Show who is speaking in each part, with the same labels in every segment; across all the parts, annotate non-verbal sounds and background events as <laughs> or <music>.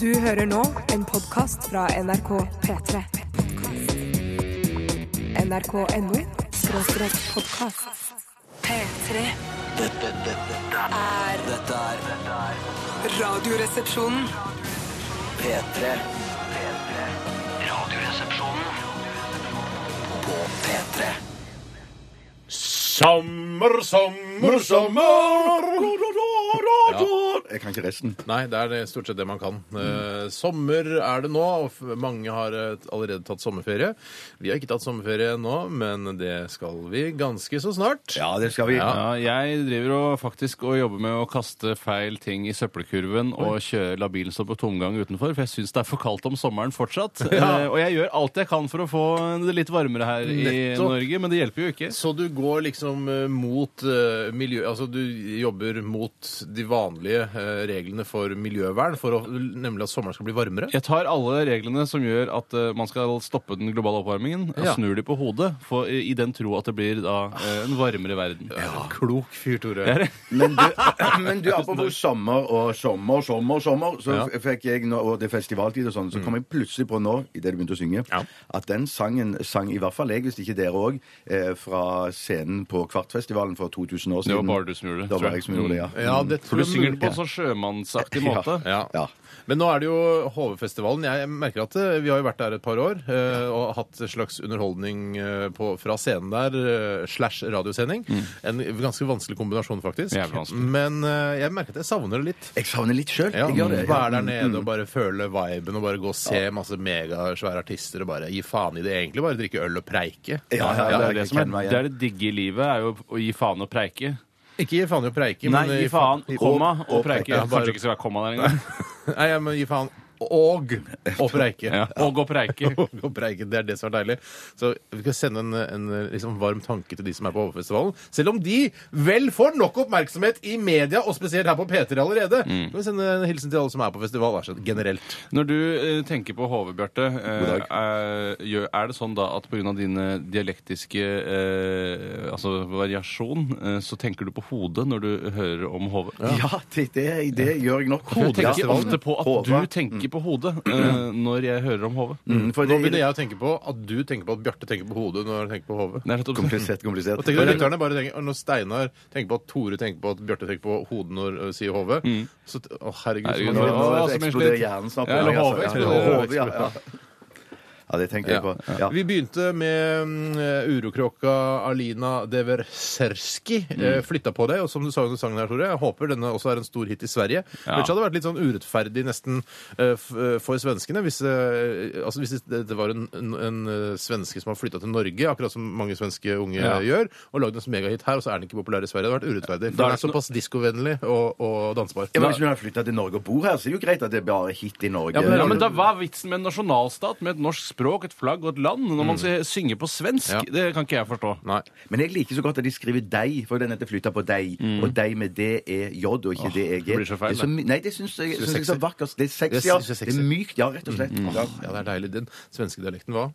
Speaker 1: Du hører nå en podkast fra NRK P3. NRK.no skråstrek podkast. P3
Speaker 2: Dette, dette,
Speaker 1: er
Speaker 2: dette er
Speaker 1: Radioresepsjonen.
Speaker 2: P3. Radioresepsjonen på P3.
Speaker 3: Sommer, sommer, sommer
Speaker 4: Jeg kan ikke resten.
Speaker 3: Nei, det er det stort sett det man kan. Eh, sommer er det nå, og f- mange har eh, allerede tatt sommerferie. Vi har ikke tatt sommerferie ennå, men det skal vi ganske så snart.
Speaker 4: Ja, det skal vi.
Speaker 3: Ja.
Speaker 5: Ja, jeg driver og faktisk og jobber med å kaste feil ting i søppelkurven og kjøre, la bilen stå på tomgang utenfor, for jeg syns det er for kaldt om sommeren
Speaker 3: <laughs>
Speaker 5: fortsatt. Eh, og jeg gjør alt jeg kan for å få det litt varmere her i
Speaker 3: Nettopp.
Speaker 5: Norge, men det hjelper jo ikke.
Speaker 3: Så du går liksom eh, mot eh, miljø... Altså du jobber mot de vanlige eh, reglene for miljøvern, for å, nemlig at sommeren skal bli varmere?
Speaker 5: Jeg tar alle reglene som gjør at eh, man skal stoppe den globale oppvarmingen, og
Speaker 3: Ja.
Speaker 5: snur de på hodet for, i den tro at det blir da eh, en varmere verden.
Speaker 3: Klok fyr, Tore.
Speaker 5: Det er det.
Speaker 4: Men
Speaker 5: <laughs>
Speaker 4: du, men du apropos sommer og sommer, sommer, sommer, så
Speaker 3: Ja.
Speaker 4: f- fikk jeg nå, og det er festivaltid og
Speaker 5: Mm.
Speaker 4: sånn, så kom jeg plutselig på nå, idet du begynte å synge,
Speaker 3: Ja.
Speaker 4: at den sangen sang i hvert fall jeg, hvis ikke dere òg, eh, fra scenen på Kvartfestivalen for 2000 år
Speaker 5: Det
Speaker 4: siden.
Speaker 5: var bare du som gjorde det,
Speaker 4: Det var
Speaker 5: tror jeg. Mm.
Speaker 4: bare jeg som gjorde det, ja.
Speaker 3: Ja, det
Speaker 5: For du
Speaker 3: tror jeg
Speaker 5: synger
Speaker 3: mulig-
Speaker 5: det på en sånn sjømannsaktig
Speaker 4: Ja.
Speaker 5: måte.
Speaker 3: Ja.
Speaker 4: Ja.
Speaker 3: Men nå er det jo HV-festivalen. Jeg merker at eh, vi har jo vært der et par år eh, og hatt slags underholdning eh, på, fra scenen der eh, slash radiosending. En ganske vanskelig kombinasjon, faktisk.
Speaker 5: Jævlig vanskelig.
Speaker 3: Men eh, jeg merker at jeg savner det litt.
Speaker 4: Jeg savner litt sjøl.
Speaker 3: Ja,
Speaker 4: Jeg gjør
Speaker 5: Mm.
Speaker 4: det.
Speaker 3: Være der nede og bare føle viben og bare gå og se masse megasvære artister og bare gi faen i det egentlig. Bare drikke øl og preike.
Speaker 4: Ja, ja,
Speaker 5: Ja, det,
Speaker 4: jeg
Speaker 5: er det, som er,
Speaker 4: kjenner meg igjen.
Speaker 5: det er det digge i livet, er jo å gi faen og preike.
Speaker 3: Ikke gi faen i å preike,
Speaker 5: Nei,
Speaker 3: men
Speaker 5: gi faen, komma
Speaker 4: og-
Speaker 5: og
Speaker 4: og
Speaker 5: preike.
Speaker 4: preike.
Speaker 3: Ja, bare-
Speaker 5: Kanskje ikke skal være komma der engang.
Speaker 3: <laughs> Nei, ja, men gi faen og og preike.
Speaker 5: Ja. Og å
Speaker 3: <laughs>
Speaker 5: preike.
Speaker 3: og preike. Det er det som er deilig. Så vi skal sende en, en liksom varm tanke til de som er på Overfestivalen. Selv om de vel får nok oppmerksomhet i media, og spesielt her på P3 allerede.
Speaker 5: Mm.
Speaker 3: Skal vi sende en hilsen til alle som er på festival vær så snill, generelt.
Speaker 5: Når du eh, tenker på HV, Bjarte, eh,
Speaker 4: God dag.
Speaker 5: er, gjør- er det sånn da at pga. dine dialektiske eh, altså variasjon, eh, så tenker du på hodet når du hører om HV?
Speaker 4: Ja, det, det, det gjør jeg nok.
Speaker 5: Jeg tenker
Speaker 4: Ja.
Speaker 5: ofte på at
Speaker 4: Håva.
Speaker 5: du tenker på hodet eh, når jeg hører om HV.
Speaker 4: Mm, for
Speaker 3: Nå
Speaker 4: det-
Speaker 3: begynner jeg å tenke på at du tenker på at Bjarte tenker på hodet når han tenker på hodet.
Speaker 5: Det er nettopp-
Speaker 4: Komplisert, komplisert.
Speaker 3: Og tenker du, lytterne bare tenker, og Når Steinar tenker på at Tore tenker på at Bjarte tenker på hodet når ø, sier hodet, så t- Å, herregud. så
Speaker 5: Mm. Herregud,
Speaker 3: mange-
Speaker 5: nå-
Speaker 4: Nå
Speaker 5: Ja, som en
Speaker 4: eksploderer
Speaker 5: slitt-
Speaker 4: hjernen snart.
Speaker 5: Ja, eller
Speaker 4: Ja,
Speaker 5: hodet
Speaker 4: ja,
Speaker 5: eksploderer.
Speaker 4: hodet, ja, ja. ja, det tenker jeg på. Ja.
Speaker 3: Vi begynte med mm, urokråka Alina Deverserski. Mm. Flytta på deg, og som du sa under sangen her, Tore, jeg håper denne også er en stor hit i Sverige.
Speaker 5: Ja.
Speaker 3: Ellers hadde det vært litt sånn urettferdig nesten eh, f- eh, for svenskene hvis, eh, altså hvis det det var en, en, en eh, svenske som har flytta til Norge, akkurat som mange svenske unge
Speaker 5: Ja.
Speaker 3: eh, gjør, og lagd en megahit her, og så er den ikke populær i Sverige. Det hadde vært urettferdig. For
Speaker 5: Da er
Speaker 3: den
Speaker 5: det
Speaker 3: er
Speaker 5: no-
Speaker 3: såpass diskovennlig og, og dansbar.
Speaker 4: Ja, men Hvis vi har flytta til Norge og bor her, så er det jo greit at det er bare hit i Norge.
Speaker 5: Ja, men, ja, men da Hva er vitsen med en nasjonalstat med et norsk språk, et flagg og et land, når man sier- synger på svensk?
Speaker 3: Ja.
Speaker 5: Det kan ikke jeg forstå.
Speaker 3: Nei.
Speaker 4: Men jeg liker så godt at de skriver 'deg', for den heter 'flytta på deg'. Og 'deg' med D-E-J, og ikke D-E-G.
Speaker 5: Mm. det blir så feil,
Speaker 4: er så my- Nei, det syns jeg, syns jeg er så
Speaker 3: sexy.
Speaker 4: vakkert. Det
Speaker 3: Det
Speaker 4: er
Speaker 3: er
Speaker 4: sexy, ja.
Speaker 3: sexy.
Speaker 4: Det er mykt, ja, rett og slett.
Speaker 5: Mm.
Speaker 4: Ja.
Speaker 3: Ja, det er deilig. Den svenske dialekten hva?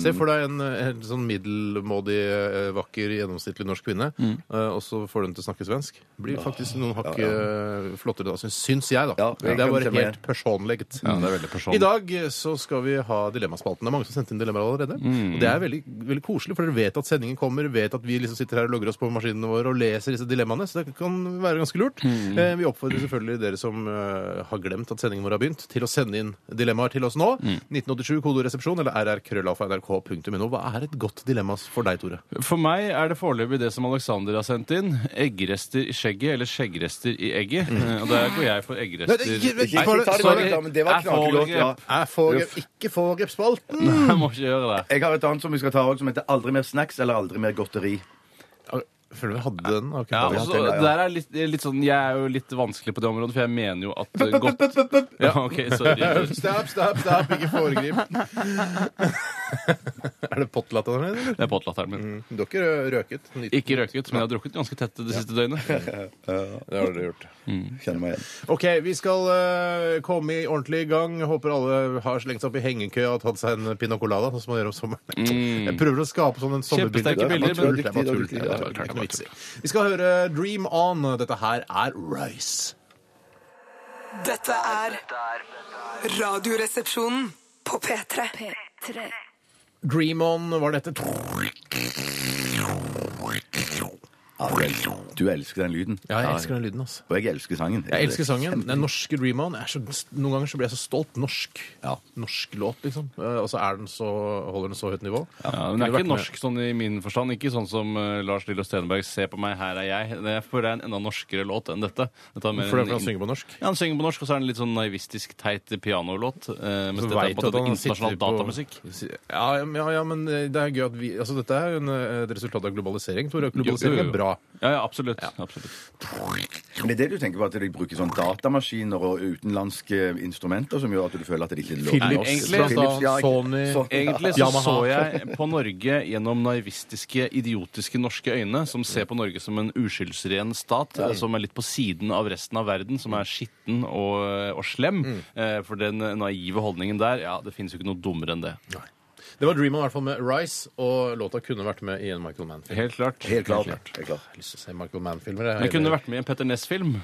Speaker 3: Se for deg en, en sånn middelmådig, eh, vakker, gjennomsnittlig norsk kvinne, eh, og så får du den til å snakke svensk. Blir faktisk noen hakk eh, flottere da, syns, syns jeg, da.
Speaker 4: Ja,
Speaker 3: det er
Speaker 4: jeg kan
Speaker 3: bare
Speaker 4: se meg
Speaker 3: helt personlig.
Speaker 5: det er veldig personlig.
Speaker 3: I dag eh, så skal vi ha Dilemmaspalten. Det er mange som sendte inn dilemmaer allerede.
Speaker 5: Mm.
Speaker 3: Og det er veldig, veldig koselig, for dere vet at sendingen kommer, vet at vi liksom sitter her og logger oss på maskinene våre og leser disse dilemmaene, så det kan være ganske lurt.
Speaker 5: Mm.
Speaker 3: Eh, vi oppfordrer selvfølgelig dere som eh, har glemt at sendingen vår har begynt, til å sende inn dilemmaer til oss nå.
Speaker 5: Mm.
Speaker 3: 1987 kodoresepsjon eller rrkrøllalfa.nrk.no. Hva er et godt dilemma for deg, Tore?
Speaker 5: For meg er det foreløpig det som Alexander har sendt inn. Eggrester i skjegget eller skjeggrester i egget. Eh, Og der går jeg for eggrester.
Speaker 3: Nei, ikke- ikke-
Speaker 4: Ikke
Speaker 3: Var det-
Speaker 4: ta det
Speaker 3: sorry,
Speaker 4: med reklamen, det var
Speaker 5: jeg får
Speaker 4: knakelig godt. Ja.
Speaker 5: ikke-
Speaker 3: Jeg får ikke få grepsspalten.
Speaker 5: Nei, jeg må ikke gjøre det.
Speaker 4: Jeg har et annet som vi skal ta òg, som heter 'Aldri mer snacks eller aldri mer godteri'.
Speaker 3: Føler vi hadde den. ok.
Speaker 5: Ja, og så-
Speaker 4: ja, ja.
Speaker 5: Altså, der er litt, litt sånn, jeg er jo litt vanskelig på det området, for jeg mener jo at eh, godt ja, ok, sorry.
Speaker 3: Stopp, stopp, stopp, ikke foregrip. <laughs> er det potlatt av den, eller?
Speaker 5: Det er båtlatteren min.
Speaker 3: Du har ikke rø- røket? Nytt.
Speaker 5: Ikke røket, men jeg har drukket ganske tett det siste døgnet.
Speaker 3: Det har du gjort.
Speaker 5: Mm.
Speaker 4: Kjenner meg igjen.
Speaker 3: Ok, vi skal eh, komme i ordentlig gang. Håper alle har slengt seg opp i hengekøya og tatt seg en pina colada, sånn som man gjør om sommeren. Jeg prøver å skape sånn en sommerbilde.
Speaker 5: Kjempesterke
Speaker 3: Det er
Speaker 5: bilder,
Speaker 3: bare
Speaker 5: men-
Speaker 3: tull, det er bare tull.
Speaker 4: Det
Speaker 3: Det
Speaker 4: er
Speaker 3: er bare tull. Det er ikke noe vits i. Vi skal høre Dream On. Dette her er Rise.
Speaker 1: Dette er Radioresepsjonen på P3.
Speaker 3: Dream On var dette.
Speaker 4: Du elsker den lyden.
Speaker 3: Ja, jeg elsker den lyden, altså.
Speaker 4: Og jeg elsker sangen.
Speaker 3: Jeg elsker sangen. Den norske Dream On. Er så, noen ganger så blir jeg så stolt. Norsk. Norsk låt, liksom. Eh, Og så er den så, holder den så høyt nivå.
Speaker 5: Ja, men det er ikke norsk sånn i min forstand. Ikke sånn som eh, Lars Lillo Stenberg 'Se på meg, her er jeg'. Det er for det er en enda norskere låt enn dette. dette er mer
Speaker 3: For det er
Speaker 5: en-
Speaker 3: fordi han synger på norsk.
Speaker 5: Ja, han synger på norsk, og så er det en litt sånn naivistisk teit pianolåt. Eh, mens
Speaker 3: Så
Speaker 5: dette er
Speaker 3: vet
Speaker 5: på en
Speaker 3: du at
Speaker 5: måte
Speaker 3: han
Speaker 5: internasjonal
Speaker 3: sitter på-
Speaker 5: datamusikk.
Speaker 3: Ja, ja, men- ja, ja, men det er gøy at vi Altså, dette er jo en, eh, et resultat av globalisering. Tore,
Speaker 5: Jo,
Speaker 3: globalisering
Speaker 5: jo, jo.
Speaker 3: er bra.
Speaker 5: Ja, ja, absolutt. absolutt.
Speaker 4: Men det er det du tenker på at de bruker sånn datamaskiner og utenlandske instrumenter som gjør at du føler at det ikke låter
Speaker 3: Philips,
Speaker 4: norsk?
Speaker 5: egentlig,
Speaker 3: altså,
Speaker 4: ja, ikke-
Speaker 3: Sony.
Speaker 4: Sony, ja.
Speaker 5: Egentlig så
Speaker 3: Yamaha.
Speaker 5: så jeg på Norge gjennom naivistiske, idiotiske norske øyne, som ser på Norge som en uskyldsren stat, eh, som er litt på siden av resten av verden, som
Speaker 3: Mm.
Speaker 5: er skitten og, og slem. Eh, For den naive holdningen der, ja, det finnes jo ikke noe dummere enn det.
Speaker 3: Det var Dream On i hvert fall med Rise, og låta kunne vært med i en Michael Mann-film.
Speaker 5: Helt klart.
Speaker 4: Helt klart. Helt klart.
Speaker 3: Jeg har lyst til å se Michael Mann-filmer. jeg.
Speaker 5: Jeg kunne vært med i en Petter Ness-film.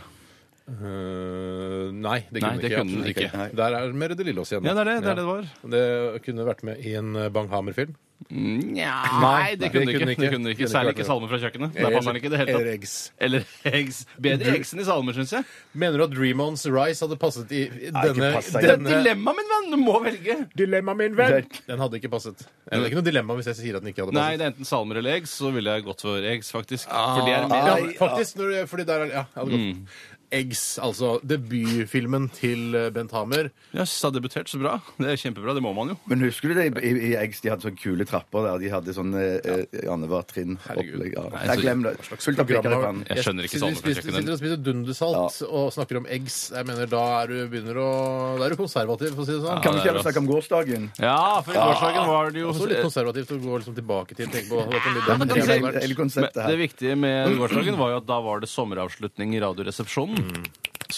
Speaker 3: Øh, nei,
Speaker 5: Nei, det
Speaker 3: det kunne ikke,
Speaker 5: kunne den
Speaker 3: absolutt
Speaker 5: ikke.
Speaker 4: Nei.
Speaker 3: Der er mer det lille oss igjen. da.
Speaker 5: Ja, det er det det, er det, det var.
Speaker 3: Det kunne vært med i en eh, Bang-Hamer-film.
Speaker 5: Nja,
Speaker 3: Nei,
Speaker 5: det kunne det ikke. Det kunne det ikke. Særlig ikke
Speaker 3: vært
Speaker 5: Salmer fra kjøkkenet. Der passer den ikke i det hele
Speaker 3: Eller
Speaker 5: tatt.
Speaker 3: eggs.
Speaker 5: Eller eggs. Bedre eggs enn i salmer, syns jeg.
Speaker 3: Mener du at Dream On's Rise hadde passet i i denne,
Speaker 4: passet
Speaker 5: Det er
Speaker 3: denne
Speaker 5: dilemma, min venn! Du må velge.
Speaker 3: Dilemma, min venn! Den hadde ikke passet. Eller, det er ikke noe dilemma hvis jeg sier at den ikke hadde
Speaker 5: Nei,
Speaker 3: passet.
Speaker 5: det er enten salmer eller eggs, så ville jeg gått for eggs, faktisk. For det er Mm. mer
Speaker 3: ja, Ah, faktisk, når, du- fordi der er Ja, jeg hadde gått. Eggs, altså debutfilmen til eh, Bent Hamer.
Speaker 5: Jøss, har debutert, så bra. Det er kjempebra. Det må man jo.
Speaker 4: Men husker du det i, i, i Eggs? De hadde sånne kule trapper der. De hadde sånn eh, eh, annethvert trinn. opplegg, Ja.
Speaker 5: Nei,
Speaker 4: Nei,
Speaker 5: så-
Speaker 4: glem det. Fullt av prikker i pannen.
Speaker 5: Jeg skjønner ikke
Speaker 3: sitter,
Speaker 5: salmer fra
Speaker 3: spiser, sitter
Speaker 5: kjøkkenet.
Speaker 3: og spiser dundersalt og snakker om eggs. Jeg mener, Da er du begynner å Da er du konservativ, for å si det sånn.
Speaker 4: Kan vi ikke heller snakke om gårsdagen?
Speaker 5: Ja, for i gårsdagen var det jo
Speaker 3: Også litt konservativt å gå liksom tilbake til tenke på hva kan bli den
Speaker 5: men det-
Speaker 3: regelen
Speaker 4: Eller
Speaker 3: vært.
Speaker 4: eller
Speaker 5: Men
Speaker 4: konseptet
Speaker 5: det
Speaker 4: her.
Speaker 5: viktige med gårsdagen var jo at da var det sommeravslutning i Radioresepsjonen. Mm.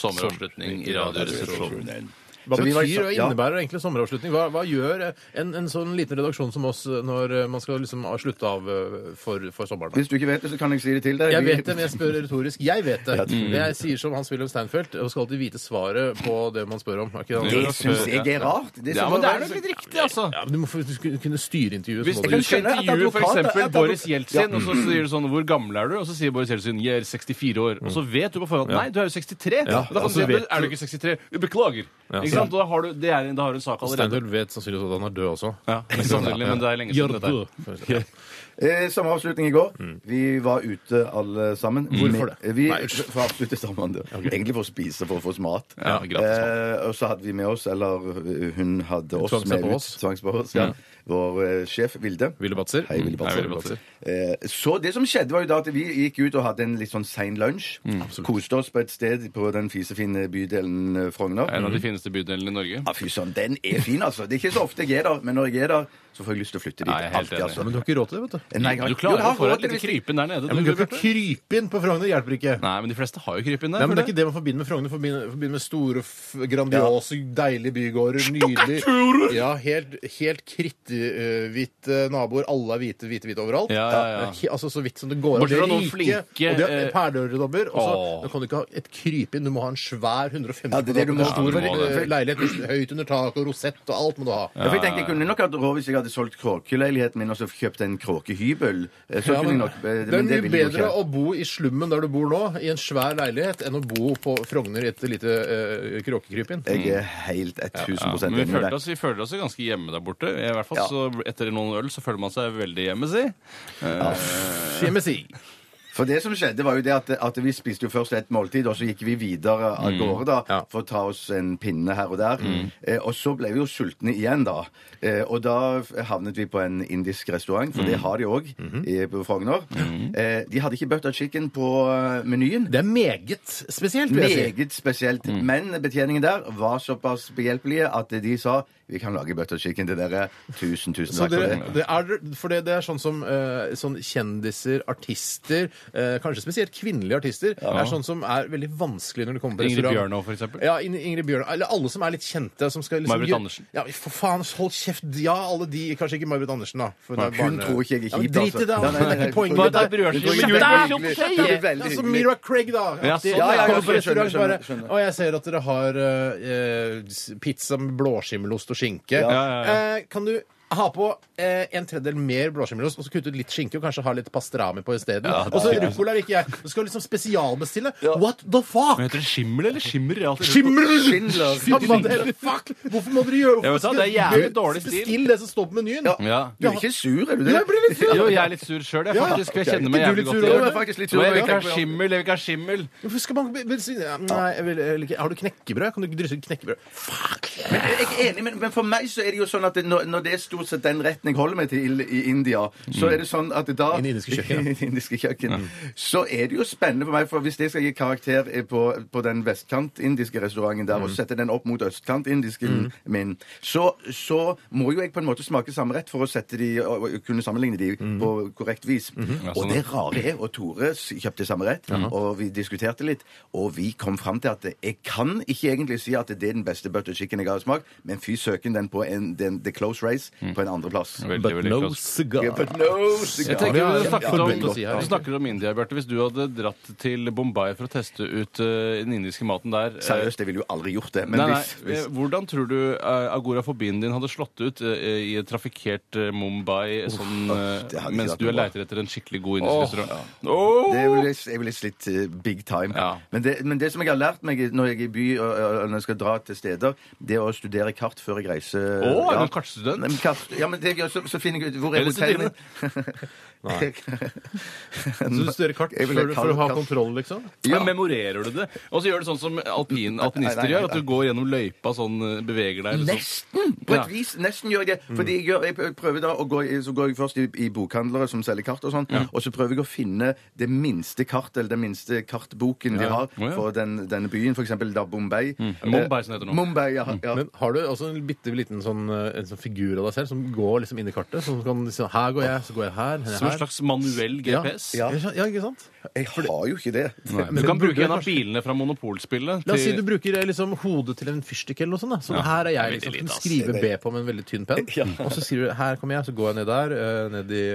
Speaker 5: Sommeravslutning i Radioresepsjonen.
Speaker 3: Hva
Speaker 4: Så vi var i
Speaker 3: betyr
Speaker 4: som-
Speaker 3: og
Speaker 4: ja.
Speaker 3: innebærer egentlig sommeravslutning? Hva, hva gjør en, en sånn liten redaksjon som oss når eh, man skal liksom slutte av eh, for, for sommeren?
Speaker 4: Hvis du ikke vet det, så kan jeg si det til deg.
Speaker 3: Jeg
Speaker 4: Vi-
Speaker 3: vet det, men jeg spør retorisk. Jeg vet
Speaker 4: <laughs>
Speaker 3: det. Jeg sier som Hans-Wilhelm Steinfeld og skal alltid vite svaret på det man spør om. Er ikke det?
Speaker 4: Det syns jeg er rart. Det
Speaker 5: Ja, men det er nok litt riktig, altså.
Speaker 3: Ja, men du må få- du skulle kunne styre intervjuet.
Speaker 5: Hvis
Speaker 3: så
Speaker 5: du
Speaker 3: må du-
Speaker 4: kan
Speaker 5: skal
Speaker 4: skjønne at
Speaker 5: intervjue
Speaker 4: advokat- at
Speaker 5: f.eks.
Speaker 4: advokat-
Speaker 5: Boris Jeltsin, og så sier du sånn 'Hvor gammel er du?' Og så sier Boris Jeltsin 'Jeg er 64 år'. Og så vet du på forhånd 'Nei, du er jo 63'. Da
Speaker 3: Ja,
Speaker 5: kan
Speaker 3: og
Speaker 5: du
Speaker 3: så
Speaker 5: si
Speaker 3: vet
Speaker 5: «Men 'Er du ikke 63?' Jo, Beklager. Ikke sant? Og Da har du, det er, da har du en sak allerede.
Speaker 3: Steinfeld vet sannsynligvis at han er død også.
Speaker 5: Ja, mest sannsynlig, men det er lenge siden dette. er.
Speaker 3: Gjør du?
Speaker 4: Eh, sommeravslutning i går. Vi var ute alle sammen.
Speaker 3: Hvorfor
Speaker 4: Med-
Speaker 3: det?
Speaker 4: Vi,
Speaker 3: Nei, unnskyld.
Speaker 4: <laughs> for å avslutte sommeren. det. Egentlig for å spise, for å få oss mat.
Speaker 5: Ja, gratis mat.
Speaker 4: Eh, og så hadde vi med oss, eller eh, hun hadde oss
Speaker 3: tvang seg
Speaker 4: med
Speaker 3: på
Speaker 4: ut.
Speaker 3: oss.
Speaker 4: Tvang seg på oss. Ja.
Speaker 5: Ja.
Speaker 4: Vår eh, sjef, Vilde.
Speaker 3: Ville Batzer.
Speaker 4: Hei, Ville
Speaker 5: Hei,
Speaker 4: Batzer.
Speaker 5: Ville Batzer.
Speaker 4: Eh, så det som skjedde, var jo da at vi gikk ut og hadde en litt sånn sein lunsj. Koste oss på et sted på den fisefine bydelen eh, Frogner.
Speaker 5: En av de fineste bydelene i Norge.
Speaker 4: Ja, fy søren, den er fin, altså. Det er ikke så ofte jeg er der, men når jeg er der, så får jeg lyst til å flytte dit.
Speaker 5: Nei, jeg er helt
Speaker 4: alltid,
Speaker 5: enig.
Speaker 4: altså.
Speaker 3: Men du har ikke råd til det, vet du.
Speaker 4: Nei, jeg har-
Speaker 5: Du
Speaker 4: Jo,
Speaker 5: klarer
Speaker 4: jeg har
Speaker 5: å få et
Speaker 4: råd til
Speaker 5: lite
Speaker 4: det.
Speaker 5: krypen der nede.
Speaker 3: Ja,
Speaker 5: du,
Speaker 3: men du kan ikke
Speaker 5: Bjarte.
Speaker 3: krype inn på Frogner. Hjelper ikke.
Speaker 5: Nei, men de fleste har jo krypen der.
Speaker 3: Nei, men Det er
Speaker 5: føler jeg.
Speaker 3: ikke det man forbinder med Frogner. Forbinder, forbinder med store, f- grandiose, deilige bygårder. Nydelig. Ja, helt, helt kritthvite naboer. Alle er hvite, hvite, hvite overalt.
Speaker 5: Ja, ja, ja.
Speaker 3: He- Altså Så vidt som det går an.
Speaker 5: Bortsett
Speaker 3: De er
Speaker 5: fra noen
Speaker 3: rike,
Speaker 5: flinke,
Speaker 3: Og de har
Speaker 5: eh,
Speaker 3: pæledørdobber. Og så
Speaker 5: Åh.
Speaker 3: nå kan du ikke ha et krypinn. Du må ha en svær 150
Speaker 4: Ja, det er det du må ha.
Speaker 3: kvadratmeter
Speaker 5: Ja, du må
Speaker 3: stor
Speaker 5: det.
Speaker 3: eh, leilighet. Høyt under taket og rosett og alt må du ha.
Speaker 4: Ja, for jeg tenker, Jeg kunne nok hatt råd hvis jeg hadde solgt kråkeleiligheten min og så kjøpt en kråkehybel. Eh, Så
Speaker 3: Ja,
Speaker 4: kunne
Speaker 3: men,
Speaker 4: jeg nok, eh,
Speaker 3: det er
Speaker 4: men
Speaker 3: mye
Speaker 4: ville jeg jo
Speaker 3: bedre
Speaker 4: ikke.
Speaker 3: å bo i slummen der du bor nå, i en svær leilighet, enn å bo på Frogner i et lite eh, kråkekrypinn.
Speaker 4: Jeg er helt 1000
Speaker 5: Ja, men
Speaker 4: enig
Speaker 5: vi
Speaker 4: med
Speaker 5: følte,
Speaker 4: deg.
Speaker 5: oss, vi føler oss jo ganske hjemme der borte. I hvert fall
Speaker 4: Ja.
Speaker 5: så Etter noen øl så føler man seg veldig hjemme, si.
Speaker 3: Kjemesi.
Speaker 4: For det som skjedde, var jo det at, at vi spiste jo først et måltid, og så gikk vi videre av gårde da,
Speaker 3: Ja.
Speaker 4: for å ta oss en pinne her og der. Eh, og så ble vi jo sultne igjen, da. Eh, og da f- havnet vi på en indisk restaurant, for det har de òg på Frogner. Eh, de hadde ikke butter chicken på eh, menyen.
Speaker 3: Det er meget spesielt, vil jeg si. Mm.
Speaker 4: Meget spesielt. Men betjeningen der var såpass behjelpelige at de sa vi kan lage butter chicken til dere. Tusen, tusen
Speaker 3: Så
Speaker 4: takk
Speaker 3: det,
Speaker 4: for det.
Speaker 3: det er, for det, det er sånn som eh, sånn kjendiser, artister, eh, kanskje spesielt kvinnelige artister, er sånn som er veldig vanskelig når det kommer på
Speaker 5: Ingrid
Speaker 3: restaurant.
Speaker 5: Bjørnov, for eksempel?
Speaker 3: Ja, In- Ingrid Bjørnov. Eller alle som er litt kjente. Som skal liksom,
Speaker 5: May-Britt
Speaker 3: gjøre-
Speaker 5: Andersen.
Speaker 3: Ja, for faen, hold kjeft. Ja, alle de. Kanskje ikke May-Britt Andersen, da. for hun er
Speaker 4: Hun
Speaker 3: barne-
Speaker 4: tror ikke jeg er
Speaker 3: Ja, men
Speaker 4: kjip,
Speaker 3: Drit i det,
Speaker 4: Nei,
Speaker 3: altså.
Speaker 4: nei,
Speaker 3: Det
Speaker 4: nei,
Speaker 3: er ikke
Speaker 4: hun
Speaker 3: poenget.
Speaker 5: Bare
Speaker 4: tror
Speaker 3: Det
Speaker 5: ta
Speaker 3: er-
Speaker 4: jeg-
Speaker 5: brødskive.
Speaker 4: hun tror
Speaker 5: Jo,
Speaker 4: jeg er
Speaker 5: det er
Speaker 4: hyggelig.
Speaker 5: sånn skje.
Speaker 4: Hun blir
Speaker 3: ja,
Speaker 4: veldig
Speaker 3: som
Speaker 4: hyggelig.
Speaker 3: Mira Craig, da.
Speaker 5: Ja,
Speaker 3: Aktig.
Speaker 5: sånn, ja,
Speaker 4: ja,
Speaker 3: Kommer på
Speaker 4: skjønner,
Speaker 3: restaurant,
Speaker 4: skjønner,
Speaker 3: bare,
Speaker 4: skjønner.
Speaker 3: Og jeg ser at dere har eh, eh, pizza med blåskimmelost og skinke.
Speaker 5: ja, ja.
Speaker 3: Eh, kan du ha på eh, en tredjedel mer blåskimmelost, og så kutte ut litt skinke og kanskje ha litt pastrami på isteden?
Speaker 5: Ja, det
Speaker 3: og så
Speaker 5: er-
Speaker 3: ruccola liker jeg. Du skal liksom spesialbestille. What the fuck?
Speaker 5: Men heter det skimmel eller skimmer? Jeg har alltid lurt på-
Speaker 3: Skimmer!
Speaker 4: Schindler.
Speaker 3: Ja, men det er- Fuck! Hvorfor må dere gjøre
Speaker 5: Jeg vet da, det er jævlig dårlig stil.
Speaker 3: Bestill det som står på menyen.
Speaker 5: Ja.
Speaker 4: Du er ikke sur, er du det?
Speaker 3: Jeg blir litt sur.
Speaker 5: Jo, jeg er litt sur sjøl, jeg,
Speaker 3: Ja,
Speaker 5: faktisk. for Jeg
Speaker 4: ok.
Speaker 5: kjenner meg
Speaker 3: Ikke du
Speaker 5: jævlig
Speaker 3: litt
Speaker 5: godt
Speaker 3: sur
Speaker 4: Jo,
Speaker 5: igjen.
Speaker 4: jeg er faktisk
Speaker 5: Og
Speaker 4: litt sur.
Speaker 5: jeg vil ikke
Speaker 4: Jeg
Speaker 5: ha skimmel, jeg vil ikke ha skimmel.
Speaker 3: Hvorfor skal man be- be- si- ja, Nei, jeg vil, jeg vil ikke. Har du knekkebrød? Kan du ikke drysse ut knekkebrød?
Speaker 4: Jeg er enig, men, men for meg så er det jo sånn at det- når, når det er stort sett den retten jeg holder meg til i India, så er det sånn at da
Speaker 3: Mm. I det indiske kjøkkenet.
Speaker 4: <laughs> I det indiske kjøkkenet. Så er det jo spennende for meg, for hvis jeg skal gi karakter eh, på, på den vestkant-indiske restauranten
Speaker 5: Mm.
Speaker 4: der, og sette den opp mot østkant-indisken min, så, så må jo jeg på en måte smake samme rett for å sette de, og, og kunne sammenligne de
Speaker 5: Mm.
Speaker 4: på korrekt vis.
Speaker 5: Mm-hmm. sånn,
Speaker 4: Og det rare er, og Tore s- kjøpte samme rett, og vi diskuterte litt, og vi kom fram til at jeg kan ikke egentlig si at det er den beste butter chicken jeg har smakt, men fy søken den på en, den, The Close Race på en andreplass.
Speaker 5: Mm. Veldig, veldig close.
Speaker 4: Yeah,
Speaker 3: cigar.
Speaker 4: but no cigar.
Speaker 5: Jeg tenker
Speaker 3: Ja,
Speaker 5: Du
Speaker 3: ja,
Speaker 5: snakket
Speaker 3: ja,
Speaker 5: om,
Speaker 3: forbudt å si her,
Speaker 5: du snakker om India, Bjarte. Hvis du hadde dratt til Bombay for å teste ut eh, den indiske maten der eh,
Speaker 4: Seriøst, jeg ville jo aldri gjort det. Men
Speaker 5: Nei, nei.
Speaker 4: hvis, hvis
Speaker 5: eh, Hvordan tror du eh, agorafobien din hadde slått ut eh, i et trafikkert eh, Mumbai sånn, eh,
Speaker 4: det hadde ikke
Speaker 5: mens
Speaker 4: vært
Speaker 5: du
Speaker 4: noe bra.
Speaker 5: leiter etter en skikkelig god indisk
Speaker 3: Åh,
Speaker 5: restaurant? Åh!
Speaker 4: det ville jeg, jeg ville slitt eh, big time.
Speaker 5: Ja.
Speaker 4: Men, det, men det som jeg har lært meg når jeg er i by og, og og når jeg skal dra til steder, det er å studere kart før jeg reiser.
Speaker 5: Åh, er du
Speaker 4: ja.
Speaker 5: en kartstudent?
Speaker 4: Nei, men kart, ja, men det, gjør- så, så finner jeg ut hvor
Speaker 5: Eller
Speaker 4: er hotellet mitt. <laughs>
Speaker 3: Så du studerer kart
Speaker 4: Jeg vil
Speaker 3: før du-
Speaker 4: ha
Speaker 3: for å ha
Speaker 4: kart.
Speaker 3: kontroll, liksom?
Speaker 4: Ja.
Speaker 5: Men memorerer du det? Og så gjør du sånn som alpin, alpinister
Speaker 4: Nei, nei, nei,
Speaker 5: gjør, at du går gjennom løypa sånn, eh, beveger deg eller sånn.
Speaker 4: Nesten! På
Speaker 5: Ja. Mm.
Speaker 4: et vis nesten gjør jeg det. Fordi jeg, gjør, jeg prøver da å gå, i- Så går jeg først i, i bokhandlere som selger kart og sånn, og så prøver jeg å finne det minste kartet, eller den minste kartboken de
Speaker 5: Ja.
Speaker 4: har
Speaker 5: Å, ja. Mm.
Speaker 4: for den, denne byen, for eksempel da Bombay. Eh,
Speaker 5: Mumbai, som det heter nå. Mm.
Speaker 4: Mumbai, ja. ja.
Speaker 3: Men har du også en bitte liten sånn, eh, en sånn figur av deg selv som går liksom inn i kartet? Som kan si sånn, her går jeg, så går jeg her, her.
Speaker 5: Som en slags manuell GPS?
Speaker 3: Ja. Ja. ja, ikke sant?
Speaker 4: jeg har jo ikke det.
Speaker 5: Du kan bruke en av bilene fra Monopolspillet.
Speaker 3: La oss si
Speaker 5: til-
Speaker 3: du bruker eh, liksom, hodet til en fyrstikk eller noe sånt. Da. Så her er jeg
Speaker 5: veldig
Speaker 3: liksom,
Speaker 5: lite,
Speaker 3: som
Speaker 5: ass.
Speaker 3: skriver B på med en veldig tynn penn. Og så skriver du 'her kommer jeg', så går jeg ned der, eh, ned i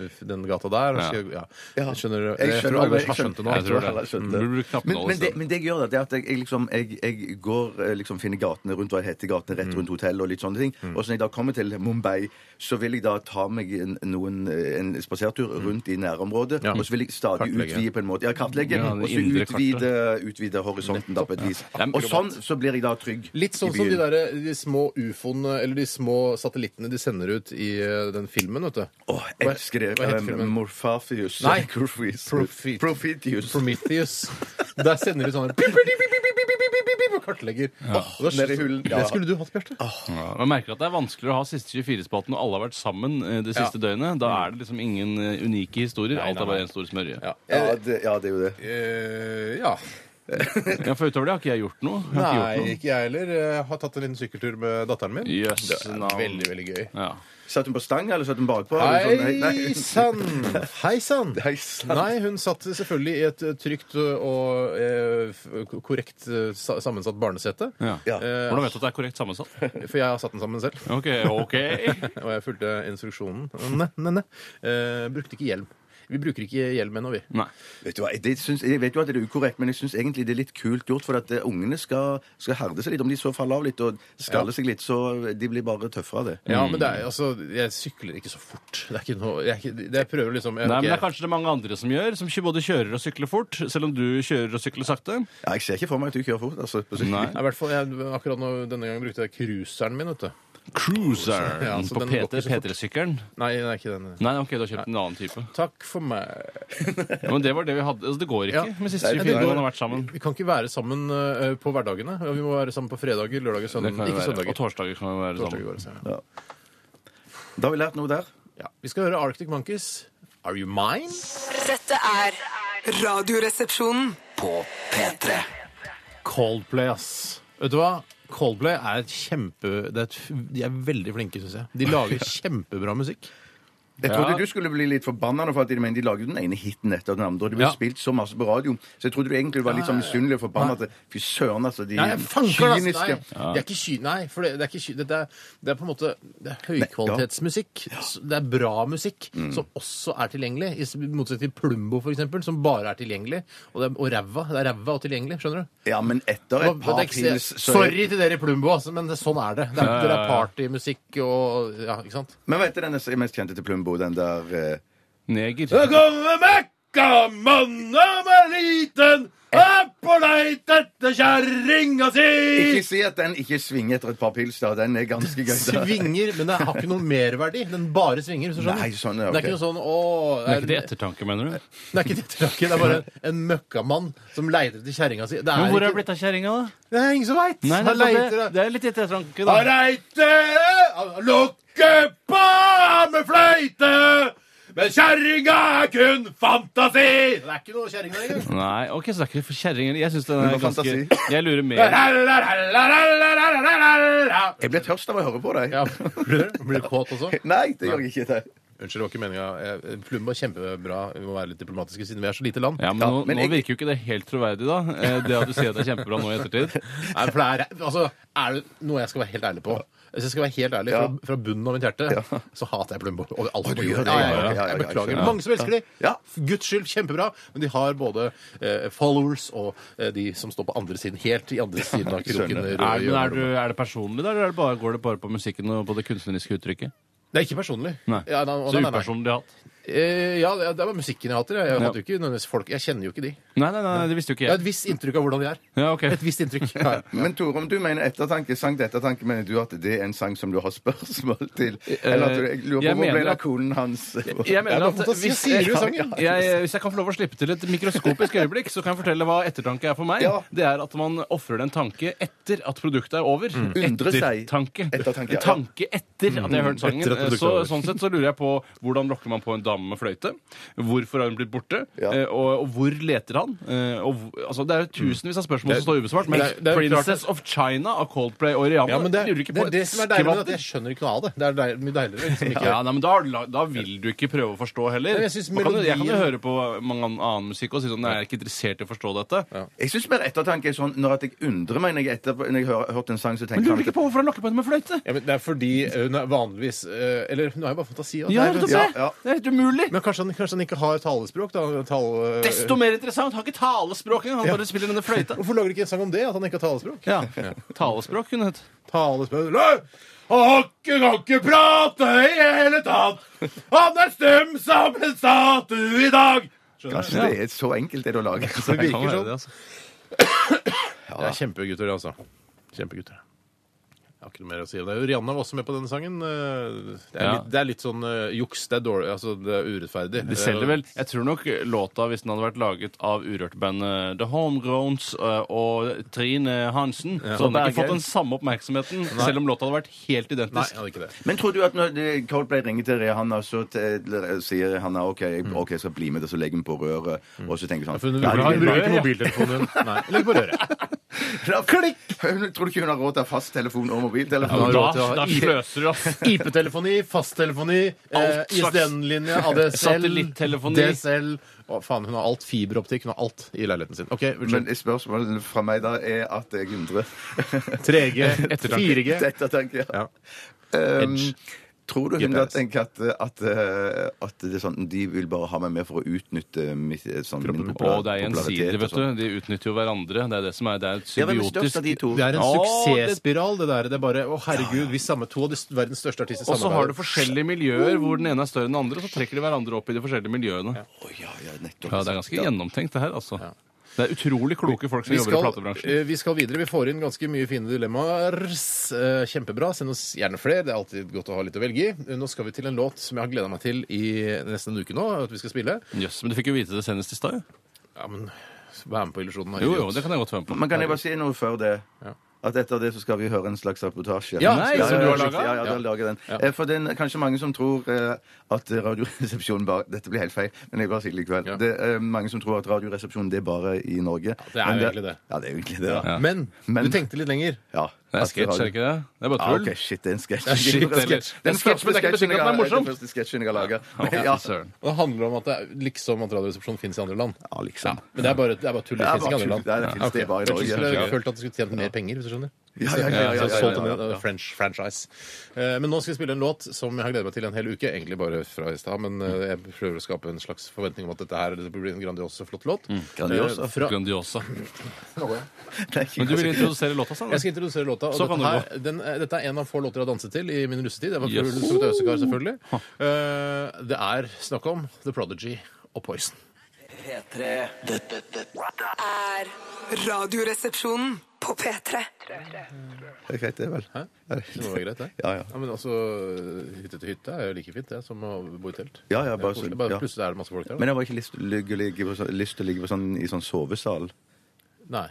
Speaker 3: eh, den gata der. Og
Speaker 5: Ja.
Speaker 3: så, ja.
Speaker 4: Ja.
Speaker 3: Skjønner du?
Speaker 4: Jeg
Speaker 3: Jeg
Speaker 4: skjønner,
Speaker 3: tror alle
Speaker 4: jeg
Speaker 3: har skjønt det Mm, nå.
Speaker 5: Jeg tror det.
Speaker 4: Jeg skjønte.
Speaker 5: Du bruker knappen
Speaker 4: Men,
Speaker 5: alle
Speaker 4: men, det,
Speaker 5: steder.
Speaker 4: men det jeg gjør, da, det er at jeg, jeg liksom jeg, jeg går eh, liksom finner gatene rundt hva heter gatene
Speaker 3: Mm.
Speaker 4: rett rundt hotellet og litt sånne ting. Og så når jeg da kommer til Mumbai, så vil jeg da ta meg en, noen, eh, en spasertur rundt i nærområdet.
Speaker 3: Mm. Ja.
Speaker 4: Og så vil jeg stadig
Speaker 3: Kartlegge.
Speaker 4: utvide på en måte. Ja, kartlegge.
Speaker 5: Ja, det
Speaker 4: og så
Speaker 5: indre kartet.
Speaker 4: utvide, utvide horisonten da på et vis.
Speaker 5: Ja.
Speaker 4: Og sånn så blir jeg da trygg.
Speaker 3: Litt sånn
Speaker 4: i
Speaker 3: som de,
Speaker 4: byen.
Speaker 3: der, de små ufoene, eller de små satellittene de sender ut i eh, den filmen, vet du.
Speaker 4: Åh, jeg elsker det.
Speaker 3: Hva heter
Speaker 4: Um,
Speaker 3: filmen?
Speaker 4: Morphatheus. <laughs>
Speaker 3: Nei.
Speaker 4: Profetheus.
Speaker 3: Profet-
Speaker 4: Profetheus.
Speaker 3: Prometheus. Der sender de sånne pip, pip, pip, pip, pip, pip, pip, pip, pip, og kartlegger. Og da-
Speaker 4: ned i hullen. Ja.
Speaker 3: Det skulle du hatt, Bjarte.
Speaker 5: Ja, Man merker at det er vanskeligere å ha siste 24-spalten når alle har vært sammen eh, det siste døgnet. Da er det liksom ingen eh, unike historier.
Speaker 3: Nei,
Speaker 5: Alt
Speaker 3: nei,
Speaker 5: er bare
Speaker 3: nei.
Speaker 5: en stor smørje. Ja.
Speaker 3: Ja.
Speaker 4: Ja, det, ja, det er jo det.
Speaker 3: Eh, ja.
Speaker 5: for utover det har ikke jeg gjort noe. Jeg har ikke
Speaker 3: Nei,
Speaker 5: gjort noe.
Speaker 3: ikke jeg heller. Jeg har tatt en liten sykkeltur med datteren min.
Speaker 5: Jøss,
Speaker 3: det er
Speaker 5: navn.
Speaker 3: veldig, veldig gøy.
Speaker 5: Ja.
Speaker 4: Satt hun på stang, eller satt hun bakpå? eller sånn? Nei, nei.
Speaker 3: Hei sann! Hei
Speaker 4: <laughs>
Speaker 3: sann!
Speaker 4: Hei, sant.
Speaker 3: Nei, hun satt selvfølgelig i et eh, trygt eh, og eh, f- korrekt eh, sa- sammensatt barnesete.
Speaker 5: Ja.
Speaker 4: Ja.
Speaker 3: Eh,
Speaker 5: Hvordan vet du at det er korrekt sammensatt?
Speaker 3: <laughs> For jeg har satt den sammen selv,
Speaker 5: Ok, ok.
Speaker 3: og jeg fulgte instruksjonen. Ne, ne, ne. Eh, brukte ikke hjelm. Vi bruker ikke hjelm ennå, vi.
Speaker 5: Nei.
Speaker 4: Vet du hva, det syns, Jeg vet jo at det er ukorrekt, men jeg syns egentlig det er litt kult gjort. For at eh, ungene skal, skal herde seg litt. Om de så faller av litt og skaller seg litt, så de blir bare tøffere av det.
Speaker 3: Ja, men det
Speaker 5: Mm.
Speaker 3: er, altså, jeg sykler ikke så fort. Det er ikke noe Jeg, er ikke, det jeg prøver liksom jeg,
Speaker 5: Nei, men det er
Speaker 3: ok.
Speaker 5: kanskje det mange andre som gjør, som ikke både kjører og sykler fort, selv om du kjører og sykler sakte.
Speaker 4: Ja, Jeg ser ikke for meg at du kjører fort. altså. På sykkel.
Speaker 5: Nei.
Speaker 3: Nei, i hvert fall, jeg, akkurat nå, Denne gangen brukte jeg cruiseren min. vet du.
Speaker 5: Cruiser
Speaker 3: Ja, så
Speaker 5: på
Speaker 3: den går
Speaker 5: PT,
Speaker 3: ikke så fort.
Speaker 5: P3-sykkelen.
Speaker 3: Nei, det er ikke den.
Speaker 5: Nei, ok, du har kjøpt en annen type.
Speaker 3: Takk for meg.
Speaker 5: Ja, men det var det vi hadde. Altså, det går ikke
Speaker 3: Ja.
Speaker 5: med siste
Speaker 3: Nei, det
Speaker 5: 24
Speaker 3: går-
Speaker 5: når man har vært sammen.
Speaker 3: Vi kan ikke være sammen eh, på hverdagene. Ja, Vi må være sammen på fredager, lørdager,
Speaker 5: Det kan
Speaker 3: søndager.
Speaker 5: jo
Speaker 3: Ikke
Speaker 5: være.
Speaker 3: søndager.
Speaker 5: Og torsdager kan jo være
Speaker 3: Torsdager
Speaker 5: sammen.
Speaker 3: går det, så, ja.
Speaker 4: Da har vi lært noe der.
Speaker 3: Ja. Vi skal høre Arctic Monkeys. Are you mine?
Speaker 6: Dette er Radioresepsjonen.
Speaker 7: På P3.
Speaker 3: Coldplay, ass. Vet du hva? Coldplay
Speaker 4: <laughs>
Speaker 3: er et kjempe... Det er et, f- de er veldig flinke, syns jeg. De lager kjempebra musikk.
Speaker 4: Jeg
Speaker 5: Ja.
Speaker 4: trodde du skulle bli litt forbanna nå, for at de, men de lager jo den ene hiten etter den andre. Og det ble
Speaker 5: Ja.
Speaker 4: spilt så masse på radio, så jeg trodde du egentlig var litt sånn misunnelig og forbanna. at det- Fy søren, altså. De
Speaker 3: Nei, jeg fanker, altså, nei.
Speaker 4: kyniske
Speaker 3: Det er ikke ky... Nei, for det, det er ikke ky... Dette er, det er på en måte det er høykvalitetsmusikk. s- Det er bra musikk
Speaker 4: Mm.
Speaker 3: som også er tilgjengelig, i s- motsetning til Plumbo, for eksempel, som bare er tilgjengelig. Og, det er, og ræva. Det er ræva og tilgjengelig, skjønner du?
Speaker 4: Ja, men etter
Speaker 3: Det
Speaker 4: et par
Speaker 3: er ikke,
Speaker 4: pils så-
Speaker 3: sorry til dere i Plumbo, altså, men det, sånn er det. Det er, det er partymusikk og Ja, ikke sant?
Speaker 4: Men vet du den er mest kjente til Plumbo? Den der eh,
Speaker 5: Neger.
Speaker 8: Det kommer mekkamann om er liten, er på leit etter kjerringa si!
Speaker 4: Ikke si at den ikke svinger etter et par pils, da. Den er ganske gøy.
Speaker 5: <laughs>
Speaker 4: da.
Speaker 3: Svinger, men det har ikke noen merverdi. Den bare svinger. hvis du skjønner.
Speaker 4: Nei, sånn, ja,
Speaker 3: Det er
Speaker 4: ok.
Speaker 3: ikke noe sånn å
Speaker 5: Det er ikke til ettertanke, mener du?
Speaker 3: Det er ikke det trakket, det er bare en, en møkkamann som leiter etter kjerringa si. Det er,
Speaker 5: Men hvor er det
Speaker 3: ikke,
Speaker 5: blitt av kjerringa, da?
Speaker 3: det er ingen som veit!
Speaker 5: Nei,
Speaker 3: Han
Speaker 5: nettopp
Speaker 3: leiter
Speaker 5: det, det er litt til ettertanke,
Speaker 3: Han
Speaker 5: da.
Speaker 3: leiter Lukke på med fløyte! Men kjerringa er kun fantasi! Det er ikke noe kjerringa engang.
Speaker 5: Nei, ok, så det er ikke for kjerringer. Jeg synes den
Speaker 4: Det
Speaker 5: er
Speaker 4: var
Speaker 5: ganske
Speaker 4: fantasi.
Speaker 5: Jeg lurer
Speaker 3: <laughs>
Speaker 5: mer.
Speaker 4: Jeg ble tørst av å høre på deg.
Speaker 3: Ja, blir du- blir du kåt også?
Speaker 4: <laughs> Nei, det gjør jeg ikke. det.
Speaker 3: Unnskyld, det var ikke meninga. Plumbo er kjempebra. Vi må være litt diplomatiske siden vi er så lite land.
Speaker 5: Ja, men
Speaker 4: Ja,
Speaker 5: nå,
Speaker 4: men
Speaker 5: nå
Speaker 4: jeg-
Speaker 5: virker jo ikke det helt troverdig, da. eh, Det at du sier at det er kjempebra nå i ettertid.
Speaker 3: <laughs> Nei, for det er, altså, er det noe jeg skal være helt ærlig på? Hvis jeg skal være helt ærlig fra, fra bunnen av mitt hjerte, så hater jeg Plumbo. Og alt på
Speaker 4: gjør
Speaker 3: jorda.
Speaker 4: det, ja,
Speaker 3: Ja, ja,
Speaker 4: ja,
Speaker 3: ja.
Speaker 4: ja, ja,
Speaker 3: Jeg beklager.
Speaker 4: ja.
Speaker 3: Mange som elsker de.
Speaker 4: Ja.
Speaker 3: Guds skyld, kjempebra. Men de har både eh, followers og eh, de som står på andre siden, helt i andre siden av kroken. eh, rød
Speaker 4: skjønner.
Speaker 5: Er, men
Speaker 3: i
Speaker 5: er, du,
Speaker 3: øyeblikket.
Speaker 5: er det personlig, da, eller er det bare, går det bare på musikken og på det kunstneriske uttrykket?
Speaker 3: Det er ikke personlig.
Speaker 5: Nei.
Speaker 3: Ja, nei,
Speaker 5: så
Speaker 3: nei, nei, nei.
Speaker 5: upersonlig hatt.
Speaker 3: Eh, ja, det det var musikken jeg hater. Jeg,
Speaker 5: Ja.
Speaker 3: hater jo ikke nødvendigvis folk. Jeg kjenner jo ikke de.
Speaker 5: Nei, nei, nei, det visste jo ikke
Speaker 3: Jeg har et
Speaker 5: jeg.
Speaker 3: visst inntrykk av hvordan de er.
Speaker 5: Ja, ok.
Speaker 3: Et visst inntrykk. Ja, ja.
Speaker 4: Men Tore, om du mener ettertanke, sang til ettertanke, mener du at det er en sang som du har spørsmål til? Eller at du, jeg lurer
Speaker 5: Eh, jeg
Speaker 4: på hvor
Speaker 5: mener
Speaker 4: ble det av
Speaker 5: at-
Speaker 4: konen hans?
Speaker 5: <laughs> Jeg mener
Speaker 3: Ja,
Speaker 5: at
Speaker 3: men da
Speaker 5: hvis
Speaker 3: sier
Speaker 5: jeg,
Speaker 3: du sangen.
Speaker 5: jeg, hvis jeg kan få lov å slippe til et mikroskopisk øyeblikk, så kan jeg fortelle hva ettertanke er for meg.
Speaker 4: Ja.
Speaker 5: Det er at man ofrer en tanke etter at produktet er over.
Speaker 3: Mm.
Speaker 4: Undre seg.
Speaker 5: Ettertanke.
Speaker 4: Ettertanke,
Speaker 5: En
Speaker 4: ja.
Speaker 5: tanke etter at jeg har
Speaker 3: Mm.
Speaker 5: hørt sangen.
Speaker 8: Etter at produktet
Speaker 5: Så,
Speaker 8: er over.
Speaker 5: sånn sett så lurer jeg på hvordan lokker man på en dame med fløyte? Hvorfor har hun blitt borte?
Speaker 4: Ja.
Speaker 5: Eh, Og, og hvor leter han? Eh, Og, hvor- altså, det er
Speaker 3: Mm.
Speaker 5: jo tusenvis av spørsmål som står ubesvart, men
Speaker 3: Det er- det er jo klart-
Speaker 5: Princess of China av Coldplay og Rihanna
Speaker 3: Ja, men det,
Speaker 5: lurer du
Speaker 3: det
Speaker 5: ikke på
Speaker 3: er det
Speaker 5: et
Speaker 3: som er deilig, men
Speaker 5: skvatt.
Speaker 3: at jeg skjønner ikke noe av det. Det er deil- mye deiligere. Liksom ikke.
Speaker 5: Ja, nei, men da, la- da vil du ikke prøve å forstå heller.
Speaker 3: Men jeg synes
Speaker 5: Da kan du, jeg kan jo
Speaker 3: melodien-
Speaker 5: høre på mange an- annen musikk og si sånn Nei, jeg er ikke interessert i å forstå dette.
Speaker 4: Jeg syns mer ettertanke er sånn når at jeg undrer meg når jeg, etterpå, når jeg har hørt en sang, så tenker jeg
Speaker 5: på hvorfor han lokker på henne med fløyte?
Speaker 3: Ja, men Det er fordi hun er vanligvis eh, Eller hun har jo bare fantasi. da.
Speaker 5: Ja,
Speaker 3: Nei, men-
Speaker 5: nettopp
Speaker 4: ja,
Speaker 5: det!
Speaker 4: ja.
Speaker 5: Det er helt umulig.
Speaker 3: Men kanskje han, kanskje han ikke har talespråk? da eh, tale,
Speaker 5: Desto mer interessant. Han har ikke talespråk engang. Han bare spiller denne fløyta.
Speaker 3: Hvorfor lager de ikke en sang om det? At han ikke har talespråk?
Speaker 5: Ja. Talespråk kunne hett.
Speaker 3: Talespråk Lø! Han kan ikke prate i hele tatt! Han er stum som en statue i dag!
Speaker 4: Kanskje det er så enkelt det er å lage. <laughs>
Speaker 5: Kan
Speaker 3: Det virker
Speaker 5: være
Speaker 3: sånn.
Speaker 5: det, altså.
Speaker 3: Det er kjempegutter, det, altså. Kjempegutter. Jeg har ikke noe mer å si. om Det Rihanna var også med på denne sangen. eh, Det er,
Speaker 5: Ja.
Speaker 3: litt, det er litt sånn eh, juks. Det er dårlig. Altså, det er urettferdig. Eh,
Speaker 5: De selger vel Jeg tror nok låta, hvis den hadde vært laget av Urørt-bandet The Homegrowns eh, og Trine Hansen, så hadde den ikke fått den samme oppmerksomheten, selv om låta hadde vært helt
Speaker 3: Nei,
Speaker 5: identisk.
Speaker 3: jeg hadde ikke det.
Speaker 4: Men tror du at når det- Coldplay ringer til Rihanna, så t- eh, sier Rihanna OK, jeg, ok, jeg skal bli med, og så legger hun på røret, og så tenker hun
Speaker 3: Mm. For hun,
Speaker 4: sånn Nei,
Speaker 3: hun bruker
Speaker 5: røret,
Speaker 3: ikke
Speaker 5: ja.
Speaker 3: mobiltelefonen. <laughs> hun. Nei, Legg på røret.
Speaker 4: Klikk! Tror du ikke hun har råd til å ha fasttelefon og
Speaker 3: Ja,
Speaker 4: mobiltelefon?
Speaker 3: hun har råd
Speaker 5: Da,
Speaker 3: til å ha
Speaker 5: da
Speaker 3: i-
Speaker 5: sløser du, ass.
Speaker 3: <laughs> IP-telefoni, fasttelefoni, eh,
Speaker 5: Alt slags.
Speaker 3: ISDN-linje, ADSL,
Speaker 5: Satellittelefoni.
Speaker 3: DSL Å, faen, hun har alt. Fiberoptikk. Hun har alt i leiligheten sin. OK,
Speaker 4: Men
Speaker 3: unnskyld.
Speaker 4: spørsmålet fra meg da er at jeg undrer
Speaker 3: 3G,
Speaker 5: Ettertanke.
Speaker 4: <laughs>
Speaker 3: 4G.
Speaker 4: Dette tenker jeg.
Speaker 3: Ja.
Speaker 4: Um,
Speaker 3: Edge.
Speaker 4: tror du hun da
Speaker 3: GPS.
Speaker 4: tenker at, at, eh, at det er sånn, de vil bare ha meg med for å utnytte mitt, eh, sånn, min
Speaker 3: Kroppen.
Speaker 5: Mm, Og
Speaker 4: popular-
Speaker 5: det er
Speaker 4: popularitet
Speaker 5: gjensidig,
Speaker 4: og
Speaker 5: vet du.
Speaker 4: sånn?
Speaker 5: De utnytter jo hverandre. Det er det som er, det er et
Speaker 4: Ja, hvem er størst
Speaker 5: symbiotisk
Speaker 4: av de to?
Speaker 3: Det er en
Speaker 5: Å,
Speaker 3: suksessspiral, det der. Det er bare Å, herregud, vi sammen to av de st- verdens største artister
Speaker 5: Og så har du
Speaker 3: samarbeider.
Speaker 5: forskjellige miljøer hvor den ene er større enn den andre, og så trekker de hverandre opp i de forskjellige miljøene.
Speaker 4: Å, ja, ja, nettopp.
Speaker 5: Ja, Det er ganske gjennomtenkt, det her, altså. Det er utrolig kloke folk som
Speaker 3: Vi
Speaker 5: jobber i
Speaker 3: skal,
Speaker 4: øh,
Speaker 5: platebransjen.
Speaker 3: eh, vi skal videre. Vi får inn ganske mye fine dilemmaer. Eh, Kjempebra. Send oss gjerne flere. Det er alltid godt å ha litt å velge i. Eh, Nå skal vi til en låt som jeg har gleda meg til i nesten en uke nå. At vi skal spille.
Speaker 5: Jøss, men du fikk jo vite det senest i stad, jo.
Speaker 3: Ja, men vær med på illusjonen. da,
Speaker 5: Jo, jo,
Speaker 3: idiot.
Speaker 5: det kan jeg godt være med på.
Speaker 4: Men kan jeg bare si noe før det?
Speaker 3: Ja.
Speaker 4: At etter det så skal vi høre en slags reportasje.
Speaker 3: Ja,
Speaker 5: Nei,
Speaker 3: som du har
Speaker 4: ja,
Speaker 3: laget?
Speaker 4: ja, ja, du har laget den. Eh, For det er kanskje mange som tror eh, at Radioresepsjonen bare Dette blir helt feil, men jeg bare sier det likevel.
Speaker 3: Ja.
Speaker 4: Det er mange som tror at Radioresepsjonen det er bare i Norge.
Speaker 3: det er
Speaker 4: Men
Speaker 3: jo egentlig det.
Speaker 4: Ja, det er jo egentlig det. da.
Speaker 3: Men,
Speaker 4: Men-
Speaker 3: du tenkte litt lenger.
Speaker 4: Ja.
Speaker 5: Det er sketsj, er det ikke det? Det er bare
Speaker 4: Ah,
Speaker 5: tull.
Speaker 4: ok, shit, det er en sketsj.
Speaker 5: er shit, det er en sketsj. Det er en
Speaker 4: Den
Speaker 5: sketsj, men det er ikke
Speaker 4: første sketsjen
Speaker 5: betyr
Speaker 4: jeg
Speaker 5: ikke at den er
Speaker 4: har-
Speaker 5: morsom.
Speaker 4: den første sketsjen jeg har laga.
Speaker 5: Å, fy
Speaker 4: Ja,
Speaker 5: søren.
Speaker 3: Og det handler om at det er liksom at Radioresepsjonen finnes i andre land.
Speaker 4: Ja, liksom.
Speaker 3: Men det er bare, det er bare tull. Det
Speaker 4: Det er
Speaker 3: finnes ikke i
Speaker 4: bare
Speaker 3: andre
Speaker 4: tull.
Speaker 3: land.
Speaker 4: Det er- det finnes det bare i
Speaker 3: Jeg
Speaker 4: Norge.
Speaker 3: skulle
Speaker 5: Ja.
Speaker 3: følt at du skulle tjent mer penger, hvis du skjønner.
Speaker 4: Ja, ja, ja, ja, ja,
Speaker 3: Så
Speaker 4: ja,
Speaker 3: solgt
Speaker 4: ja,
Speaker 3: en,
Speaker 4: ja.
Speaker 3: uh, French franchise. Eh, Men nå skal vi spille en låt som jeg har gledet meg til en hel uke. Egentlig bare fra i stad, men eh, jeg prøver å skape en slags forventning om at dette her det blir en grandios, flott låt.
Speaker 4: Mm, Grandiosa.
Speaker 3: Eh, Fra,
Speaker 5: Grandiosa.
Speaker 4: Det er ikke-
Speaker 5: Men du ville introdusere låta, sa du?
Speaker 3: jeg skal introdusere låta. Og
Speaker 5: Så kan du
Speaker 3: dette, her, den, eh, dette er en av få låter jeg har danset til i min russetid. Jeg var
Speaker 5: Yes.
Speaker 3: yes. som et øsekar, selvfølgelig. Eh, Det er snakk om The Prodigy og Poison.
Speaker 2: P3. Dette, dette, dette
Speaker 9: er Radioresepsjonen på P3.
Speaker 4: Det er greit, det, vel.
Speaker 3: Hæ? Det må være greit, det.
Speaker 4: <laughs> Ja, ja.
Speaker 3: men altså, Hytte til hytte er jo like fint det, som å bo i telt.
Speaker 4: Ja, ja,
Speaker 3: Det er
Speaker 4: bare
Speaker 3: koselig.
Speaker 4: så-
Speaker 3: bare
Speaker 4: ja.
Speaker 3: Plutselig er det masse folk der. da.
Speaker 4: Men jeg har ikke lyst, ligge, ligge, på sånn- lyst til å ligge på sånn, i sånn sovesal.
Speaker 3: Nei.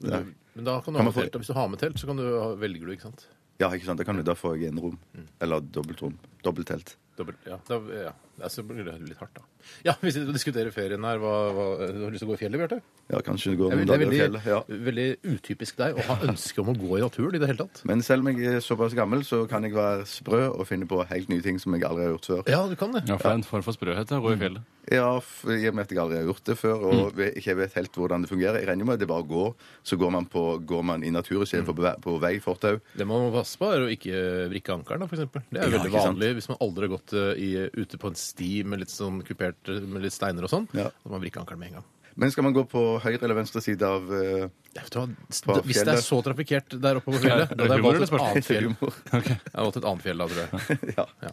Speaker 3: Men,
Speaker 4: Nei.
Speaker 3: du- men da kan du ha
Speaker 4: Kan man
Speaker 3: med
Speaker 4: få-
Speaker 3: telt. og Hvis du har med telt, så kan du, ha- velger du, ikke sant?
Speaker 4: Ja, ikke sant? Da, kan du, da får jeg enerom. Eller dobbeltrom. Dobbelttelt.
Speaker 3: Dobbelt, ja, da, ja. Ja, så blir det litt hardt, da. Ja, Vi sitter og diskuterer ferien her. Hva, hva, du har lyst til å gå i fjellet, Bjarte?
Speaker 4: Ja, kanskje det går
Speaker 3: Det
Speaker 4: noen
Speaker 3: er
Speaker 4: dager i
Speaker 3: veldig,
Speaker 4: fjellet. Ja.
Speaker 3: veldig utypisk deg å ha ønske om å gå i naturen i det hele tatt.
Speaker 4: Men selv om jeg er såpass gammel, så kan jeg være sprø og finne på helt nye ting som jeg aldri har gjort før.
Speaker 3: Ja, du kan det.
Speaker 5: Ja, for det er en form for sprøhet å gå
Speaker 4: Mm.
Speaker 5: i fjellet.
Speaker 4: Ja, f- I og med at jeg aldri har gjort det før, og ve- ikke jeg vet helt hvordan det fungerer. Jeg regner med at det bare går. Så går man, på, går man i natur istedenfor på, vei- på vei, fortau.
Speaker 3: Det man må passe på, er å ikke vrikke ankelen, da, for eksempel. Det er jo
Speaker 4: Ja,
Speaker 3: veldig
Speaker 4: ikke sant.
Speaker 3: vanlig hvis man aldri har gått eh, i, ute på en sti med litt sånn kupert eh, med litt steiner og sånn.
Speaker 4: Ja.
Speaker 3: At man vrikker ankelen med en gang.
Speaker 4: Men skal man gå på høyre eller venstre side av eh,
Speaker 3: Ja, vet du hva? S-
Speaker 4: På
Speaker 3: d- Hvis det er
Speaker 4: fjellet.
Speaker 3: så trafikkert der oppe på <laughs> fjellet,
Speaker 5: Er det
Speaker 3: da hadde jeg
Speaker 5: humor,
Speaker 3: valgt et
Speaker 5: eller
Speaker 3: annet fjell.
Speaker 4: humor?
Speaker 3: <laughs> Jeg hadde valgt et annet fjell da, tror jeg. <laughs>
Speaker 4: ja.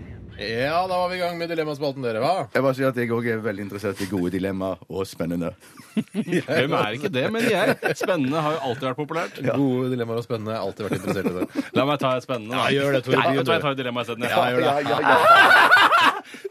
Speaker 3: Ja, da var vi i gang med Dilemmaspalten, dere. Hva?
Speaker 4: Jeg bare sier at jeg òg er veldig interessert i gode dilemmaer og spennende.
Speaker 5: Hvem er ikke det, men jeg. Spennende har jo alltid vært populært.
Speaker 3: Gode dilemmaer og spennende. Jeg har Alltid vært interessert i det.
Speaker 5: La meg ta et spennende. da.
Speaker 3: Ja, gjør det, Tore.
Speaker 5: Nei,
Speaker 3: Begynn,
Speaker 5: vet du hva, jeg
Speaker 3: du.
Speaker 5: tar et dilemma isteden.
Speaker 3: Ja, gjør det.
Speaker 4: ja, ja.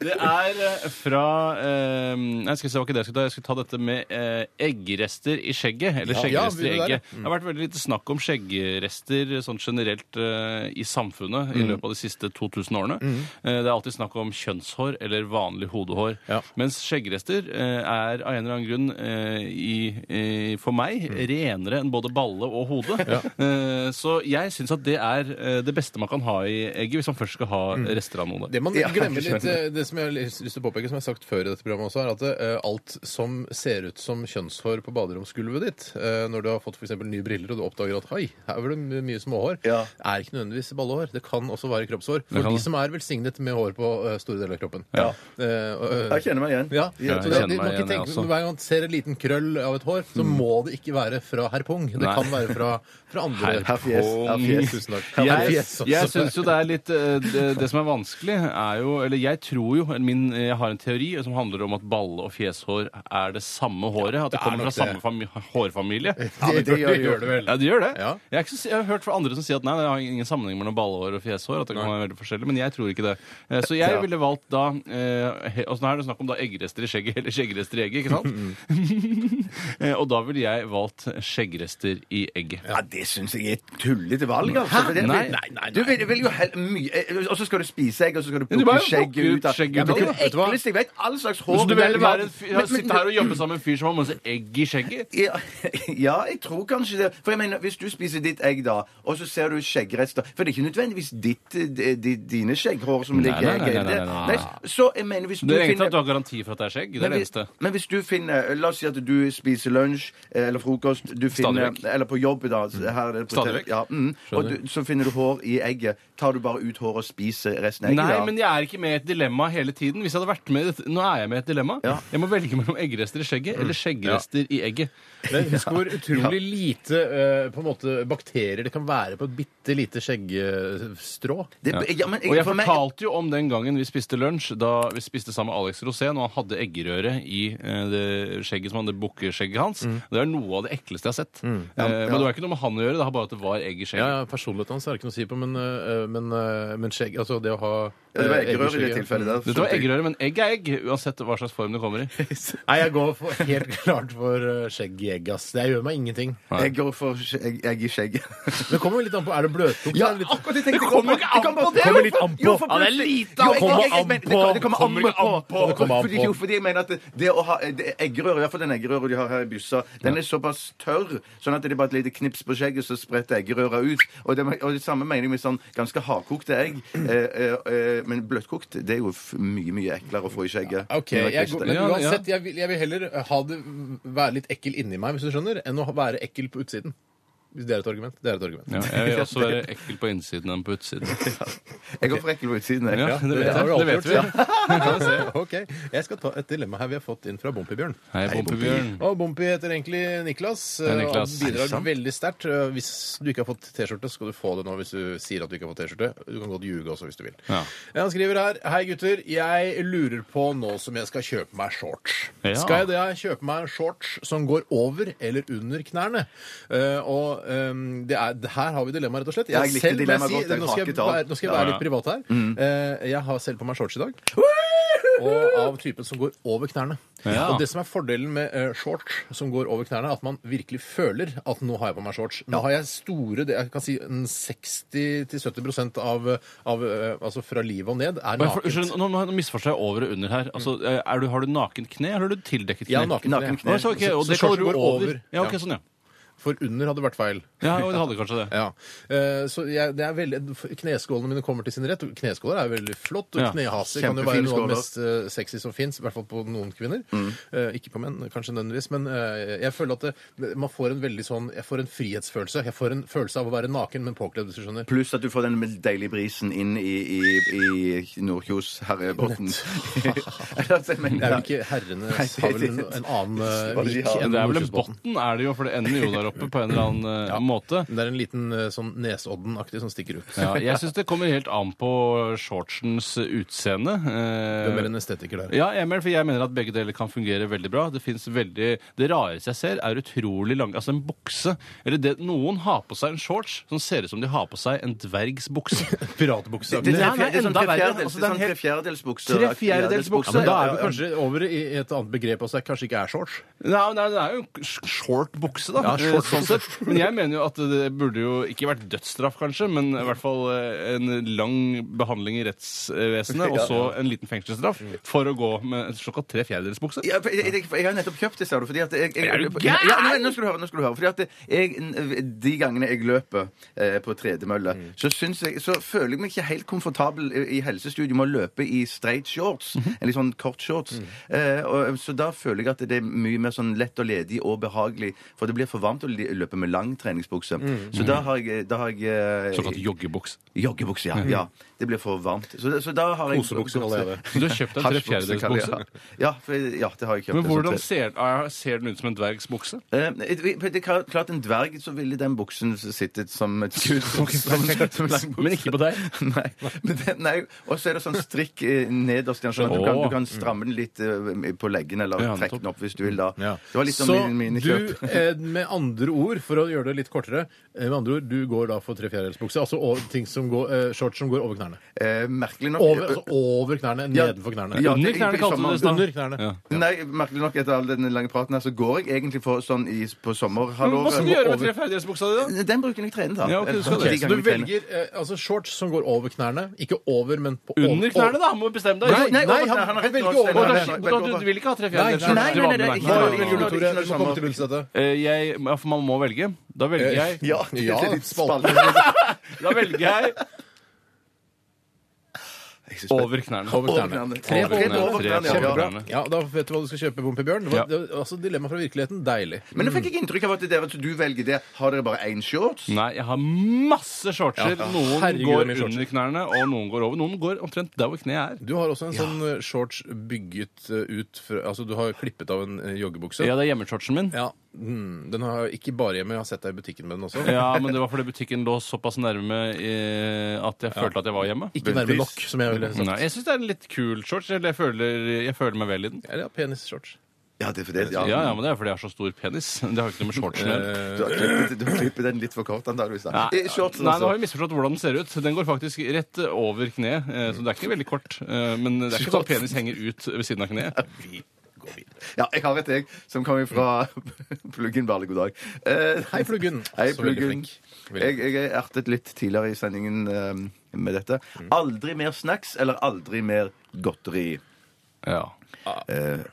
Speaker 5: Det er eh, fra eh, Nei, skal vi se, det var ikke det jeg skulle ta. Jeg skulle ta dette med eh, eggrester i skjegget. Eller
Speaker 3: ja,
Speaker 5: skjeggrester i
Speaker 3: det Mm. der, ja.
Speaker 5: egget. Det har vært veldig lite snakk om skjeggrester sånn generelt eh, i samfunnet
Speaker 3: Mm.
Speaker 5: i løpet av de siste 2000 årene. Eh, det er alltid snakk om kjønnshår eller vanlig hodehår.
Speaker 3: Ja.
Speaker 5: Mens skjeggrester eh, er av en eller annen grunn eh, i, i, for meg
Speaker 3: Mm.
Speaker 5: renere enn både balle og hode. <laughs> Eh, så jeg syns at det er eh, det beste man kan ha i egget hvis man først skal ha rester av noe.
Speaker 3: Mm. Det man
Speaker 4: Ja,
Speaker 3: glemmer
Speaker 4: jeg
Speaker 3: litt, eh, det som jeg har lyst lyst til å påpeke, som jeg har sagt før i dette programmet også, er at eh, alt som ser ut som kjønnshår på baderomsgulvet ditt, eh, når du har fått for eksempel nye briller og du oppdager at hei, her var det my- mye småhår,
Speaker 4: Ja.
Speaker 3: er ikke nødvendigvis ballehår. Det kan også være kroppshår.
Speaker 5: Det
Speaker 3: For
Speaker 5: kan
Speaker 3: de
Speaker 5: det.
Speaker 3: som er velsignet med hår på eh, store deler av kroppen.
Speaker 5: Ja.
Speaker 3: Eh, og, eh,
Speaker 4: Jeg kjenner meg igjen.
Speaker 3: Ja,
Speaker 5: Ja,
Speaker 3: så
Speaker 5: jeg
Speaker 3: det,
Speaker 5: kjenner
Speaker 3: det, man
Speaker 5: meg
Speaker 3: kan
Speaker 5: igjen, jeg
Speaker 3: tenke,
Speaker 5: også. Mm.
Speaker 3: Hver gang man ser en liten krøll av et hår, så må det ikke være fra herr Pung. Det
Speaker 5: Nei.
Speaker 3: kan være fra, fra andre.
Speaker 5: Herr
Speaker 4: Herr Fjes. Herr Fjes.
Speaker 3: Tusen takk.
Speaker 5: Jeg,
Speaker 3: Yes, også.
Speaker 5: jeg syns jo det er litt eh, det, det som er vanskelig, er jo Eller jeg tror jo eller min, Jeg har en teori som handler om at balle- og fjeshår er det samme håret. At det
Speaker 3: er
Speaker 5: kommer fra
Speaker 3: nok
Speaker 5: samme fami hårfamilie.
Speaker 3: Ja, men
Speaker 4: det gjør det jo.
Speaker 3: det vel.
Speaker 5: Ja, det gjør det.
Speaker 3: Ja.
Speaker 5: Jeg, er ikke, så- jeg har hørt fra andre som sier at nei, det har ingen sammenheng mellom ballehår og fjeshår. at det kan være veldig forskjellig, Men jeg tror ikke det. Eh, Så jeg ville valgt da eh, he- Og så nå er det snakk om da eggrester i skjegget <laughs> eller skjeggrester i egget, ikke sant? <laughs> Eh, og da ville jeg valgt skjeggrester i egget.
Speaker 4: Ja, det syns jeg er et tullete valg, altså. For det-
Speaker 5: Nei,
Speaker 4: nei, nei. Du vil, vil jo hel, mye eh, Og så skal du spise egg, og så skal du
Speaker 5: du bare
Speaker 4: plukke skjegget
Speaker 5: plukker
Speaker 4: ut av
Speaker 5: skjegget
Speaker 4: Ja,
Speaker 5: ut
Speaker 4: men
Speaker 5: av
Speaker 4: Det er
Speaker 5: kroppen, vet
Speaker 4: det
Speaker 5: du hva?
Speaker 4: ekleste jeg vet. All slags hår
Speaker 5: Så du vil
Speaker 4: i hele
Speaker 5: heller være en
Speaker 4: verden.
Speaker 5: fyr,
Speaker 4: Men- men-
Speaker 5: sitte her og jobbe sammen med en fyr som har masse egg i skjegget?
Speaker 4: ja, <laughs> ja, jeg tror kanskje det. For jeg mener, Hvis du spiser ditt egg, da, og så ser du skjeggrester For det er ikke nødvendigvis ditt, eh, di- di- dine skjegghår som ligger i
Speaker 5: nei, nei,
Speaker 4: egget.
Speaker 5: nei, nei, nei, nei.
Speaker 4: Nei, Så jeg mener, hvis du
Speaker 5: Det er egentlig
Speaker 4: finner
Speaker 5: at du har garanti for at det er skjegg. Det er
Speaker 4: men,
Speaker 5: det
Speaker 4: hvis,
Speaker 5: eneste.
Speaker 4: men hvis du finner La oss si at du spiser lunsj eh, eller frokost du finner,
Speaker 5: vekk.
Speaker 4: Eller på jobb, da. så Her er det på
Speaker 5: Stadig vekk.
Speaker 4: Ja, mm, og du, så finner du hår i egget. Tar du bare ut håret og spiser resten av egget?
Speaker 5: Nei,
Speaker 4: da?
Speaker 5: men jeg er ikke med i et dilemma hele tiden. Hvis jeg hadde vært med i dette, Nå er jeg med i et dilemma. Jeg må velge mellom eggerester i skjegget
Speaker 4: Mm.
Speaker 5: eller skjeggrester i egget.
Speaker 3: Men husk hvor utrolig lite eh, på en måte, bakterier det kan være på et bitte lite skjeggstrå.
Speaker 4: Det, ja, men,
Speaker 5: Og jeg
Speaker 4: for meg-
Speaker 5: fortalte jo om den gangen vi spiste lunsj, da vi spiste sammen med Alex Rosén, og han hadde eggerøre i eh, det skjegget som han, det bukkeskjegget hans.
Speaker 4: Mm.
Speaker 5: Det er noe av det ekleste jeg har sett. Eh, Men det var ikke noe med han å gjøre, det var bare at det var egg i
Speaker 3: Ja,
Speaker 5: skjegget.
Speaker 3: ja, Personligheten hans er det ikke noe å si på, men, eh, men, eh, men skjegg Altså det å ha
Speaker 4: Ja, det
Speaker 3: eh,
Speaker 4: var eggerør i det
Speaker 3: eggerskjegget.
Speaker 4: tilfellet. Der,
Speaker 5: Dette var eggerøre, men egg er egg, uansett hva slags form det kommer i.
Speaker 3: Nei, jeg går for, helt <laughs> klart for eh, skjeggjegg, ass. Det gjør meg ingenting.
Speaker 4: Jeg går for skjegg, egg i skjegget.
Speaker 3: Det kommer jo litt an på. Er det bløttungt?
Speaker 4: Ja,
Speaker 3: eller litt-
Speaker 4: akkurat det tenkte jeg
Speaker 5: kommer ikke an på det!
Speaker 3: Kommer litt an på.
Speaker 4: Jo, for
Speaker 3: Ja, det er
Speaker 4: plutselig-
Speaker 3: lite
Speaker 4: Jo,
Speaker 3: an
Speaker 4: jeg-
Speaker 3: på.
Speaker 4: jeg- jeg- men Det kommer- det kommer an
Speaker 3: Kommer ikke an på.
Speaker 4: på.
Speaker 3: Det kommer an
Speaker 4: Fordi-
Speaker 3: på.
Speaker 4: Jo, fordi jeg mener at det- det å ha det eggerøre, i hvert fall den eggerøra de har her i byssa, den er såpass tørr, sånn at det er bare et lite knips på skjegget, så spretter eggerøra ut. Og det, og det samme mener jeg med sånn ganske hardkokte egg. Eh, eh, eh, men bløtkokt, det er jo f- mye, mye eklere å få i skjegget.
Speaker 3: Ok,
Speaker 4: Enn å
Speaker 3: jeg,
Speaker 4: knuse
Speaker 3: går-
Speaker 4: det.
Speaker 3: men
Speaker 5: Ja, ja.
Speaker 3: uansett, jeg vil, jeg vil heller ha det, være litt ekkel inni meg, hvis du skjønner, enn å ha- være ekkel på utsiden. Hvis det er et argument. Det er et argument.
Speaker 5: Ja, jeg vil også være ekkel på innsiden enn på utsiden.
Speaker 4: Jeg går for ekkel på utsiden. jeg.
Speaker 5: Ja, det vet,
Speaker 3: har
Speaker 5: jeg.
Speaker 3: du
Speaker 5: Det vet <laughs> vi.
Speaker 3: alltid gjort, ja. <laughs> Ok, Jeg skal ta et dilemma her vi har fått inn fra Bompibjørn.
Speaker 5: Hei, Bompebjørn.
Speaker 3: Og Bompi heter egentlig Niklas.
Speaker 5: Hei, Niklas. Er
Speaker 3: og Han
Speaker 5: det
Speaker 3: bidrar
Speaker 5: sant?
Speaker 3: veldig sterkt. Hvis du ikke har fått T-skjorte, skal du få det nå hvis du sier at du ikke har fått T-skjorte. Du kan godt ljuge også hvis du vil.
Speaker 5: Ja.
Speaker 3: Han skriver her Hei, gutter. Jeg lurer på nå som jeg skal kjøpe meg shorts.
Speaker 5: Ja.
Speaker 3: Skal jeg da kjøpe meg shorts som går over eller under knærne? Eh, og eh, det er, det her har vi dilemmaet, rett og slett.
Speaker 4: Ja, jeg likte
Speaker 3: selv må jeg si-
Speaker 4: dilemmaet godt. Jeg
Speaker 3: Nå skal jeg,
Speaker 4: haket av.
Speaker 3: være- nå skal jeg være
Speaker 5: Ja. Mm.
Speaker 3: litt privat her. Eh, jeg har selv på meg shorts i dag. Og av typen som går over knærne.
Speaker 5: Ja.
Speaker 3: Og det som er fordelen med eh, shorts som går over knærne, er at man virkelig føler at nå har jeg på meg shorts. Nå har jeg store det- Jeg kan si en 60-70 av, av eh, Altså fra livet og ned er
Speaker 5: Oi, for-
Speaker 3: nakent.
Speaker 5: Unnskyld, nå nå misforstår jeg over og under her. Altså, er du, har du nakent kne, eller har du tildekket kne?
Speaker 3: Jeg har nakent
Speaker 4: Nakent
Speaker 3: kne.
Speaker 4: kne.
Speaker 5: Å, så, ok, og
Speaker 3: Så-
Speaker 5: det
Speaker 3: så
Speaker 5: kaller
Speaker 3: shorts
Speaker 5: du
Speaker 3: går
Speaker 5: over.
Speaker 3: over.
Speaker 5: Ja, ok,
Speaker 3: Ja.
Speaker 5: sånn, ja.
Speaker 3: For under hadde vært feil.
Speaker 5: Ja, og det hadde kanskje det.
Speaker 3: Ja. Eh, Så jeg, det er veldig, kneskålene mine kommer til sin rett. og Kneskåler er jo veldig flott. Og
Speaker 5: Ja.
Speaker 3: knehaser kan jo være
Speaker 4: Kjempefine
Speaker 3: noe av
Speaker 4: skåler.
Speaker 3: det mest eh, sexy som fins. I hvert fall på noen kvinner.
Speaker 5: Mm.
Speaker 3: Eh, Ikke på menn, kanskje nødvendigvis. Men eh, jeg føler at det, man får en veldig sånn Jeg får en frihetsfølelse. Jeg får en følelse av å være naken, men påkledd, hvis du skjønner.
Speaker 4: Pluss at du får den deilige brisen inn i, i, i Nordkjos herrebotn. <laughs> altså, jeg
Speaker 3: Det er
Speaker 4: mener,
Speaker 3: vel ikke herrene
Speaker 4: Nei,
Speaker 3: har vel en, en annen eh,
Speaker 4: Hva de
Speaker 3: vik
Speaker 4: har.
Speaker 3: enn
Speaker 5: Det er vel en
Speaker 3: Nordkjosbotn.
Speaker 5: botten, er det jo, for det ender jo der oppe på en eller annen eh, måte.
Speaker 3: Det er en liten eh, sånn Nesodden-aktig som stikker ut.
Speaker 5: Ja, <laughs> jeg
Speaker 3: <laughs>
Speaker 5: syns det kommer helt an på shortsens utseende. Eh,
Speaker 3: Du er mer en estetiker der.
Speaker 5: ja, jeg mener, for jeg mener at begge deler kan fungere veldig bra. Det finnes veldig, det rareste jeg ser, er utrolig lang Altså en bukse. Eller det, noen har på seg en shorts som ser ut som de har på seg en
Speaker 4: <laughs>
Speaker 5: dvergsbukse.
Speaker 3: Piratbuksa.
Speaker 5: Det-
Speaker 4: Det
Speaker 5: Ja,
Speaker 4: er
Speaker 5: nei,
Speaker 4: tre- det er sånn
Speaker 5: enda verre.
Speaker 4: trefjerdels-
Speaker 5: Altså,
Speaker 4: det er sånn
Speaker 5: det
Speaker 4: trefjerdelsbukser.
Speaker 5: Trefjerdelsbukser.
Speaker 3: Ja, men da er vi
Speaker 4: Ja, ja, ja.
Speaker 3: kanskje over i et annet begrep også. Det kanskje ikke er shorts.
Speaker 5: Nei, nei, det er jo sh- short bukse, da.
Speaker 3: Ja, short
Speaker 5: Eh, sånn
Speaker 3: bukse.
Speaker 5: sett. Men jeg mener jo at det burde jo ikke vært dødsstraff, kanskje, men i hvert fall eh, en lang behandling i
Speaker 4: <laughs>
Speaker 5: rettsvesenet, og så en liten fengselsstraff for å gå med en såkalt tre fjerdedels bukse.
Speaker 4: Ja, for jeg, jeg, jeg har nettopp kjøpt det, sa du. Fordi at jeg, jeg,
Speaker 5: Er du
Speaker 4: ja,
Speaker 5: gæren?
Speaker 4: nei, nå skal du høre. nå skal du høre Fordi at jeg, De gangene jeg løper eh, på tredemølle,
Speaker 5: Mm.
Speaker 4: så, syns jeg, så føler jeg meg ikke helt komfortabel i, i helsestudio med å løpe i straight shorts.
Speaker 5: Mhm.
Speaker 4: Eller sånn kort shorts.
Speaker 5: Mm.
Speaker 4: Eh, og, så da føler jeg at det er mye mer sånn lett og ledig og behagelig. For det blir for varmt å li- løpe med lang treningsbukse. Så da har jeg, da har jeg eh,
Speaker 5: Mm. Såkalt joggebukse.
Speaker 4: Joggebukse, ja. ja. Det blir for varmt. Så, så da har jeg
Speaker 3: Kosebukse kaller jeg det.
Speaker 5: Du har kjøpt deg en tre
Speaker 4: Hasjbukse
Speaker 5: fjerdedels
Speaker 4: kaller jeg
Speaker 5: bukse.
Speaker 4: det. Ja, for, ja, det har jeg kjøpt.
Speaker 5: Men
Speaker 4: en sånn
Speaker 5: hvordan
Speaker 4: tre-
Speaker 5: ser, er- ser den ut som en dvergsbukse?
Speaker 4: Eh, det det er klart en dverg, så ville den buksen sittet som et skudd. som, som en lang bukse.
Speaker 5: Men ikke på deg.
Speaker 4: Nei. Men det- nei. Og så er det sånn strikk eh, nederst, igjen, sånn at du kan, du kan stramme den litt eh, på leggen, eller
Speaker 5: Ja,
Speaker 4: trekke
Speaker 5: nettopp.
Speaker 4: den opp hvis du vil, da.
Speaker 3: Ja.
Speaker 4: Det var litt om
Speaker 3: så
Speaker 4: mine, mine kjøp.
Speaker 3: du, eh, med andre ord, for å gjøre det litt kortere eh, Med andre ord, du går da for tre fjerdedelsbukse. Altså over, ting som går, eh, shorts som går over knærne.
Speaker 4: Eh, merkelig nok
Speaker 3: Over, altså over knærne,
Speaker 4: Ja.
Speaker 3: nedenfor knærne.
Speaker 4: Ja,
Speaker 5: Under
Speaker 4: det-
Speaker 5: knærne
Speaker 4: i
Speaker 5: kalte du
Speaker 4: sommer-
Speaker 5: det i stad.
Speaker 3: Under knærne.
Speaker 5: Ja.
Speaker 4: Nei, merkelig nok etter all den lange praten her, så går jeg egentlig for sånn i, på
Speaker 5: Men Hva skal du
Speaker 4: sommerhalvåret.
Speaker 5: gjøre med tre fjerdedelsbuksa di, da?
Speaker 4: Den bruker jeg trene, da.
Speaker 5: Ja, ok, du skal
Speaker 4: De
Speaker 5: det.
Speaker 3: Så
Speaker 4: gangene
Speaker 3: du
Speaker 4: jeg trener.
Speaker 3: velger eh, altså shorts som går over knærne. Ikke over, men på
Speaker 5: Under knærne, da! Må du bestemme deg.
Speaker 3: Nei,
Speaker 4: Nei,
Speaker 3: nei,
Speaker 4: over
Speaker 3: han,
Speaker 4: knærne, han
Speaker 3: han
Speaker 4: har rett,
Speaker 3: velger
Speaker 4: Lars.
Speaker 3: over
Speaker 5: Og da,
Speaker 4: Nei,
Speaker 3: knærne.
Speaker 4: nei,
Speaker 5: da, du, du vil ikke ha tre fjerdedels
Speaker 3: Nei,
Speaker 5: til
Speaker 3: nei,
Speaker 4: nei, nei,
Speaker 5: vanlig
Speaker 4: nei,
Speaker 5: verden.
Speaker 4: ikke
Speaker 3: Hva
Speaker 4: det,
Speaker 3: velger du,
Speaker 4: ikke
Speaker 3: Tore?
Speaker 4: det,
Speaker 3: Du må komme til bunns i dette.
Speaker 5: Eh, jeg, ja, for man må velge. Da velger jeg
Speaker 4: Ja,
Speaker 3: Eh, Ja.
Speaker 4: det er litt spalte.
Speaker 5: Da velger jeg
Speaker 4: Jeg synes-
Speaker 5: Over knærne.
Speaker 3: Over knærne.
Speaker 4: Tre
Speaker 5: Over
Speaker 4: på knærne. Over knærne, ja.
Speaker 5: Kjempebra.
Speaker 3: Ja, Da vet du hva du skal kjøpe, Bompebjørn. Det var,
Speaker 5: Ja.
Speaker 3: det var, altså, dilemma fra virkeligheten. Deilig.
Speaker 4: Men nå fikk jeg inntrykk av at dere at du velger det. Har dere bare én shorts?
Speaker 5: Nei, jeg har masse shortser.
Speaker 3: Ja.
Speaker 5: Noen
Speaker 3: Herregud, hvor
Speaker 5: går
Speaker 3: mye shortser.
Speaker 5: under knærne, og noen går over. Noen går omtrent der hvor kneet er.
Speaker 3: Du har også en sånn eh, shorts bygget eh, ut fra Altså, du har klippet av en eh, joggebukse.
Speaker 5: Ja, det er hjemmeshortsen min.
Speaker 3: Ja, mm, Den har jeg ikke bare hjemme, jeg har sett deg i butikken med den også.
Speaker 5: Ja, men det var fordi butikken lå såpass nærme eh, at jeg følte at jeg var hjemme.
Speaker 3: Ikke nærme nok, som jeg ville sagt.
Speaker 5: Nei, jeg syns det er en litt kul shorts. Eller jeg føler, jeg føler meg vel i den.
Speaker 3: Eller ja, penisshorts.
Speaker 4: Ja, det er for det.
Speaker 5: Ja,
Speaker 4: Ja.
Speaker 5: ja, men det er fordi jeg har så stor penis. <laughs> Det har ikke noe med shortsen å
Speaker 3: Eh,
Speaker 5: gjøre.
Speaker 4: Du har klippet, du har klippet den litt for kort, antakeligvis. da.
Speaker 5: Nei,
Speaker 4: Eh, Shortsen,
Speaker 5: nei, nå har jeg
Speaker 4: altså.
Speaker 5: misforstått hvordan den ser ut. Den går faktisk rett over kneet, eh, så det er ikke veldig kort. eh, Men det er ikke sånn at penis henger ut ved siden av kneet.
Speaker 4: Ja, jeg har et, jeg, som kommer fra <laughs> Pluggen Barle, god dag. Eh,
Speaker 3: Hei, Pluggen.
Speaker 4: <laughs> Hei,
Speaker 3: Så veldig
Speaker 4: Pluggen.
Speaker 3: flink. Veldig.
Speaker 4: Jeg, jeg er ertet litt tidligere i sendingen eh, med dette.
Speaker 3: Mm.
Speaker 4: Aldri mer snacks eller aldri mer godteri.
Speaker 5: Ja.
Speaker 4: Eh,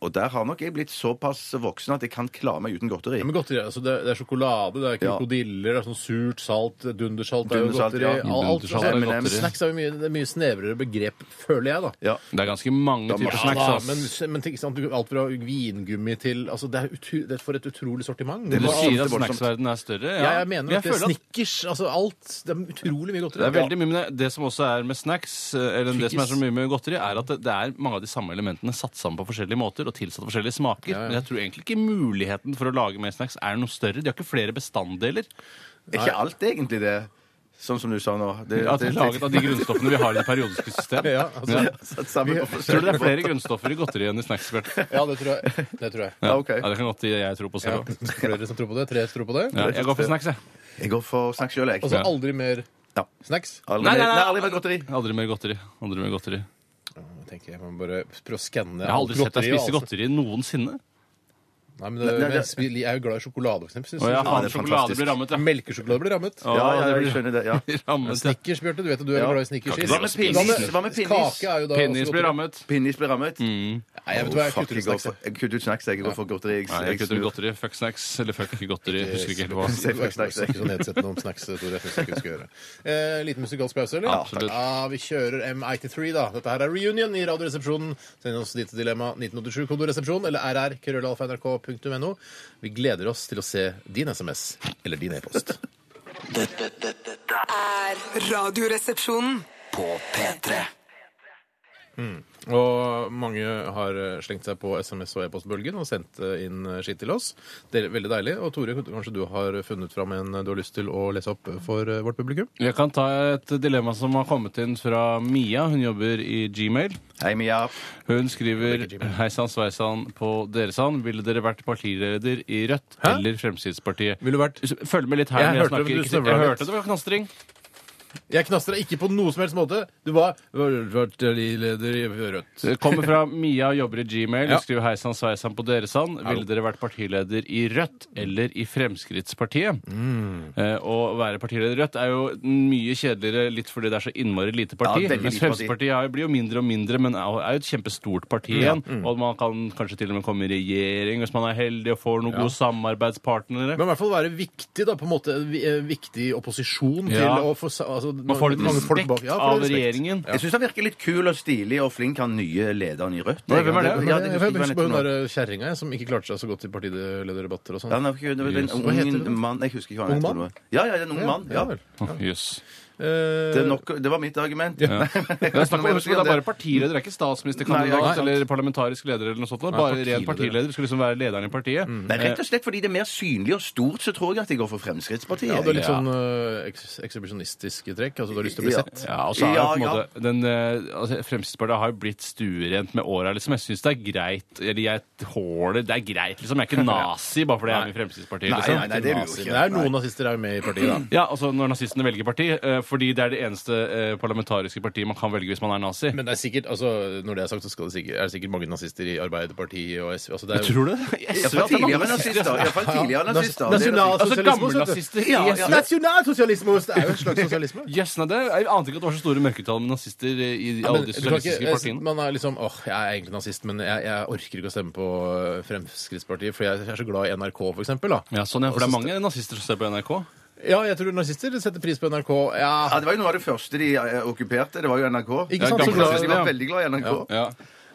Speaker 4: og der har nok jeg blitt såpass voksen at jeg kan klare meg uten godteri.
Speaker 3: Ja, men godteri, altså det, er- det er sjokolade, det er
Speaker 4: Ja.
Speaker 3: krokodiller, det er sånn surt, salt, dundersalt er jo
Speaker 4: Dundersalt,
Speaker 3: godteri.
Speaker 4: ja.
Speaker 3: Alt- Alt,
Speaker 5: Dundersalt
Speaker 4: er
Speaker 3: altså,
Speaker 4: godteri.
Speaker 3: Snacks er jo mye, det er mye snevrere begrep, føler jeg, da.
Speaker 4: Ja.
Speaker 5: Det er ganske mange
Speaker 4: må-
Speaker 5: typer
Speaker 3: Ja,
Speaker 5: snacks.
Speaker 3: da,
Speaker 5: ass.
Speaker 3: men, men ikke sant, alt fra vingummi til altså, det, er utu, det er for et utrolig sortiment.
Speaker 5: Du
Speaker 4: var-
Speaker 5: sier at
Speaker 4: det var voldsomt.
Speaker 5: snacksverdenen er større?
Speaker 3: ja, jeg mener at det er
Speaker 5: føler at
Speaker 3: snickers, altså alt. Det er utrolig mye godteri.
Speaker 5: det er veldig mye, men det som også er med snacks, eh, eller det som er så mye med godteri, er at det, det er mange av de samme elementene satt sammen på forskjellige måter og tilsatt forskjellige smaker. Men jeg tror egentlig ikke muligheten for å lage mer snacks er noe større. De har ikke flere bestanddeler.
Speaker 4: Er ikke alt egentlig det? Sånn som du sa nå. Det,
Speaker 5: At de er laget av de grunnstoffene vi har i det periodiske system.
Speaker 3: Ja, altså, ja.
Speaker 4: Satt sammen på
Speaker 5: Tror du det
Speaker 4: forskjellige
Speaker 5: er flere grunnstoffer i godteri enn i snacks? Bjarte?
Speaker 3: <laughs> det tror jeg. Det tror jeg.
Speaker 4: Ja, ok.
Speaker 5: Ja, det kan godt jeg tror på
Speaker 3: Ja.
Speaker 5: selv. også.
Speaker 3: Flere som tror på det? Tre som tror på det?
Speaker 5: Ja, jeg går for snacks, jeg.
Speaker 4: Jeg går for snacks sjøl, jeg.
Speaker 3: Og så aldri mer
Speaker 4: Ja.
Speaker 3: snacks?
Speaker 4: Aldri
Speaker 5: Nei, nei,
Speaker 4: mer-
Speaker 5: nei.
Speaker 4: nei, aldri mer godteri.
Speaker 5: Aldri mer godteri. Aldri mer godteri.
Speaker 3: Jeg tenker jeg må bare prøve å skanne
Speaker 5: Jeg har aldri sett deg
Speaker 3: og
Speaker 5: spise
Speaker 3: alt- altså.
Speaker 5: godteri noensinne.
Speaker 3: Nei, men, det,
Speaker 4: Nei, nei,
Speaker 3: men jeg
Speaker 4: det-
Speaker 3: spi- jeg er jo glad i sjokolade, for eksempel. synes
Speaker 5: Å ja,
Speaker 3: jeg.
Speaker 5: faen,
Speaker 4: det er
Speaker 5: sjokolade
Speaker 4: fantastisk.
Speaker 5: blir rammet, ja. <laughs>
Speaker 3: Melkesjokolade blir rammet.
Speaker 5: Å,
Speaker 4: Ja, ja,
Speaker 5: det
Speaker 4: jeg
Speaker 5: blir
Speaker 4: skjønner det. ja.
Speaker 5: rammet, ja.
Speaker 3: Snickers, Bjarte, du vet at du er
Speaker 4: Ja.
Speaker 3: glad i snickers.
Speaker 5: Kan ikke
Speaker 3: Is.
Speaker 5: dra med pinnis.
Speaker 4: Hva med pinnis?
Speaker 3: Kake er jo da
Speaker 5: Pinnis
Speaker 3: også
Speaker 5: blir
Speaker 3: godteri.
Speaker 5: rammet.
Speaker 4: Pinnis blir rammet.
Speaker 5: Mm.
Speaker 3: Nei, jeg vet
Speaker 4: Å,
Speaker 3: hva, jeg
Speaker 4: fuck,
Speaker 3: kutter
Speaker 4: jeg
Speaker 3: ut
Speaker 4: går
Speaker 3: snacks.
Speaker 4: for- jeg kutter ut snacks. Jeg går for godteri. Jeg,
Speaker 5: Nei, jeg
Speaker 4: jeg
Speaker 5: kutter ut
Speaker 4: snur.
Speaker 5: godteri. Fuck snacks eller fuck godteri. Jeg Husker ikke helt hva.
Speaker 3: <laughs>
Speaker 4: Safe
Speaker 3: Du er ikke
Speaker 4: snacks, jeg.
Speaker 3: snakke så nedsettende om snacks, Tore. Jeg synes ikke du skal gjøre. Eh, liten musikalsk pause, eller?
Speaker 5: Ja, absolutt.
Speaker 3: Ja, vi kjører M83, da. Dette her er Reunion i Radioresepsjonen. Send oss ditt dilemma 1987-kodoresepsjon eller rr.krøllalfa.nrk.no. Vi gleder oss til å se din SMS eller din e-post.
Speaker 2: Dette, dette, dette
Speaker 9: er Radioresepsjonen.
Speaker 2: på P3.
Speaker 3: <laughs> Og mange har eh, slengt seg på SMS og e-postbølgen og sendt eh, inn eh, skitt til oss. Det er veldig deilig. Og Tore, kanskje du har funnet fram en du har lyst til å lese opp for eh, vårt publikum?
Speaker 5: Jeg kan ta et dilemma som har kommet inn fra Mia. Hun jobber i Gmail.
Speaker 4: Hei, Mia.
Speaker 5: Hun skriver Hei sann, sveisann på dere sann. Ville dere vært partileder i Rødt
Speaker 3: Hæ?
Speaker 5: eller Fremskrittspartiet?
Speaker 3: Ville du vært
Speaker 5: Følg med litt her
Speaker 3: Jeg
Speaker 5: når jeg
Speaker 3: hørte
Speaker 5: snakker.
Speaker 3: du
Speaker 5: Ikke-
Speaker 3: snøvla
Speaker 5: Jeg
Speaker 3: litt.
Speaker 5: hørte det var knastring.
Speaker 3: Jeg knastrer ikke på noe som helst måte. Du var partileder i Rødt.
Speaker 5: Det kommer fra Mia og jobber i Gmail.
Speaker 3: Ja.
Speaker 5: Hun skriver hei sann, sveisann på dere sann. Ville dere vært partileder i Rødt eller i Fremskrittspartiet?
Speaker 3: Mm.
Speaker 5: Eh, å være partileder i Rødt er jo mye kjedeligere litt fordi det er så innmari lite parti.
Speaker 4: Ja, veldig
Speaker 5: mens
Speaker 4: lite parti.
Speaker 5: Fremskrittspartiet er jo- blir jo mindre og mindre, men er jo- er jo et kjempestort parti igjen.
Speaker 3: Mm.
Speaker 5: Og man kan kanskje til og med komme i regjering hvis man er heldig og får noen gode samarbeidspartnere.
Speaker 3: Men i hvert fall være viktig, da. På en måte vi- eh, viktig opposisjon
Speaker 5: Ja.
Speaker 3: til å få sa- altså,
Speaker 5: man får litt
Speaker 3: mange folk
Speaker 5: respekt
Speaker 3: bak- Ja, får
Speaker 5: av
Speaker 3: respekt.
Speaker 5: regjeringen.
Speaker 4: Jeg syns han virker litt kul og stilig og flink, han nye lederen i Rødt.
Speaker 5: Nei, hvem er det?
Speaker 4: Ja,
Speaker 3: Jeg jeg
Speaker 4: husker ikke hva
Speaker 3: husker på hun
Speaker 4: han heter nå.
Speaker 3: der kjerringa jeg, som ikke klarte seg så godt i partilederdebatter og
Speaker 4: Ja, han
Speaker 3: sånn.
Speaker 4: er ikke- det er
Speaker 3: Hva heter
Speaker 4: en
Speaker 3: det?
Speaker 4: ung mann Jeg husker ikke hva
Speaker 3: Ung
Speaker 4: han heter.
Speaker 3: mann?
Speaker 4: nå. Ja, ja, det er en ung mann. Ja.
Speaker 3: vel.
Speaker 5: Jøss. Yes.
Speaker 3: Eh,
Speaker 4: Det, er nok, det var mitt argument. <laughs>
Speaker 5: Ja. Det er snakk om, husk, det er bare partileder, det er ikke statsministerkandidat
Speaker 4: Nei, ja, ikke sant.
Speaker 5: eller parlamentarisk leder eller noe sånt. da.
Speaker 3: Nei,
Speaker 5: Bare
Speaker 3: partileder.
Speaker 5: ren partileder. Du skal liksom være lederen i partiet.
Speaker 4: Nei, rett og slett fordi det er mer synlig og stort, så tror jeg at jeg går for Fremskrittspartiet.
Speaker 3: ja, det er litt
Speaker 5: Ja.
Speaker 3: sånn eh, eks- ekshibisjonistiske trekk. Altså, du har lyst til å bli
Speaker 4: Ja.
Speaker 3: sett.
Speaker 5: Ja, og så er det
Speaker 4: Ja,
Speaker 5: på en
Speaker 4: ja.
Speaker 5: måte den, eh, altså, Fremskrittspartiet har jo blitt stuerent med åra. Liksom. Jeg syns det er greit. Eller jeg håler Det er greit, liksom. Jeg
Speaker 4: <laughs>
Speaker 5: er ikke nazi bare fordi jeg er med i Fremskrittspartiet.
Speaker 4: Nei,
Speaker 5: Liksom.
Speaker 4: nei, nei, det er du jo
Speaker 3: Det
Speaker 4: ikke.
Speaker 3: er noen
Speaker 4: Nei.
Speaker 3: nazister er jo med i partiet, da.
Speaker 5: Ja, altså Når nazistene velger parti, eh, fordi det er det eneste eh, parlamentariske partiet man kan velge hvis man er nazi.
Speaker 3: Men det er sikkert, altså, når det er sagt, så skal det sikkert, er det sikkert mange nazister i Arbeiderpartiet og SV. Altså, det er jo
Speaker 5: eh, Tror du det? <laughs> Jeg
Speaker 4: Iallfall
Speaker 5: det er mange
Speaker 4: tidligere nazister. i hvert fall
Speaker 3: Ja,
Speaker 4: tidligere nazister.
Speaker 3: nas-
Speaker 4: Det er
Speaker 3: nasjonal-
Speaker 4: det-
Speaker 5: Altså gammelnazister.
Speaker 4: Ja, ja.
Speaker 5: Yes.
Speaker 3: Nasjonalsosialisme det er jo en slags <laughs> sosialisme.
Speaker 5: Yes, nei, det, jeg ante ikke at det var så store mørketall med nazister i i alle de sosialistiske partiene.
Speaker 3: man er liksom åh, jeg er egentlig nazist, men jeg, jeg orker ikke å stemme på eh, Fremskrittspartiet, for jeg er så glad i NRK, for eksempel. Da.
Speaker 5: Ja, sånn, ja, for det
Speaker 3: Og
Speaker 5: er
Speaker 3: så-
Speaker 5: mange nazister som ser på NRK.
Speaker 3: Ja, jeg tror narsister setter pris på NRK.
Speaker 4: Ja,
Speaker 3: Ja.
Speaker 4: det var jo noe av det første de eh, okkuperte. Det var jo NRK.
Speaker 3: Ikke sant,
Speaker 4: Jeg
Speaker 3: så glad-
Speaker 4: synes de var
Speaker 5: ja.
Speaker 4: veldig glad i NRK.
Speaker 5: Ja.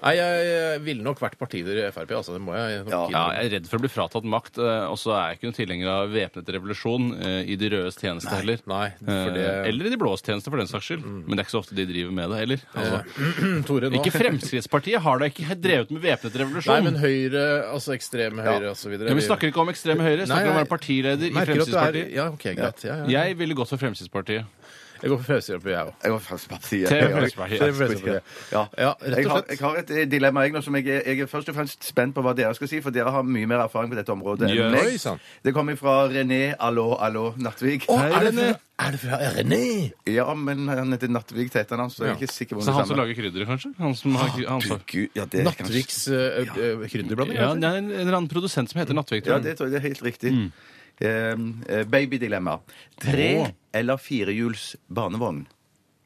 Speaker 3: Nei, jeg, jeg ville nok vært partileder i Frp, altså. Det må jeg nok
Speaker 4: Ja.
Speaker 3: innrømme.
Speaker 5: Ja, jeg er redd for å bli fratatt makt, eh, og så er jeg ikke noen tilhenger av væpnet revolusjon eh, i de rødes tjeneste heller.
Speaker 3: nei, for det-
Speaker 5: Eh, Eller i de blås tjeneste, for den saks skyld. Men det er ikke så ofte de driver med det heller. Altså,
Speaker 3: Eh, <clears throat> Tore, nå.
Speaker 5: ikke Fremskrittspartiet har da ikke drevet med væpnet
Speaker 3: <laughs> Nei,
Speaker 5: revolusjon.
Speaker 3: men Høyre, altså ekstreme Høyre og så videre.
Speaker 5: ja, vi snakker ikke om ekstreme høyre, vi snakker
Speaker 3: Nei,
Speaker 5: om å
Speaker 3: nei.
Speaker 5: være partileder i
Speaker 3: Merker at du er
Speaker 5: Fremskrittspartiet.
Speaker 3: Ja, OK, greit. Ja, ja.
Speaker 5: Jeg ville gått for Fremskrittspartiet.
Speaker 3: Jeg går for Fremskrittspartiet, jeg òg.
Speaker 4: Jeg var faktisk partiet.
Speaker 5: Til
Speaker 4: Ja.
Speaker 5: Fremskrittspartiet.
Speaker 4: Ja.
Speaker 3: Ja, rett og
Speaker 4: Jeg har,
Speaker 3: slett.
Speaker 4: jeg har et eh, dilemma jeg nå som jeg, er- jeg er først og fremst spent på hva dere skal si, for dere har mye mer erfaring på dette området enn
Speaker 5: Yes.
Speaker 3: Oi,
Speaker 4: meg.
Speaker 3: sann.
Speaker 4: Det kommer fra René Allo Allo Nattvik.
Speaker 3: Å, er, det
Speaker 5: René.
Speaker 3: fra- er det fra René?
Speaker 4: Ja, men han heter Nattvik til etternavn, så jeg er ikke sikker på om
Speaker 5: Så
Speaker 4: det
Speaker 5: han som
Speaker 4: stemmer.
Speaker 5: lager krydderet, kanskje? Han som
Speaker 3: Ah,
Speaker 5: har, han som,
Speaker 4: Gud, ja, det er kanskje-
Speaker 3: Nattviks eh, eh, krydderblanding?
Speaker 5: ja,
Speaker 3: kanskje?
Speaker 5: det er en en eller annen produsent som heter Nattvik.
Speaker 4: Ja,
Speaker 5: tror jeg.
Speaker 4: det tror jeg det er helt riktig. Ehm, eh, Babydilemma. Tre
Speaker 5: Åh.
Speaker 4: eller firehjuls barnevogn?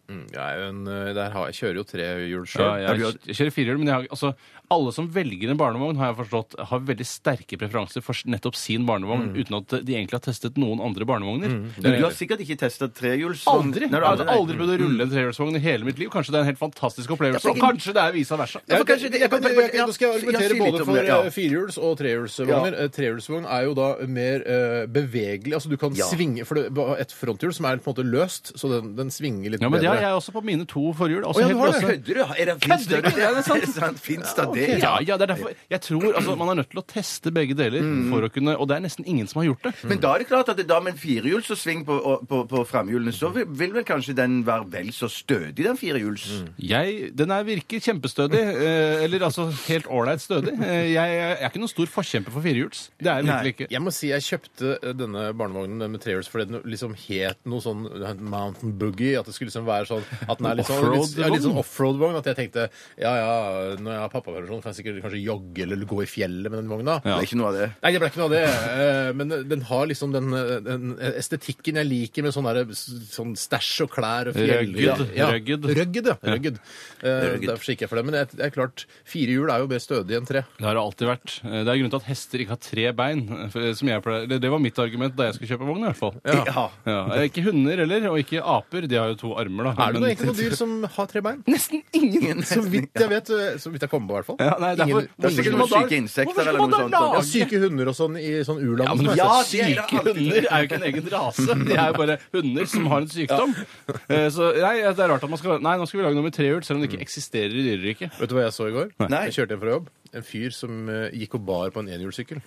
Speaker 3: Ja, jeg er jo en, eh, der har jeg kjører jo trehjul
Speaker 5: Ja,
Speaker 3: sjøl.
Speaker 5: jeg, jeg kjører firehjul, men jeg har, altså, alle som velger en barnevogn, har jeg forstått, har veldig sterke preferanser for nettopp sin barnevogn, uten at de egentlig har testet noen andre barnevogner.
Speaker 4: Du har sikkert ikke testa trehjuls?
Speaker 5: Aldri!
Speaker 4: Nei, du
Speaker 5: Jeg
Speaker 4: har
Speaker 5: hadde aldri prøvd å rulle en trehjulsvogn i hele mitt liv. Kanskje det er en helt fantastisk opplevelse, og kanskje det er vice versa.
Speaker 3: Ja,
Speaker 4: Ja,
Speaker 3: for
Speaker 4: det-
Speaker 3: kanskje det- jeg kan-
Speaker 4: ja,
Speaker 3: jeg kan-
Speaker 4: ja,
Speaker 3: Nå skal jeg
Speaker 4: ja, si
Speaker 3: argumentere
Speaker 4: litt
Speaker 3: både
Speaker 4: om
Speaker 3: for
Speaker 4: det, ja.
Speaker 3: eh, firehjuls- og trehjulsvogner.
Speaker 4: Ja.
Speaker 3: Eh, Trehjulsvogn er jo da mer eh, bevegelig. Altså du kan
Speaker 4: Ja.
Speaker 3: svinge For det var et fronthjul som er på en måte løst, så den, den svinger litt
Speaker 5: Ja, men det har jeg
Speaker 3: bedre.
Speaker 5: også på mine to forhjul.
Speaker 3: Å,
Speaker 5: Også
Speaker 3: ja, du
Speaker 5: helt
Speaker 3: har det.
Speaker 5: løse.
Speaker 4: Kødder du? Er det fins
Speaker 5: Kødder
Speaker 4: det?
Speaker 5: du? Ja, det er
Speaker 4: <laughs>
Speaker 5: sant.
Speaker 4: Fins det det?
Speaker 5: Ja, ja, det er derfor Jeg tror altså, man er nødt til å teste begge deler, for å kunne, og det er nesten ingen som har gjort det.
Speaker 4: Men da er det klart at det da med en firehjul som sving på, og- på, på framhjulene, så vil, vil vel kanskje den være vel så stødig, den firehjuls?
Speaker 5: Mm. Jeg, den er virker kjempestødig, eh, eller altså helt ålreit stødig. Eh, jeg, jeg er ikke noen stor forkjemper for firehjuls. Det er jeg
Speaker 4: Nei.
Speaker 5: virkelig ikke.
Speaker 3: Jeg må si jeg kjøpte eh, denne barnevognen den med trehjuls fordi den liksom het noe sånn eh, Mountain Boogie. At det skulle liksom være sånn at den er litt sånn, litt,
Speaker 5: Offroad-vogn?
Speaker 3: ja, litt sånn offroad-vogn. At jeg tenkte ja ja, når jeg har pappapermisjon, kan jeg sikkert kanskje jogge eller gå i fjellet med den vogna.
Speaker 4: Det er ikke noe av det.
Speaker 3: Nei, det ble ikke noe av det. eh, Men den har liksom den, eh, den estetikken jeg liker med sånn derre s- sånn stæsj og klær og fjell.
Speaker 5: Røgged.
Speaker 3: Ja.
Speaker 5: Røgged.
Speaker 3: Røgged, ja. Røgged. Eh, Derfor kikker jeg for det. Men det er- det er klart, fire hjul er jo mer stødig enn tre.
Speaker 5: Det har det alltid vært. Eh, Det er grunnen til at hester ikke har tre bein. eh, for- Som jeg pleier. Det det var mitt argument da jeg skulle kjøpe vogn, i hvert fall.
Speaker 4: Ja.
Speaker 5: Ja, eh, Ikke hunder heller, og ikke aper. De har jo to armer, da.
Speaker 3: Er det noe, egentlig noe dyr som har tre bein?
Speaker 5: Nesten ingen!
Speaker 3: Så vidt jeg vet, eh, så vidt jeg kom på, i hvert fall.
Speaker 5: <laughs> Ja, nei, derfor,
Speaker 3: Ingen-
Speaker 4: Det er sikkert
Speaker 5: Hvorfor
Speaker 4: noen
Speaker 5: skal man da-
Speaker 4: syke insekter
Speaker 5: hvorfor skal
Speaker 4: eller noe
Speaker 5: man da
Speaker 4: sånt.
Speaker 3: ja,
Speaker 5: lage-
Speaker 3: syke hunder og sånn i sånn u-land.
Speaker 5: Ja, men
Speaker 3: som er
Speaker 5: ja,
Speaker 3: så-
Speaker 4: det er det
Speaker 5: syke
Speaker 4: alltid.
Speaker 5: hunder er jo ikke en egen rase. De er jo bare hunder som har en sykdom. Eh, Så nei, det er rart at man skal Nei, nå skal vi lage noe med trehjul, selv om det ikke eksisterer i dyreriket.
Speaker 3: Vet du hva jeg så i går?
Speaker 4: Nei.
Speaker 3: Jeg kjørte hjem fra jobb. En fyr som eh, gikk og bar på en enhjulssykkel.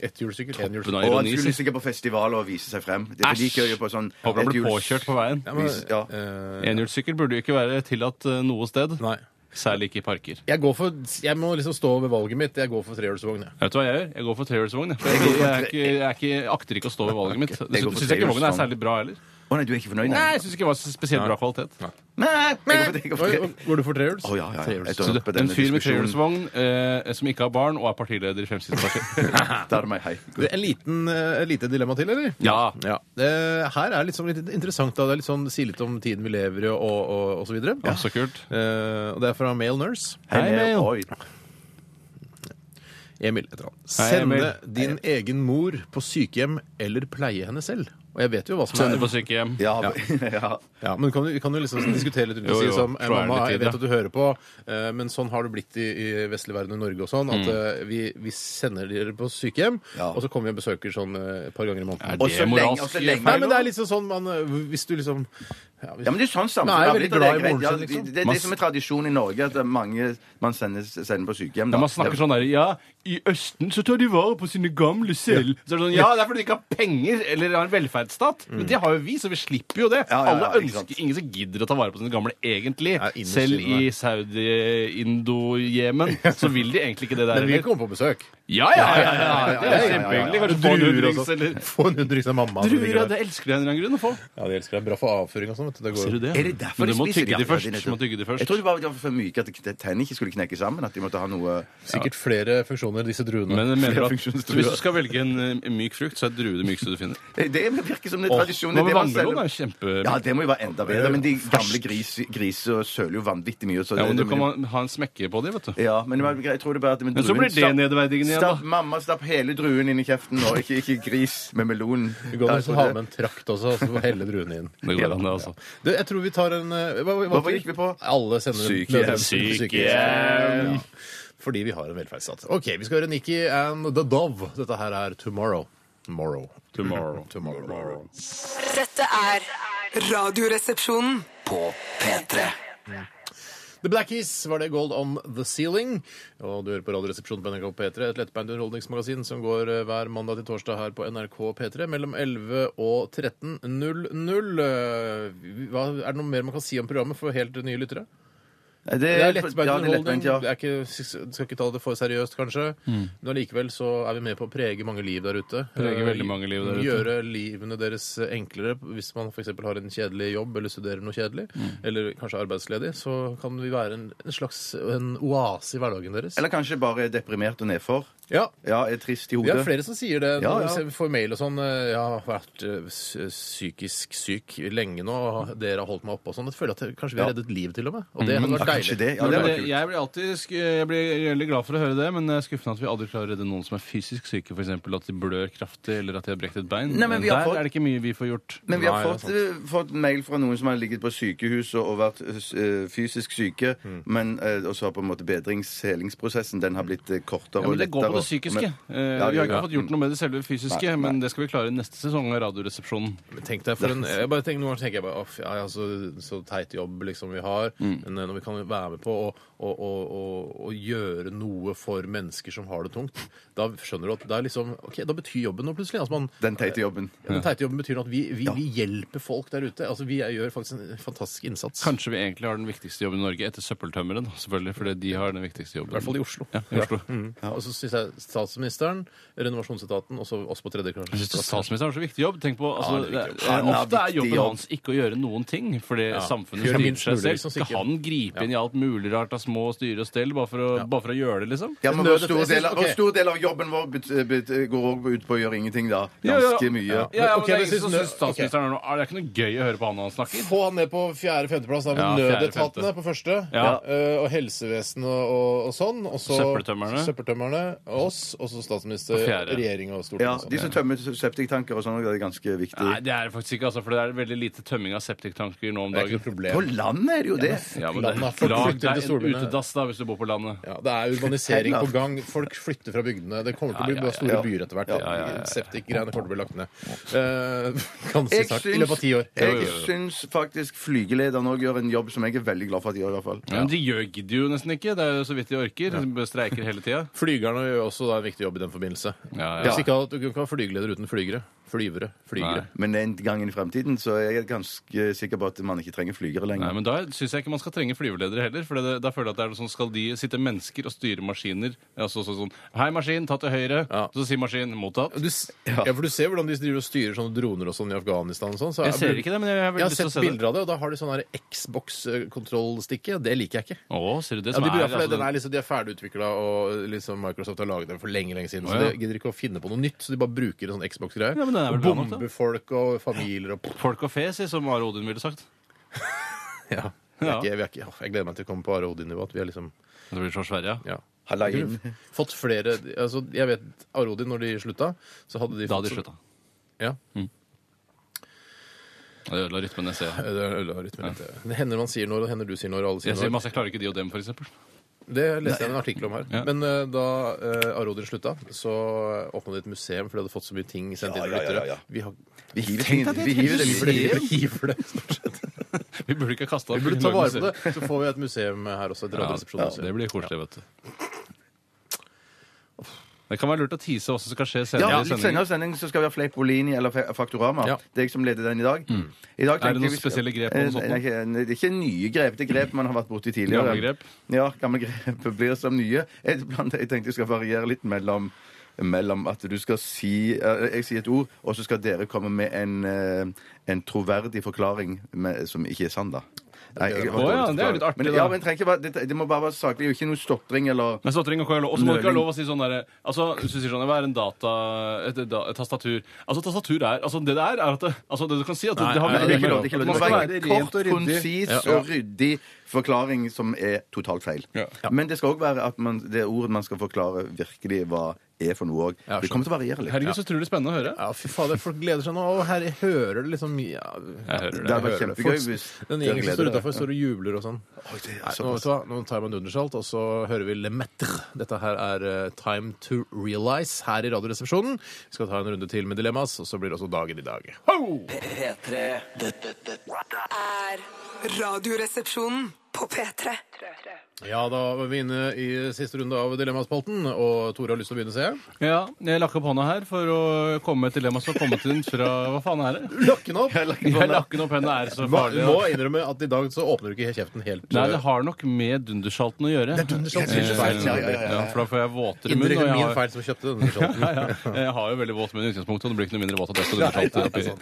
Speaker 3: Etthjulssykkel.
Speaker 5: Toppen
Speaker 3: enhjulssykkel.
Speaker 5: av
Speaker 4: Og han
Speaker 5: ironi.
Speaker 4: skulle
Speaker 5: sier-
Speaker 4: sikkert på festival og vise seg frem. Det er for de køyer på sånn
Speaker 5: Håper han blir
Speaker 4: etthjuls-
Speaker 5: påkjørt på veien.
Speaker 3: Ja, men,
Speaker 4: Vis- ja.
Speaker 3: eh,
Speaker 5: Enhjulssykkel burde jo ikke være tillatt eh, noe sted.
Speaker 3: Nei.
Speaker 5: Særlig ikke i parker.
Speaker 3: Jeg, går for, jeg må liksom stå ved valget mitt. Jeg går for trehjulsvogn. jeg.
Speaker 5: Vet du hva jeg gjør? Jeg går for trehjulsvogn. jeg. For Jeg, jeg, er ikke, jeg er ikke, akter ikke å stå ved valget mitt.
Speaker 4: Jeg går
Speaker 5: Dessuten
Speaker 4: for
Speaker 5: syns jeg ikke vognen er
Speaker 4: trehjulsvogn.
Speaker 5: særlig bra heller.
Speaker 4: Å nei, du er ikke fornøyd?
Speaker 5: Nei, jeg syns ikke det var spesielt bra kvalitet.
Speaker 4: Nei, jeg går for- jeg går for
Speaker 3: Oi,
Speaker 4: det.
Speaker 3: og Går du for trehjuls?
Speaker 4: Å, ja, ja, ja.
Speaker 3: Trehjuls.
Speaker 4: Jeg tar
Speaker 5: Så
Speaker 4: opp
Speaker 5: det,
Speaker 4: denne
Speaker 5: en fyr med
Speaker 4: diskusjonen.
Speaker 5: trehjulsvogn eh, som ikke har barn og er partileder i Fremskrittspartiet.
Speaker 4: Da er det meg, hei.
Speaker 3: Du, En liten, eh, et lite dilemma til, eller?
Speaker 5: Ja.
Speaker 3: Eh, Her er litt, sånn, litt interessant. Da. Det er litt sånn, sier litt om tiden vi lever i, og, og, og så videre.
Speaker 5: Ja, så kult.
Speaker 3: Eh, og det er fra Male Nurse.
Speaker 4: Hei,
Speaker 5: Hei, Mel.
Speaker 4: Oi.
Speaker 3: Emil heter han.
Speaker 5: Hei, Emil.
Speaker 3: Sende din egen mor på sykehjem eller pleie henne selv. Og jeg vet jo hva som
Speaker 5: Sender
Speaker 3: er
Speaker 5: på sykehjem.
Speaker 4: <laughs> Ja, ja.
Speaker 3: Ja, men kan du, vi kan jo
Speaker 5: <clears throat>
Speaker 3: liksom diskutere litt rundt
Speaker 5: Jo,
Speaker 3: og si
Speaker 5: jo,
Speaker 3: som eh,
Speaker 5: så er det
Speaker 3: Mamma,
Speaker 5: litt
Speaker 3: jeg
Speaker 5: tid,
Speaker 3: vet
Speaker 5: ja.
Speaker 3: at du hører på, eh, men sånn har det blitt i, i vestlig verden og Norge og sånn,
Speaker 5: Mm.
Speaker 3: at eh, vi, vi sender dere på sykehjem,
Speaker 4: Ja.
Speaker 3: og så kommer vi og besøker sånn eh, et par ganger i
Speaker 5: Er
Speaker 3: måneden.
Speaker 4: Og
Speaker 5: det
Speaker 4: så lenge- og
Speaker 5: moralsk
Speaker 4: så lenge-
Speaker 3: Nei,
Speaker 5: feil?
Speaker 3: men det er liksom sånn man eh, Hvis du liksom ja, hvis,
Speaker 4: Ja, men Det er sånn samfunnet
Speaker 3: Man er jo
Speaker 4: har
Speaker 3: veldig
Speaker 4: blitt,
Speaker 3: glad
Speaker 4: og det
Speaker 3: i
Speaker 4: greit.
Speaker 3: moren
Speaker 4: Ja,
Speaker 3: sin,
Speaker 4: det,
Speaker 3: liksom.
Speaker 4: det, det er som er tradisjon i Norge, at det er mange man sender, sender på sykehjem.
Speaker 5: Ja,
Speaker 4: da.
Speaker 5: man snakker sånn der Ja, i Østen så tar de vare på sine gamle selv. Mm. Så er det sånn, Ja, det er fordi de ikke har penger eller har en velferdsstat. Men det har jo vi, så vi slipper jo det.
Speaker 4: Ja, ja, ja,
Speaker 5: Alle
Speaker 4: ikke sant.
Speaker 5: ønsker Ingen som gidder å ta vare på sine gamle, egentlig.
Speaker 3: Ja, innerst
Speaker 5: Selv
Speaker 3: inne,
Speaker 5: i Saudi-Indo-Jemen så vil de egentlig <laughs> ikke det der
Speaker 3: Men vi
Speaker 5: heller.
Speaker 3: kommer på besøk.
Speaker 5: Ja, ja, ja! ja, ja, Det
Speaker 3: ja, ja,
Speaker 5: er
Speaker 3: ja, ja.
Speaker 5: kjempehyggelig.
Speaker 3: Og
Speaker 5: Kanskje få en
Speaker 3: druer
Speaker 5: hundrings
Speaker 3: også.
Speaker 5: eller
Speaker 3: <laughs> Få en hundrings av mamma. som
Speaker 5: Druer,
Speaker 3: ligger
Speaker 5: ja,
Speaker 3: der.
Speaker 5: det elsker jeg av en eller annen grunn å få.
Speaker 3: Ja, de elsker deg. Bra for avføring og sånn.
Speaker 8: sånn. vet du. Det går-
Speaker 5: Ser du det?
Speaker 4: Er det derfor
Speaker 5: Men
Speaker 4: de
Speaker 5: du må
Speaker 4: spiser
Speaker 5: tygge de
Speaker 4: gaffler?
Speaker 5: først. Du må tygge de først.
Speaker 4: Jeg trodde bare det var for myke at tennene ikke skulle knekke sammen. At de måtte ha noe
Speaker 3: Sikkert flere funksjoner, disse druene.
Speaker 5: Men jeg mener
Speaker 4: Flere
Speaker 5: at
Speaker 4: funksjonstruer.
Speaker 5: hvis du skal velge en eh, myk frukt, så er drue det mykeste du finner.
Speaker 4: Eh, Det virker som det
Speaker 5: Åh,
Speaker 4: tradisjonen
Speaker 5: hva med
Speaker 4: det man
Speaker 5: vannmelon? Det
Speaker 4: selger.
Speaker 5: er kjempe...
Speaker 4: Ja, det må jo være enda bedre. Men de gamle gris, griser søler jo vanvittig mye. Så
Speaker 5: Ja,
Speaker 4: det-
Speaker 5: men du
Speaker 4: det-
Speaker 5: kan ha- ha en smekke på det, vet du.
Speaker 4: Ja, men jeg tror det bare at
Speaker 5: Men så blir det nedverdigende igjen, da.
Speaker 4: Stapp, mamma stapp hele druen inn i kjeften, og ikke, ikke gris med melonen.
Speaker 3: Du kan
Speaker 4: Ja,
Speaker 3: nesten
Speaker 4: jeg
Speaker 3: ha
Speaker 4: tror
Speaker 3: med en trakt også, og så helle druene inn.
Speaker 5: Det går an, det, altså.
Speaker 3: Du, jeg tror vi tar en eh, Hva, hva,
Speaker 4: Hva gikk vi på?
Speaker 3: Alle sender en
Speaker 4: Sykehjem.
Speaker 3: nødvendig-
Speaker 5: Sykehjem.
Speaker 3: Ja. Fordi vi har en velferdsstat. OK, vi skal høre Nikki and The Dove. Dette her er Tomorrow. Tomorrow.
Speaker 5: Tomorrow.
Speaker 3: Tomorrow.
Speaker 9: Dette er Radioresepsjonen.
Speaker 2: På P3
Speaker 3: The Blackies var det Gold on the Ceiling. Og du hører på Radioresepsjonen på NRK P3, et lettbeint underholdningsmagasin som går eh, hver mandag til torsdag her på NRK P3 mellom 11 og 13.00. Eh, Hva, er det noe mer man kan si om programmet for helt nye lyttere?
Speaker 4: Det
Speaker 3: Det
Speaker 4: er
Speaker 3: er lettbeint
Speaker 4: ja, det er
Speaker 3: underholdning.
Speaker 4: lettbeint, Eh, ja.
Speaker 3: Det er ikke, skal ikke ta det for seriøst, kanskje. Men allikevel så er vi med på å prege mange liv der ute. Eh,
Speaker 5: Prege veldig mange liv der ute.
Speaker 3: Gjøre livene deres enklere. Hvis man f.eks. har en kjedelig jobb eller studerer noe kjedelig, eller kanskje er arbeidsledig, så kan vi være en, en slags en oase i hverdagen deres.
Speaker 4: Eller kanskje bare deprimert og nedfor.
Speaker 3: ja.
Speaker 4: Ja, er trist i
Speaker 3: Vi har
Speaker 4: hodet.
Speaker 3: flere som sier det. når
Speaker 4: Ja,
Speaker 3: Vi
Speaker 4: ja.
Speaker 3: ser- får mail og sånn. eh, Jeg har vært eh, s- psykisk syk lenge nå, og dere har holdt meg oppe og sånn. Jeg føler at jeg- kanskje vi har
Speaker 4: Ja.
Speaker 3: reddet liv til og med. Og det hadde
Speaker 4: Ja,
Speaker 3: vært
Speaker 4: kanskje
Speaker 3: deilig.
Speaker 4: det. Ja,
Speaker 5: Det
Speaker 4: det
Speaker 5: er
Speaker 4: var
Speaker 5: det.
Speaker 4: kult.
Speaker 5: Jeg blir alltid sk- jeg blir veldig glad for å høre det, men jeg er skuffende at vi aldri klarer å redde noen som er fysisk syke, f.eks. at de blør kraftig, eller at de har brekt et bein.
Speaker 4: Nei, men vi
Speaker 5: Der
Speaker 4: har fått-
Speaker 5: er det ikke mye vi får gjort.
Speaker 4: Men vi har
Speaker 3: Nei, det er
Speaker 4: fått, eh, fått mail fra noen som har ligget på sykehus og, og vært eh, fysisk syke,
Speaker 3: Mm.
Speaker 4: men eh, også har på en måte bedrings-helingsprosessen den har blitt eh, kortere
Speaker 5: Ja, men
Speaker 4: og
Speaker 5: det går
Speaker 4: lettere.
Speaker 5: på det
Speaker 4: og-
Speaker 5: psykiske.
Speaker 4: men-
Speaker 5: Eh, vi
Speaker 4: Ja, det
Speaker 5: har
Speaker 4: gjør
Speaker 5: ikke
Speaker 4: det.
Speaker 5: fått gjort noe med det selve fysiske,
Speaker 4: Nei, nei.
Speaker 5: men det skal vi klare i neste sesong av Radioresepsjonen.
Speaker 3: Tenk deg for en, jeg bare tenker, noen ganger tenker jeg bare Off, ja, ja, så, så teit jobb liksom vi har. Men eh, når vi kan være med på å, å, å, å, å gjøre noe for mennesker som har det tungt, da skjønner du at det er liksom, ok, da betyr jobben noe plutselig. Altså man,
Speaker 4: Den teite jobben.
Speaker 3: den teite jobben betyr at vi, vi, vi hjelper folk der ute. Altså Vi gjør faktisk en fantastisk innsats.
Speaker 5: Kanskje vi egentlig har den viktigste jobben i Norge etter søppeltømmeren, selvfølgelig, fordi de har den viktigste jobben.
Speaker 3: I hvert fall i Oslo.
Speaker 5: Ja, i Oslo.
Speaker 3: Mm. Og så syns jeg statsministeren, renovasjonsetaten og så oss på tredje
Speaker 5: Jeg synes Statsministeren har så viktig jobb. Tenk på, altså,
Speaker 3: det er viktig
Speaker 5: det er-
Speaker 4: Han har
Speaker 5: Ofte er
Speaker 4: viktig
Speaker 5: jobben
Speaker 4: jobb.
Speaker 5: hans ikke å gjøre noen ting, fordi samfunnet
Speaker 3: Gjør
Speaker 5: styrer
Speaker 3: minst
Speaker 5: seg
Speaker 3: mulig,
Speaker 5: selv.
Speaker 3: liksom,
Speaker 5: Skal
Speaker 3: sikkert.
Speaker 5: han gripe inn i alt mulig rart av små styre og stell bare for å, bare for å gjøre det, liksom?
Speaker 4: Ja, men
Speaker 3: Nødet-
Speaker 4: hvor
Speaker 3: jeg
Speaker 4: stor,
Speaker 3: synes-
Speaker 4: del, av-
Speaker 3: ok.
Speaker 4: hvor stor del av jobben vår bet, eh, bet, går også ut på å gjøre ingenting, da?
Speaker 5: Ja, ja,
Speaker 4: Ganske mye.
Speaker 5: Ja, ja, men
Speaker 3: Ok,
Speaker 5: det er
Speaker 3: men
Speaker 5: ingen som
Speaker 3: synes-
Speaker 5: synes statsministeren er noe ah, Det er ikke noe gøy å høre på han når han snakker.
Speaker 3: Få han ned på fjerde-femteplass. Da
Speaker 5: Ja,
Speaker 3: med
Speaker 5: fjerde,
Speaker 3: nødetatene
Speaker 5: femte.
Speaker 3: på første.
Speaker 5: Ja.
Speaker 3: eh, og helsevesenet og, og, og sånn. Og så
Speaker 5: Søppeltømmerne.
Speaker 3: søppeltømmerne, og oss, og så statsminister,
Speaker 5: Og fjerde.
Speaker 3: regjering og
Speaker 4: Ja,
Speaker 3: storting. og sånn.
Speaker 4: De som tømmer septiktanker og sånn, det er ganske viktig.
Speaker 5: Nei, det er det faktisk ikke, altså, for det er veldig lite tømming av septiktanker nå om
Speaker 3: det er ikke
Speaker 5: dagen.
Speaker 3: noe
Speaker 4: På
Speaker 3: problem.
Speaker 4: landet er det jo det!
Speaker 5: Ja, men
Speaker 3: Landet er
Speaker 5: det,
Speaker 3: folk
Speaker 5: la,
Speaker 3: flytter
Speaker 5: det
Speaker 3: til
Speaker 5: er en
Speaker 3: storbyene.
Speaker 5: utedass da, hvis du bor på landet.
Speaker 3: Ja, det er urbanisering på
Speaker 4: Heller.
Speaker 3: gang. Folk flytter fra bygdene. Det kommer til å bli
Speaker 5: Ja, ja, ja.
Speaker 3: store
Speaker 4: Ja.
Speaker 3: byer etter hvert.
Speaker 5: ja, ja, ja.
Speaker 3: Septikgreiene kommer til å bli lagt ned. Eh, <laughs> ganske
Speaker 4: Jeg
Speaker 3: snart. I
Speaker 4: syns-
Speaker 3: løpet av ti
Speaker 5: jo,
Speaker 3: år.
Speaker 4: Jeg
Speaker 5: jo.
Speaker 4: syns faktisk flygelederen òg gjør en jobb som jeg er veldig glad for at de gjør, i hvert fall.
Speaker 5: Ja, men de gjør gidder jo nesten ikke. Det er jo så vidt de orker. De streiker hele tida.
Speaker 3: Flygerne gjør også da en viktig jobb i den forbindelse.
Speaker 5: Ja, ja.
Speaker 3: Hvis ikke at Du kan ikke ha flygeleder uten flygere. Flyvere.
Speaker 5: Nei.
Speaker 3: Flygere.
Speaker 4: Men en gang inn i fremtiden så er jeg ganske sikker på at man ikke trenger flygere
Speaker 5: Nei,
Speaker 4: lenger.
Speaker 5: men Da syns jeg ikke man skal trenge flyveledere heller. For det, da føler jeg at det er noe sånn, Skal de sitte mennesker og styre maskiner? Altså så, sånn Hei, maskin, ta til høyre.
Speaker 3: Ja.
Speaker 5: Så sier maskinen mottatt.
Speaker 3: Du, s- ja. for du ser hvordan de driver og styrer sånne droner og sånn i Afghanistan og sånn. Så
Speaker 5: Jeg ser ikke det, men jeg har
Speaker 3: Jeg
Speaker 5: veldig
Speaker 3: har
Speaker 5: lyst til å
Speaker 3: sett
Speaker 5: se det.
Speaker 3: bilder av det, og da har de sånn her Xbox-kontrollstikke. Det liker jeg ikke.
Speaker 5: Å, ser du det
Speaker 3: Ja,
Speaker 5: som
Speaker 3: de,
Speaker 5: er,
Speaker 3: burde- for
Speaker 5: altså,
Speaker 3: den er liksom, de er ferdigutvikla, og liksom Microsoft har laget den for lenge lenge siden.
Speaker 5: Å, ja.
Speaker 3: Så de gidder ikke å finne på noe nytt, så de bare bruker en sånn Xbox-greie.
Speaker 5: Ja, men den er vel
Speaker 3: og
Speaker 5: bra nok, da.
Speaker 3: bomber folk og familier og <laughs>
Speaker 5: Folk og fe, sier som Are Odin ville sagt.
Speaker 3: ja. Vi er
Speaker 5: Ja.
Speaker 3: ikke, vi er ikke, åh, jeg gleder meg til å komme på Are Odin-nivå. At vi er liksom
Speaker 5: Det blir så svært, ja.
Speaker 3: ja.
Speaker 4: Halla inn.
Speaker 3: Fått flere altså, Jeg vet Are Odin, når de slutta, så hadde de
Speaker 5: Da hadde de
Speaker 3: fått-
Speaker 5: Mm. slutta.
Speaker 3: Ja.
Speaker 5: Det ødela rytmen. Jeg ser.
Speaker 3: Eh, Det er øderytmen litt. Det hender man sier når, og det hender du sier når, og alle sier
Speaker 5: Jeg sier
Speaker 3: når.
Speaker 5: masse, jeg klarer ikke de og dem, for eksempel. <laughs>
Speaker 3: Det leste jeg en artikkel om her.
Speaker 5: Ja.
Speaker 3: Men eh, da uh, Arodin slutta, så åpna de et museum, for de hadde fått så mye ting sendt inn av
Speaker 4: Ja, ja, ja,
Speaker 3: lyttere.
Speaker 4: ja.
Speaker 3: Vi har
Speaker 4: Vi hiver ting. Vi hiver det.
Speaker 3: hiver det, hiver det, hiver det, stort sett.
Speaker 5: Vi burde ikke ha kasta
Speaker 3: Vi burde ta vare på det. Så får vi et museum her også. Et
Speaker 5: Ja, det
Speaker 3: radioresepsjonsmuseum.
Speaker 5: blir koselig, vet du. Det kan være lurt å tease hva som skal skje senere.
Speaker 4: Ja,
Speaker 5: i
Speaker 4: litt
Speaker 5: sendingen.
Speaker 4: senere i sendingen så skal vi ha Fleipolini eller Fe- Faktorama.
Speaker 3: Ja.
Speaker 4: Det er jeg som leder den i dag. I dag
Speaker 5: Mm. Er det
Speaker 4: tenkte jeg
Speaker 5: noen
Speaker 4: vi skal-
Speaker 5: spesielle grep og noe sånt nå?
Speaker 4: Eh, nei, Det er ikke nye grep. Det er grep man har vært borti tidligere.
Speaker 5: Gamle grep?
Speaker 4: <laughs> Eh, Ja, gamle grep blir som nye. Jeg, blant- jeg tenkte jeg skal variere litt mellom mellom at du skal si eh, Jeg sier et ord, og så skal dere komme med en, eh, en troverdig forklaring med, som ikke er sann, da. Nei, jeg har
Speaker 5: Å, ja,
Speaker 4: dårlig til
Speaker 5: det er jo litt artig,
Speaker 4: forklaring. men,
Speaker 5: da.
Speaker 4: ja, men trenger ikke være, det, det må bare være saklig. Det er jo ikke noe stotring eller
Speaker 5: Men stotring og lov, Og så må du ikke ha
Speaker 4: Nøling.
Speaker 5: lov å si sånn derre altså, Hvis du sier sånn Hva er en data et, da, et tastatur? Altså, tastatur er Altså, det der er at det, Altså, det du kan si, at det, det har
Speaker 4: Nei, det er ikke lov.
Speaker 5: lov.
Speaker 4: Det er ikke lov.
Speaker 5: Man
Speaker 4: Det
Speaker 5: skal
Speaker 4: må
Speaker 5: være
Speaker 4: være
Speaker 3: rent
Speaker 4: kort,
Speaker 3: og ryddig.
Speaker 4: konsis og ryddig forklaring som er totalt feil.
Speaker 5: Ja.
Speaker 4: Men det skal òg være at man, det ordet man skal forklare, virkelig hva er for noe òg.
Speaker 3: Ja,
Speaker 4: det kommer til å variere litt.
Speaker 5: Herregud, så utrolig spennende å høre.
Speaker 3: Ja, fy fader, folk gleder seg nå. Og her hører det liksom ja,
Speaker 5: Jeg hører
Speaker 4: Det
Speaker 5: det.
Speaker 4: hadde vært
Speaker 3: hører det.
Speaker 4: kjempegøy
Speaker 3: Folk-
Speaker 4: hvis
Speaker 3: Den
Speaker 4: dere
Speaker 3: gjengen som
Speaker 4: gleder
Speaker 3: står
Speaker 4: dere.
Speaker 3: utafor, står og jubler og sånn.
Speaker 4: Oi, det er
Speaker 3: Nei, nå,
Speaker 4: såpass.
Speaker 3: vet du hva? nå tar jeg meg en dundersalt, og så hører vi Le Maître. Dette her er eh, Time to Realize her i Radioresepsjonen. Vi skal ta en runde til med Dilemmas, og så blir det også Dagen i dag.
Speaker 2: P3 Dette dette
Speaker 9: Er Radioresepsjonen på P3.
Speaker 3: Ja, da var vi inne i siste runde av Dilemmaspalten, og Tore har lyst til å begynne, ser jeg.
Speaker 5: Ja, jeg lakk opp hånda her for å komme med et dilemma som har kommet inn fra Hva faen er
Speaker 4: <laughs>
Speaker 5: det?
Speaker 3: Lakken opp!
Speaker 5: <laughs> Jeg lakken opp henne er så
Speaker 3: Hva-
Speaker 5: farlig.
Speaker 3: Må innrømme at i dag så åpner du ikke kjeften helt. eh,
Speaker 5: Nei, det har nok med dundersalten å gjøre.
Speaker 3: Det er dundersalten.
Speaker 5: Eh,
Speaker 3: Feil, ja,
Speaker 4: ja, ja, ja.
Speaker 5: ja, for da får jeg våtere munn.
Speaker 3: Indirekte
Speaker 5: og jeg
Speaker 3: min
Speaker 5: har-
Speaker 3: feil som kjøpte denne
Speaker 5: <laughs>
Speaker 3: skjorten.
Speaker 5: ja, ja. Jeg har jo veldig våt munn i utgangspunktet, og det blir ikke noe mindre våt av det. så det blir kaldt oppi.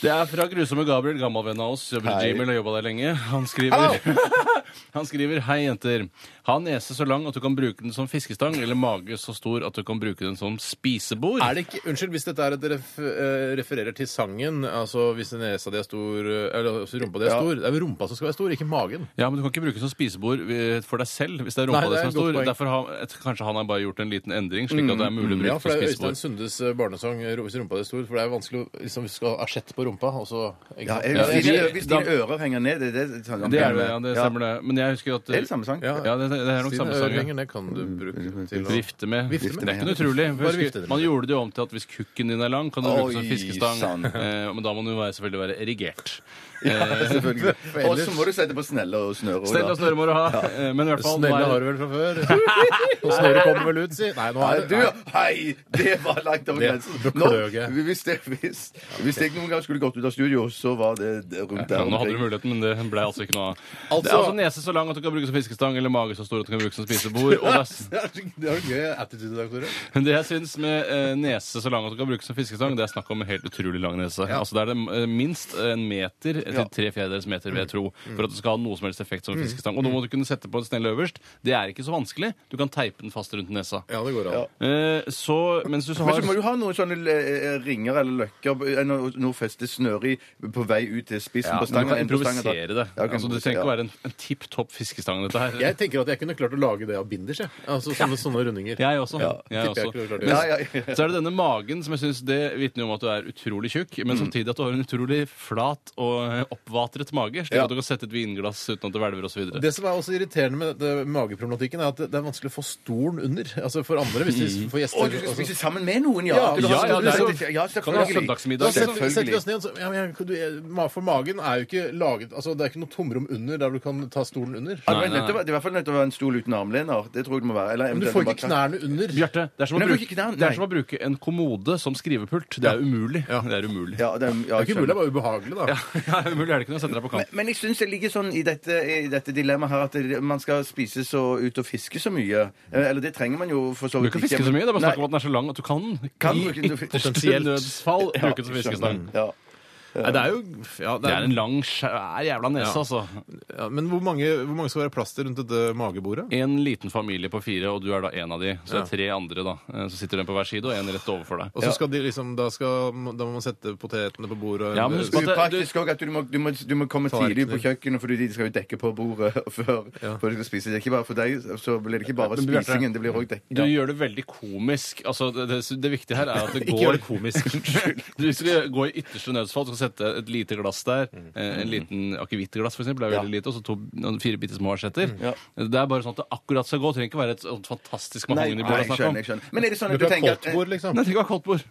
Speaker 5: Det er fra grusomme Gabriel, gammel venn av oss. Jobber i Gmail og jobba der lenge. Han skriver, <laughs> han skriver Hei, jenter. Ha en nese så lang at du kan bruke den som fiskestang, eller mage så stor at du kan bruke den som spisebord.
Speaker 3: Er det ikke, unnskyld, hvis dette er et ref, eh, refererer til sangen altså Hvis nesa di er stor, eh, eller hvis rumpa di er stor Det er jo rumpa som skal være stor, ikke magen.
Speaker 5: Ja, men du kan ikke bruke det som spisebord eh, for deg selv hvis det er rumpa
Speaker 3: Nei, det
Speaker 5: di som er
Speaker 3: er et godt
Speaker 5: stor.
Speaker 3: poeng. Mm,
Speaker 5: Derfor har, et- kanskje han har bare gjort en liten endring, slik at det er mulig å bruke
Speaker 3: Ja,
Speaker 5: det
Speaker 3: for
Speaker 5: som
Speaker 3: det er jo Øystein
Speaker 5: spisebord.
Speaker 3: Sundes eh, barnesang eh, 'Hvis rumpa di er stor'. For det er jo vanskelig å liksom, hvis du skal ha asjett på rumpa, og så ikke
Speaker 4: Ja,
Speaker 3: sant?
Speaker 4: jeg,
Speaker 3: Ja,
Speaker 4: hvis,
Speaker 3: jeg-
Speaker 4: dine, hvis dine ører henger ned, det er det
Speaker 5: Det er det, ja, det stemmer det. Men jeg husker at eh,
Speaker 4: Det er det samme sang.
Speaker 3: Ja.
Speaker 5: Ja, det, det er nok
Speaker 3: Dine
Speaker 5: samme
Speaker 3: ører
Speaker 5: sang. ja.
Speaker 3: lenger ned kan du bruke til å
Speaker 5: Vifte med.
Speaker 3: Vifte med.
Speaker 5: Det er ikke noe utrolig.
Speaker 3: Bare
Speaker 5: Husker-
Speaker 3: vifte det med.
Speaker 5: Man gjorde det jo om til at hvis kukken din er lang, kan du bruke det som
Speaker 4: Oi,
Speaker 5: fiskestang.
Speaker 4: sann.
Speaker 5: Eh, men da må den jo være, selvfølgelig være erigert.
Speaker 4: <laughs> Selvfølgelig. Og så må du sette på snelle og snøre. også, da.
Speaker 5: Snelle og snøre må du ha. eh, Men i hvert fall
Speaker 3: Snelle har
Speaker 5: er,
Speaker 3: du vel fra før? <laughs> Og snørret kommer vel ut, si. Nei, nå
Speaker 4: Nei,
Speaker 3: er
Speaker 4: du,
Speaker 3: det
Speaker 4: hei! Det var langt over
Speaker 3: Det-
Speaker 4: grensen.
Speaker 3: det
Speaker 4: Nå,
Speaker 3: kløg jeg.
Speaker 4: hvis, det, hvis, hvis jeg noen gang skulle gått ut av studio, så var det det rundt der.
Speaker 5: ja, nå hadde du
Speaker 4: omkring.
Speaker 5: muligheten, men det ble altså ikke noe av.
Speaker 3: Altså-
Speaker 5: det er altså nese så lang at du kan bruke som fiskestang, eller mage så stor at du kan bruke som spisebord.
Speaker 3: <laughs>
Speaker 5: Og det, er-
Speaker 3: Det er så- det er jo gøy attitude i dag, Tore.
Speaker 5: det jeg syns med eh, nese så lang at du kan bruke som fiskestang, det er snakk om en helt utrolig lang nese. Altså Det er det eh, minst en meter til tre fjerdedels meter, vil jeg tro, for at det skal ha noe som helst effekt som fiskestang. Og nå må du kunne sette på en snelle øverst. Det er ikke så vanskelig. Du kan teipe den fast rundt nesa.
Speaker 3: Ja, det går an.
Speaker 5: Eh, så mens du så
Speaker 4: Men så må
Speaker 5: har
Speaker 4: du ha noen sånne eh, ringer eller løkker eh, noe noe feste snøre i på vei ut til spissen
Speaker 5: ja,
Speaker 4: på
Speaker 5: men Du
Speaker 4: stangen.
Speaker 5: kan
Speaker 4: enten på stangen-
Speaker 5: improvisere det.
Speaker 4: Ja, du kan
Speaker 5: altså, det
Speaker 4: improvisere,
Speaker 5: trenger ikke
Speaker 4: ja.
Speaker 5: være en, en tipp topp fiskestang, dette her.
Speaker 3: Jeg tenker at jeg kunne klart å lage det av binders, jeg. Altså sånne, sånne rundinger.
Speaker 5: Jeg også. jeg
Speaker 3: Tipper jeg
Speaker 5: også.
Speaker 3: kunne klart det.
Speaker 4: Ja, ja, ja.
Speaker 5: Så er det denne magen som jeg synes det vitner om at du er utrolig tjukk, men
Speaker 4: Mm.
Speaker 5: samtidig at du har en utrolig flat og eh, oppvatret mage, slik
Speaker 3: Ja.
Speaker 5: at du kan sette et vinglass uten at det hvelver osv.
Speaker 3: Det som er også irriterende med dette mageproblematikken, er at det er vanskelig å få stolen under. Altså for andre, hvis de får gjester.
Speaker 4: Å, du skal
Speaker 3: altså.
Speaker 4: spise sammen med noen, ja?
Speaker 3: Ja,
Speaker 4: Du
Speaker 5: ja,
Speaker 4: har-
Speaker 5: ja, det er jo-
Speaker 4: ja,
Speaker 5: Kan du ha
Speaker 4: selvfølgelig.
Speaker 3: Da
Speaker 5: søndagsmiddag?
Speaker 3: setter vi-
Speaker 4: Selvfølgelig.
Speaker 3: setter vi oss ned, og så, ja, men jeg, du, jeg, ma- for magen er jo ikke laget altså Det er ikke noe tomrom under der du kan ta stolen under.
Speaker 4: Ja, det er nødt til å være- det er i hvert fall nødt til å være en stol uten armlener. Det tror jeg det må være. Eller
Speaker 3: Men du
Speaker 4: eventuelt
Speaker 3: får
Speaker 4: bare
Speaker 3: ikke knærne under.
Speaker 5: Bjarte, det er, som å
Speaker 4: Nei,
Speaker 5: bruke,
Speaker 4: bruker ikke den,
Speaker 5: det
Speaker 4: nei.
Speaker 5: er som å bruke en kommode som skrivepult. Det er umulig. Det er umulig.
Speaker 4: Ja, det er, ja,
Speaker 3: Det er ikke
Speaker 4: skjønner.
Speaker 3: mulig, det er bare ubehagelig, da.
Speaker 5: <laughs> Ja, umulig er det ikke når du setter deg på
Speaker 4: Men,
Speaker 5: kamp.
Speaker 4: men jeg syns det ligger sånn i dette, i dette dilemmaet her at det, man skal spise så ut og fiske så mye. Eh, Eller det trenger man jo for så
Speaker 5: Du
Speaker 4: vidt
Speaker 5: kan fiske så mye. Det er bare snakk om at den er så lang at du kan,
Speaker 4: Kan
Speaker 5: i
Speaker 4: bruke den til-
Speaker 5: ytterste
Speaker 3: Potensielt.
Speaker 5: nødsfall
Speaker 4: Ja,
Speaker 5: bruke den som fiskestang.
Speaker 4: skjønner. Ja.
Speaker 3: Nei, det er jo ja, det
Speaker 5: Det
Speaker 3: er,
Speaker 5: er en lang, skjær jævla nese, altså.
Speaker 3: ja, Men hvor mange, hvor mange skal være plass til rundt dette magebordet?
Speaker 5: En liten familie på fire, og du er da en av de. Så det er tre andre, da. Eh, Så sitter den på hver side, og en rett overfor deg.
Speaker 3: Og så skal de liksom, da, skal, da må man sette potetene på bordet.
Speaker 5: Ja, men husk på at-
Speaker 4: Upraktisk òg at du må, du, må, du må komme tidlig på
Speaker 3: Tallerkener.
Speaker 4: kjøkkenet, fordi de skal jo dekke på bordet <laughs> før, før de skal spise. Det er ikke bare for deg, så blir det ikke bare
Speaker 5: Men Bjarte,
Speaker 4: spisingen, det blir òg dekking.
Speaker 5: Du gjør det veldig komisk. Altså, det, det, det viktige her er at det går
Speaker 3: Ikke gjør det
Speaker 5: <laughs>
Speaker 3: komisk.
Speaker 5: Unnskyld. du skal gå i ytterste nødsfall. Du skal sette et lite glass der. eh, En liten akevittglass, for eksempel, er veldig lite. Og så to, noen- fire bitte små asjetter. Det er bare sånn at det akkurat skal gå. Det trenger ikke være et sånt fantastisk mahogni
Speaker 4: Nei,
Speaker 5: bord å
Speaker 4: jeg
Speaker 5: snakke om.
Speaker 4: skjønner, jeg skjønner. Men er det
Speaker 3: Du
Speaker 4: sånn at
Speaker 3: kan
Speaker 4: du
Speaker 3: ha
Speaker 4: tenker at
Speaker 3: koldtbord, liksom.
Speaker 5: Nei, det kan være koldtbord.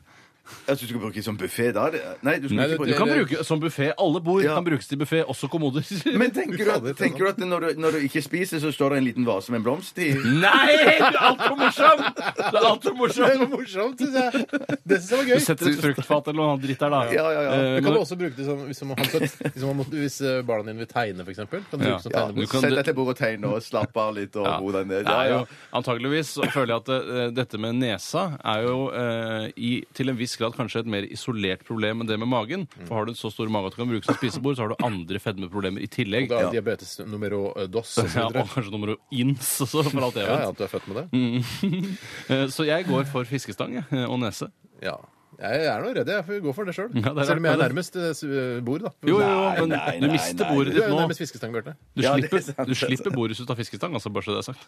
Speaker 4: Altså, du skal bruke det som buffé da? Det- Nei, du skal
Speaker 3: Nei,
Speaker 4: ikke
Speaker 3: det-
Speaker 4: bruke
Speaker 5: Du kan
Speaker 3: det-
Speaker 5: bruke som buffé. Alle bord
Speaker 4: Ja.
Speaker 5: kan brukes til buffé, også kommoder.
Speaker 4: Men tenker du, at, tenker du at når du, når du ikke spiser, så står det en liten vase med en blomst i?
Speaker 5: <laughs> Nei! Du er altfor morsom! Du er altfor morsom.
Speaker 3: var morsomt, syns jeg. Det syns jeg var
Speaker 5: Du setter et fruktfat eller noe annet dritt der, da.
Speaker 4: Ja, ja, ja.
Speaker 5: Eh,
Speaker 3: Det
Speaker 5: men-
Speaker 3: kan du også bruke det som, hvis, man har sett, hvis, man må, hvis eh, barna dine vil tegne, f.eks. Kan du
Speaker 5: Ja.
Speaker 3: bruke det som
Speaker 5: Ja,
Speaker 4: Ja,
Speaker 5: du
Speaker 3: tegnebok.
Speaker 5: kan-
Speaker 4: Sett deg til bordet og tegn og slapp av litt og ro deg ned.
Speaker 5: Det er
Speaker 4: Ja,
Speaker 5: jo, antageligvis så føler jeg at eh, dette med nesa er jo eh, i, til en viss grad kanskje et mer isolert problem enn det med magen. For har du en så stor mage at du kan bruke som spisebord, så har du andre fedmeproblemer i tillegg.
Speaker 3: Da er diabetes numero eh, dos.
Speaker 5: <laughs>
Speaker 3: og
Speaker 5: Ja,
Speaker 3: så
Speaker 5: og
Speaker 3: videre.
Speaker 5: kanskje nummer ins også, for alt jeg
Speaker 3: Ja,
Speaker 5: vet.
Speaker 3: ja, at du er født med det?
Speaker 5: Mm. Eh, Så jeg går for fiskestang jeg, eh, og nese.
Speaker 3: Ja. Jeg er nå redd jeg får gå for det sjøl.
Speaker 5: Ja, det er
Speaker 3: Selv om jeg er
Speaker 5: rart.
Speaker 3: nærmest eh, s- eh, bord, da.
Speaker 5: Jo, jo, jo,
Speaker 4: Nei,
Speaker 5: men
Speaker 4: nei,
Speaker 5: du
Speaker 4: nei,
Speaker 5: mister
Speaker 4: nei.
Speaker 5: bordet
Speaker 3: Du
Speaker 5: ditt
Speaker 3: er jo
Speaker 5: nå.
Speaker 3: nærmest fiskestang, Bjarte.
Speaker 5: Du
Speaker 4: Ja, det
Speaker 5: slipper,
Speaker 4: er sant,
Speaker 5: du
Speaker 4: det er
Speaker 5: slipper bordet ut av fiskestang, altså, bare så det er sagt.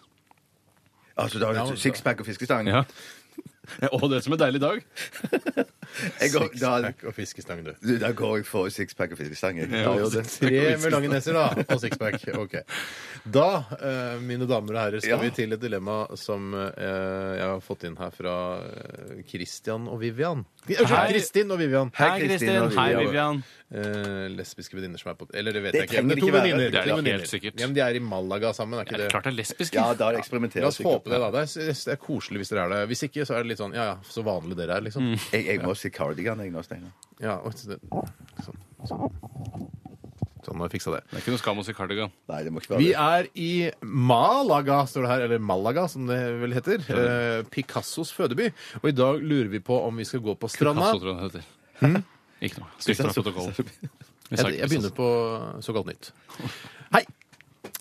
Speaker 4: Altså, da har du sixpack og fiskestang.
Speaker 5: Ja. <laughs> Og det som er deilig i dag.
Speaker 4: Jeg går, da,
Speaker 3: Sixpack og fiskestang, du.
Speaker 4: du, da går jeg for sixpack og fiskestang. Jeg. Da gjør jeg det.
Speaker 3: Altså, Tre med lange neser da, og sixpack. Ok. Da, eh, mine damer og herrer, skal
Speaker 4: Ja.
Speaker 3: vi til et dilemma som eh, jeg har fått inn her fra eh, Christian og Vivian. Eh, Unnskyld,
Speaker 5: Hei.
Speaker 3: Kristin og Vivian.
Speaker 4: Hei, Kristin, og
Speaker 5: Hei,
Speaker 4: Vivian.
Speaker 5: Vivian.
Speaker 3: Eh, lesbiske venninner som er på Eller det vet
Speaker 4: Det
Speaker 3: jeg ikke.
Speaker 4: trenger
Speaker 3: men
Speaker 4: det
Speaker 3: to
Speaker 4: ikke være.
Speaker 3: venninner.
Speaker 5: Det er
Speaker 3: to
Speaker 5: det helt
Speaker 3: venninner.
Speaker 5: sikkert.
Speaker 3: Ja, men de er i Malaga sammen, er ikke
Speaker 5: Det
Speaker 3: det?
Speaker 5: er klart det er lesbisk.
Speaker 4: Ja, da eksperimenterer
Speaker 3: La oss
Speaker 4: sikkert.
Speaker 3: håpe det, da. Det er, jeg synes det er koselig hvis dere er det. Hvis ikke, så er det litt sånn ja ja, så vanlig dere er, liksom.
Speaker 4: Jeg, jeg må si cardigan, jeg nå, Steinar.
Speaker 3: Ja, og så- sånn. Sånn, Sånn, nå har jeg fiksa det.
Speaker 5: Det er ikke noe skam å si cardigan.
Speaker 4: Nei, det må ikke være
Speaker 3: Vi
Speaker 4: det.
Speaker 3: er i Malaga, står det her. Eller Malaga, som det vel heter. Eh, Picassos fødeby. Og i dag lurer vi på om vi skal gå på stranda.
Speaker 5: Picasso, tror jeg det heter.
Speaker 3: Hm?
Speaker 5: Ikke noe. Stygt fra
Speaker 4: Picasso.
Speaker 5: protokollen. Vi sa
Speaker 3: Jeg,
Speaker 5: ikke
Speaker 3: jeg
Speaker 5: Picasso.
Speaker 3: begynner på såkalt nytt. Hei!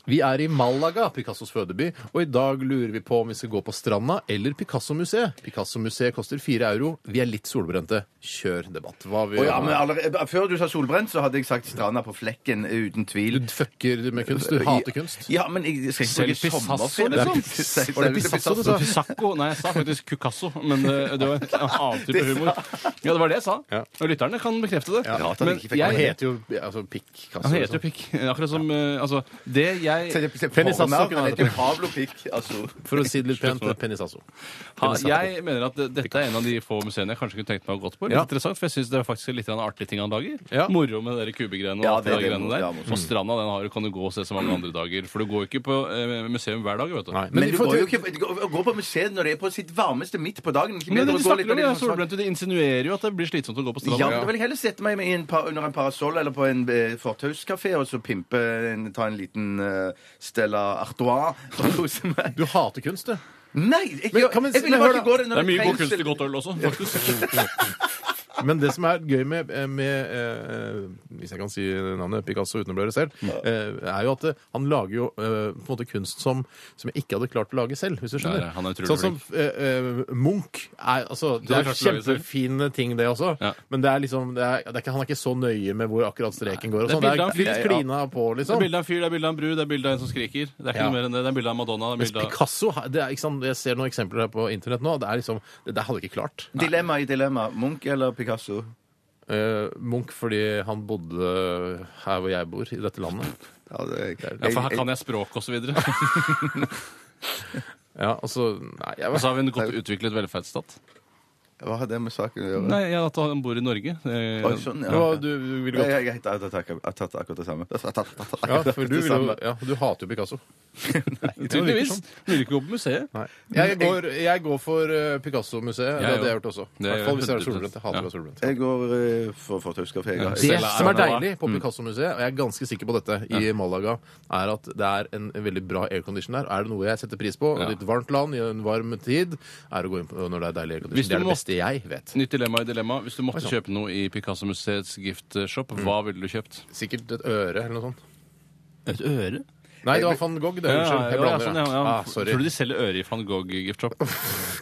Speaker 3: Vi er i Malaga, Picassos fødeby, og i dag lurer vi på om vi skal gå på stranda eller Picasso-museet. Picasso-museet koster fire euro. Vi er litt solbrente. Kjør debatt. Hva vi
Speaker 4: Å ja, men allerede, før du sa solbrent, så hadde jeg sagt stranda på flekken, uten tvil.
Speaker 3: Du fucker med kunst. Du hater kunst.
Speaker 4: Ja, men jeg skal
Speaker 5: Selv
Speaker 4: ikke bruke
Speaker 5: Picasso,
Speaker 4: sommerferie.
Speaker 5: liksom?
Speaker 4: Selv-
Speaker 3: Var det
Speaker 4: selv-
Speaker 3: Picasso du
Speaker 5: Så Pisacco Nei, jeg sa faktisk Cucasso, men det, det
Speaker 3: <laughs>
Speaker 5: var en annen type humor. Ja, det var det jeg sa.
Speaker 3: Ja.
Speaker 5: Og lytterne kan bekrefte det.
Speaker 4: Rart han
Speaker 5: Men
Speaker 4: ikke
Speaker 5: jeg
Speaker 4: fikk være
Speaker 3: Han
Speaker 4: med.
Speaker 3: heter jo altså, Picasso.
Speaker 5: Han heter jo
Speaker 3: liksom.
Speaker 5: Pikk. Akkurat som eh, Altså, det jeg
Speaker 4: Se- se-
Speaker 3: Penny Sasso
Speaker 4: fornavn,
Speaker 3: kunne
Speaker 4: Han
Speaker 3: hete
Speaker 4: heter jo Pablo Pic. Altså.
Speaker 3: For å si det litt pent, altså. Penisasso.
Speaker 5: ha, Jeg mener at det- dette er en av de få museene jeg kanskje kunne tenkt meg å gått på. Litt
Speaker 3: Ja.
Speaker 5: interessant, For jeg syns det er faktisk litt grann artig ting han lager.
Speaker 3: Ja.
Speaker 5: Moro med de der kubegreiene og
Speaker 4: Ja,
Speaker 5: alt det,
Speaker 4: det- det-
Speaker 5: greiene der.
Speaker 4: ja, morsomt.
Speaker 5: og stranda den har, du- kan du gå og se så mange andre dager. For du går ikke på eh, museum hver dag, vet du.
Speaker 3: Nei.
Speaker 4: Men,
Speaker 3: vi
Speaker 4: du
Speaker 3: får
Speaker 4: går jo
Speaker 3: til-
Speaker 4: ikke du går- går på museet når det er på sitt varmeste midt på dagen. Ikke
Speaker 5: Men
Speaker 4: bedre
Speaker 5: det
Speaker 4: å
Speaker 5: du
Speaker 4: gå litt
Speaker 5: snakker om,
Speaker 4: når det
Speaker 5: ja,
Speaker 4: er sånn-
Speaker 5: solbrente, det insinuerer jo at det blir slitsomt å gå på
Speaker 4: Ja,
Speaker 5: stranda.
Speaker 4: men Da vil jeg heller sette meg med i en par, under en parasoll eller på en eh, fortauskafé og så pimpe en, ta en liten eh, Stella Artois <laughs> og kose meg.
Speaker 3: Du hater kunst, du.
Speaker 4: Nei! Jeg,
Speaker 3: Men kan man-
Speaker 4: jeg ville
Speaker 3: men hør
Speaker 4: bare ikke
Speaker 3: da.
Speaker 4: gå der når
Speaker 5: Det er mye god
Speaker 4: trengs-
Speaker 5: kunst i godt øl også, faktisk.
Speaker 3: Men det som er gøy med, med eh, hvis jeg kan si navnet Picasso uten å bli arrestert, eh, er jo at eh, han lager jo eh, på en måte kunst som, som jeg ikke hadde klart å lage selv, hvis du
Speaker 5: Nei,
Speaker 3: skjønner.
Speaker 5: nei, han er utrolig
Speaker 3: sånn som eh, eh, Munch er, altså, Det
Speaker 5: hadde
Speaker 3: er
Speaker 5: klart å lage selv.
Speaker 3: kjempefine ting, det også,
Speaker 5: Ja.
Speaker 3: men det er liksom det er, det er ikke, han er ikke så nøye med hvor akkurat streken går. Og
Speaker 5: Det er
Speaker 3: sånn. det
Speaker 5: bildet av en
Speaker 3: er
Speaker 5: fyr,
Speaker 3: litt
Speaker 5: ja.
Speaker 3: klina på,
Speaker 5: Det er
Speaker 3: liksom.
Speaker 5: bilde av en fyr, det er bilde av en bru, det er bilde av en som skriker. Det er ikke
Speaker 3: Ja.
Speaker 5: noe mer enn det. Det er bilde av Madonna. Det er
Speaker 3: Mens
Speaker 5: bilde av
Speaker 3: Picasso, det er, ikke sant, Jeg ser noen eksempler her på internett nå. Det er liksom, det der hadde jeg ikke klart.
Speaker 4: Dilemma i dilemma. Munch eller Picasso?
Speaker 3: Eh, Munch fordi han bodde her hvor jeg bor, i dette landet.
Speaker 4: Ja, det, jeg,
Speaker 5: ja, for her kan jeg språk og så videre. Og
Speaker 3: Ja, altså, nei, jeg,
Speaker 5: så har vi en godt utviklet velferdsstat.
Speaker 4: Hva har det med saken å gjøre?
Speaker 5: Nei, ja, at han bor i Norge.
Speaker 4: Oi,
Speaker 5: Eh,
Speaker 4: sånn,
Speaker 3: Ja,
Speaker 4: ja.
Speaker 3: hva, du, du vil
Speaker 4: Nei,
Speaker 3: godt
Speaker 4: jeg, jeg, jeg, har tatt- jeg har tatt akkurat det samme. <laughs> Jeg har tatt akkurat
Speaker 3: ja, for du,
Speaker 4: det
Speaker 3: vil jo,
Speaker 4: samme.
Speaker 3: ja, du hater jo Picasso.
Speaker 5: Tydeligvis.
Speaker 3: sånn.
Speaker 5: Vil ikke gå på museet.
Speaker 3: Nei. Jeg, går, jeg går for eh, Picasso-museet.
Speaker 5: Jeg
Speaker 3: Det hadde jeg
Speaker 5: òg.
Speaker 3: gjort også. I
Speaker 5: Det
Speaker 3: hvert fall hvis jeg er
Speaker 5: gjør jeg.
Speaker 3: solbrent. Jeg hater å være solbrent.
Speaker 4: Jeg går eh, for fortauskafé. jeg.
Speaker 3: Det
Speaker 5: Selv er
Speaker 3: som er
Speaker 5: det, da.
Speaker 3: deilig på Picasso-museet, og jeg er ganske sikker på dette, i Malaga, er at det er en veldig bra aircondition der. Er det noe jeg setter pris på,
Speaker 5: Ja.
Speaker 3: og litt varmt land i en varm tid, er å gå inn på når det er deilig
Speaker 5: Hvis du
Speaker 3: aircondition. Det er det
Speaker 5: må-
Speaker 3: beste jeg vet.
Speaker 5: Nytt dilemma i dilemma. Hvis du måtte
Speaker 3: Oi, Mm. sant.
Speaker 5: kjøpe noe i Picasso-museets giftshop, hva ville du kjøpt?
Speaker 3: Sikkert et øre eller noe sånt.
Speaker 5: Et øre?
Speaker 3: Nei, det var van Gogh. Det, unnskyld. Jeg blander.
Speaker 5: sånn, ja, ja.
Speaker 3: Ah, sorry.
Speaker 5: Tror du de selger øre i van Gogh-giftshop?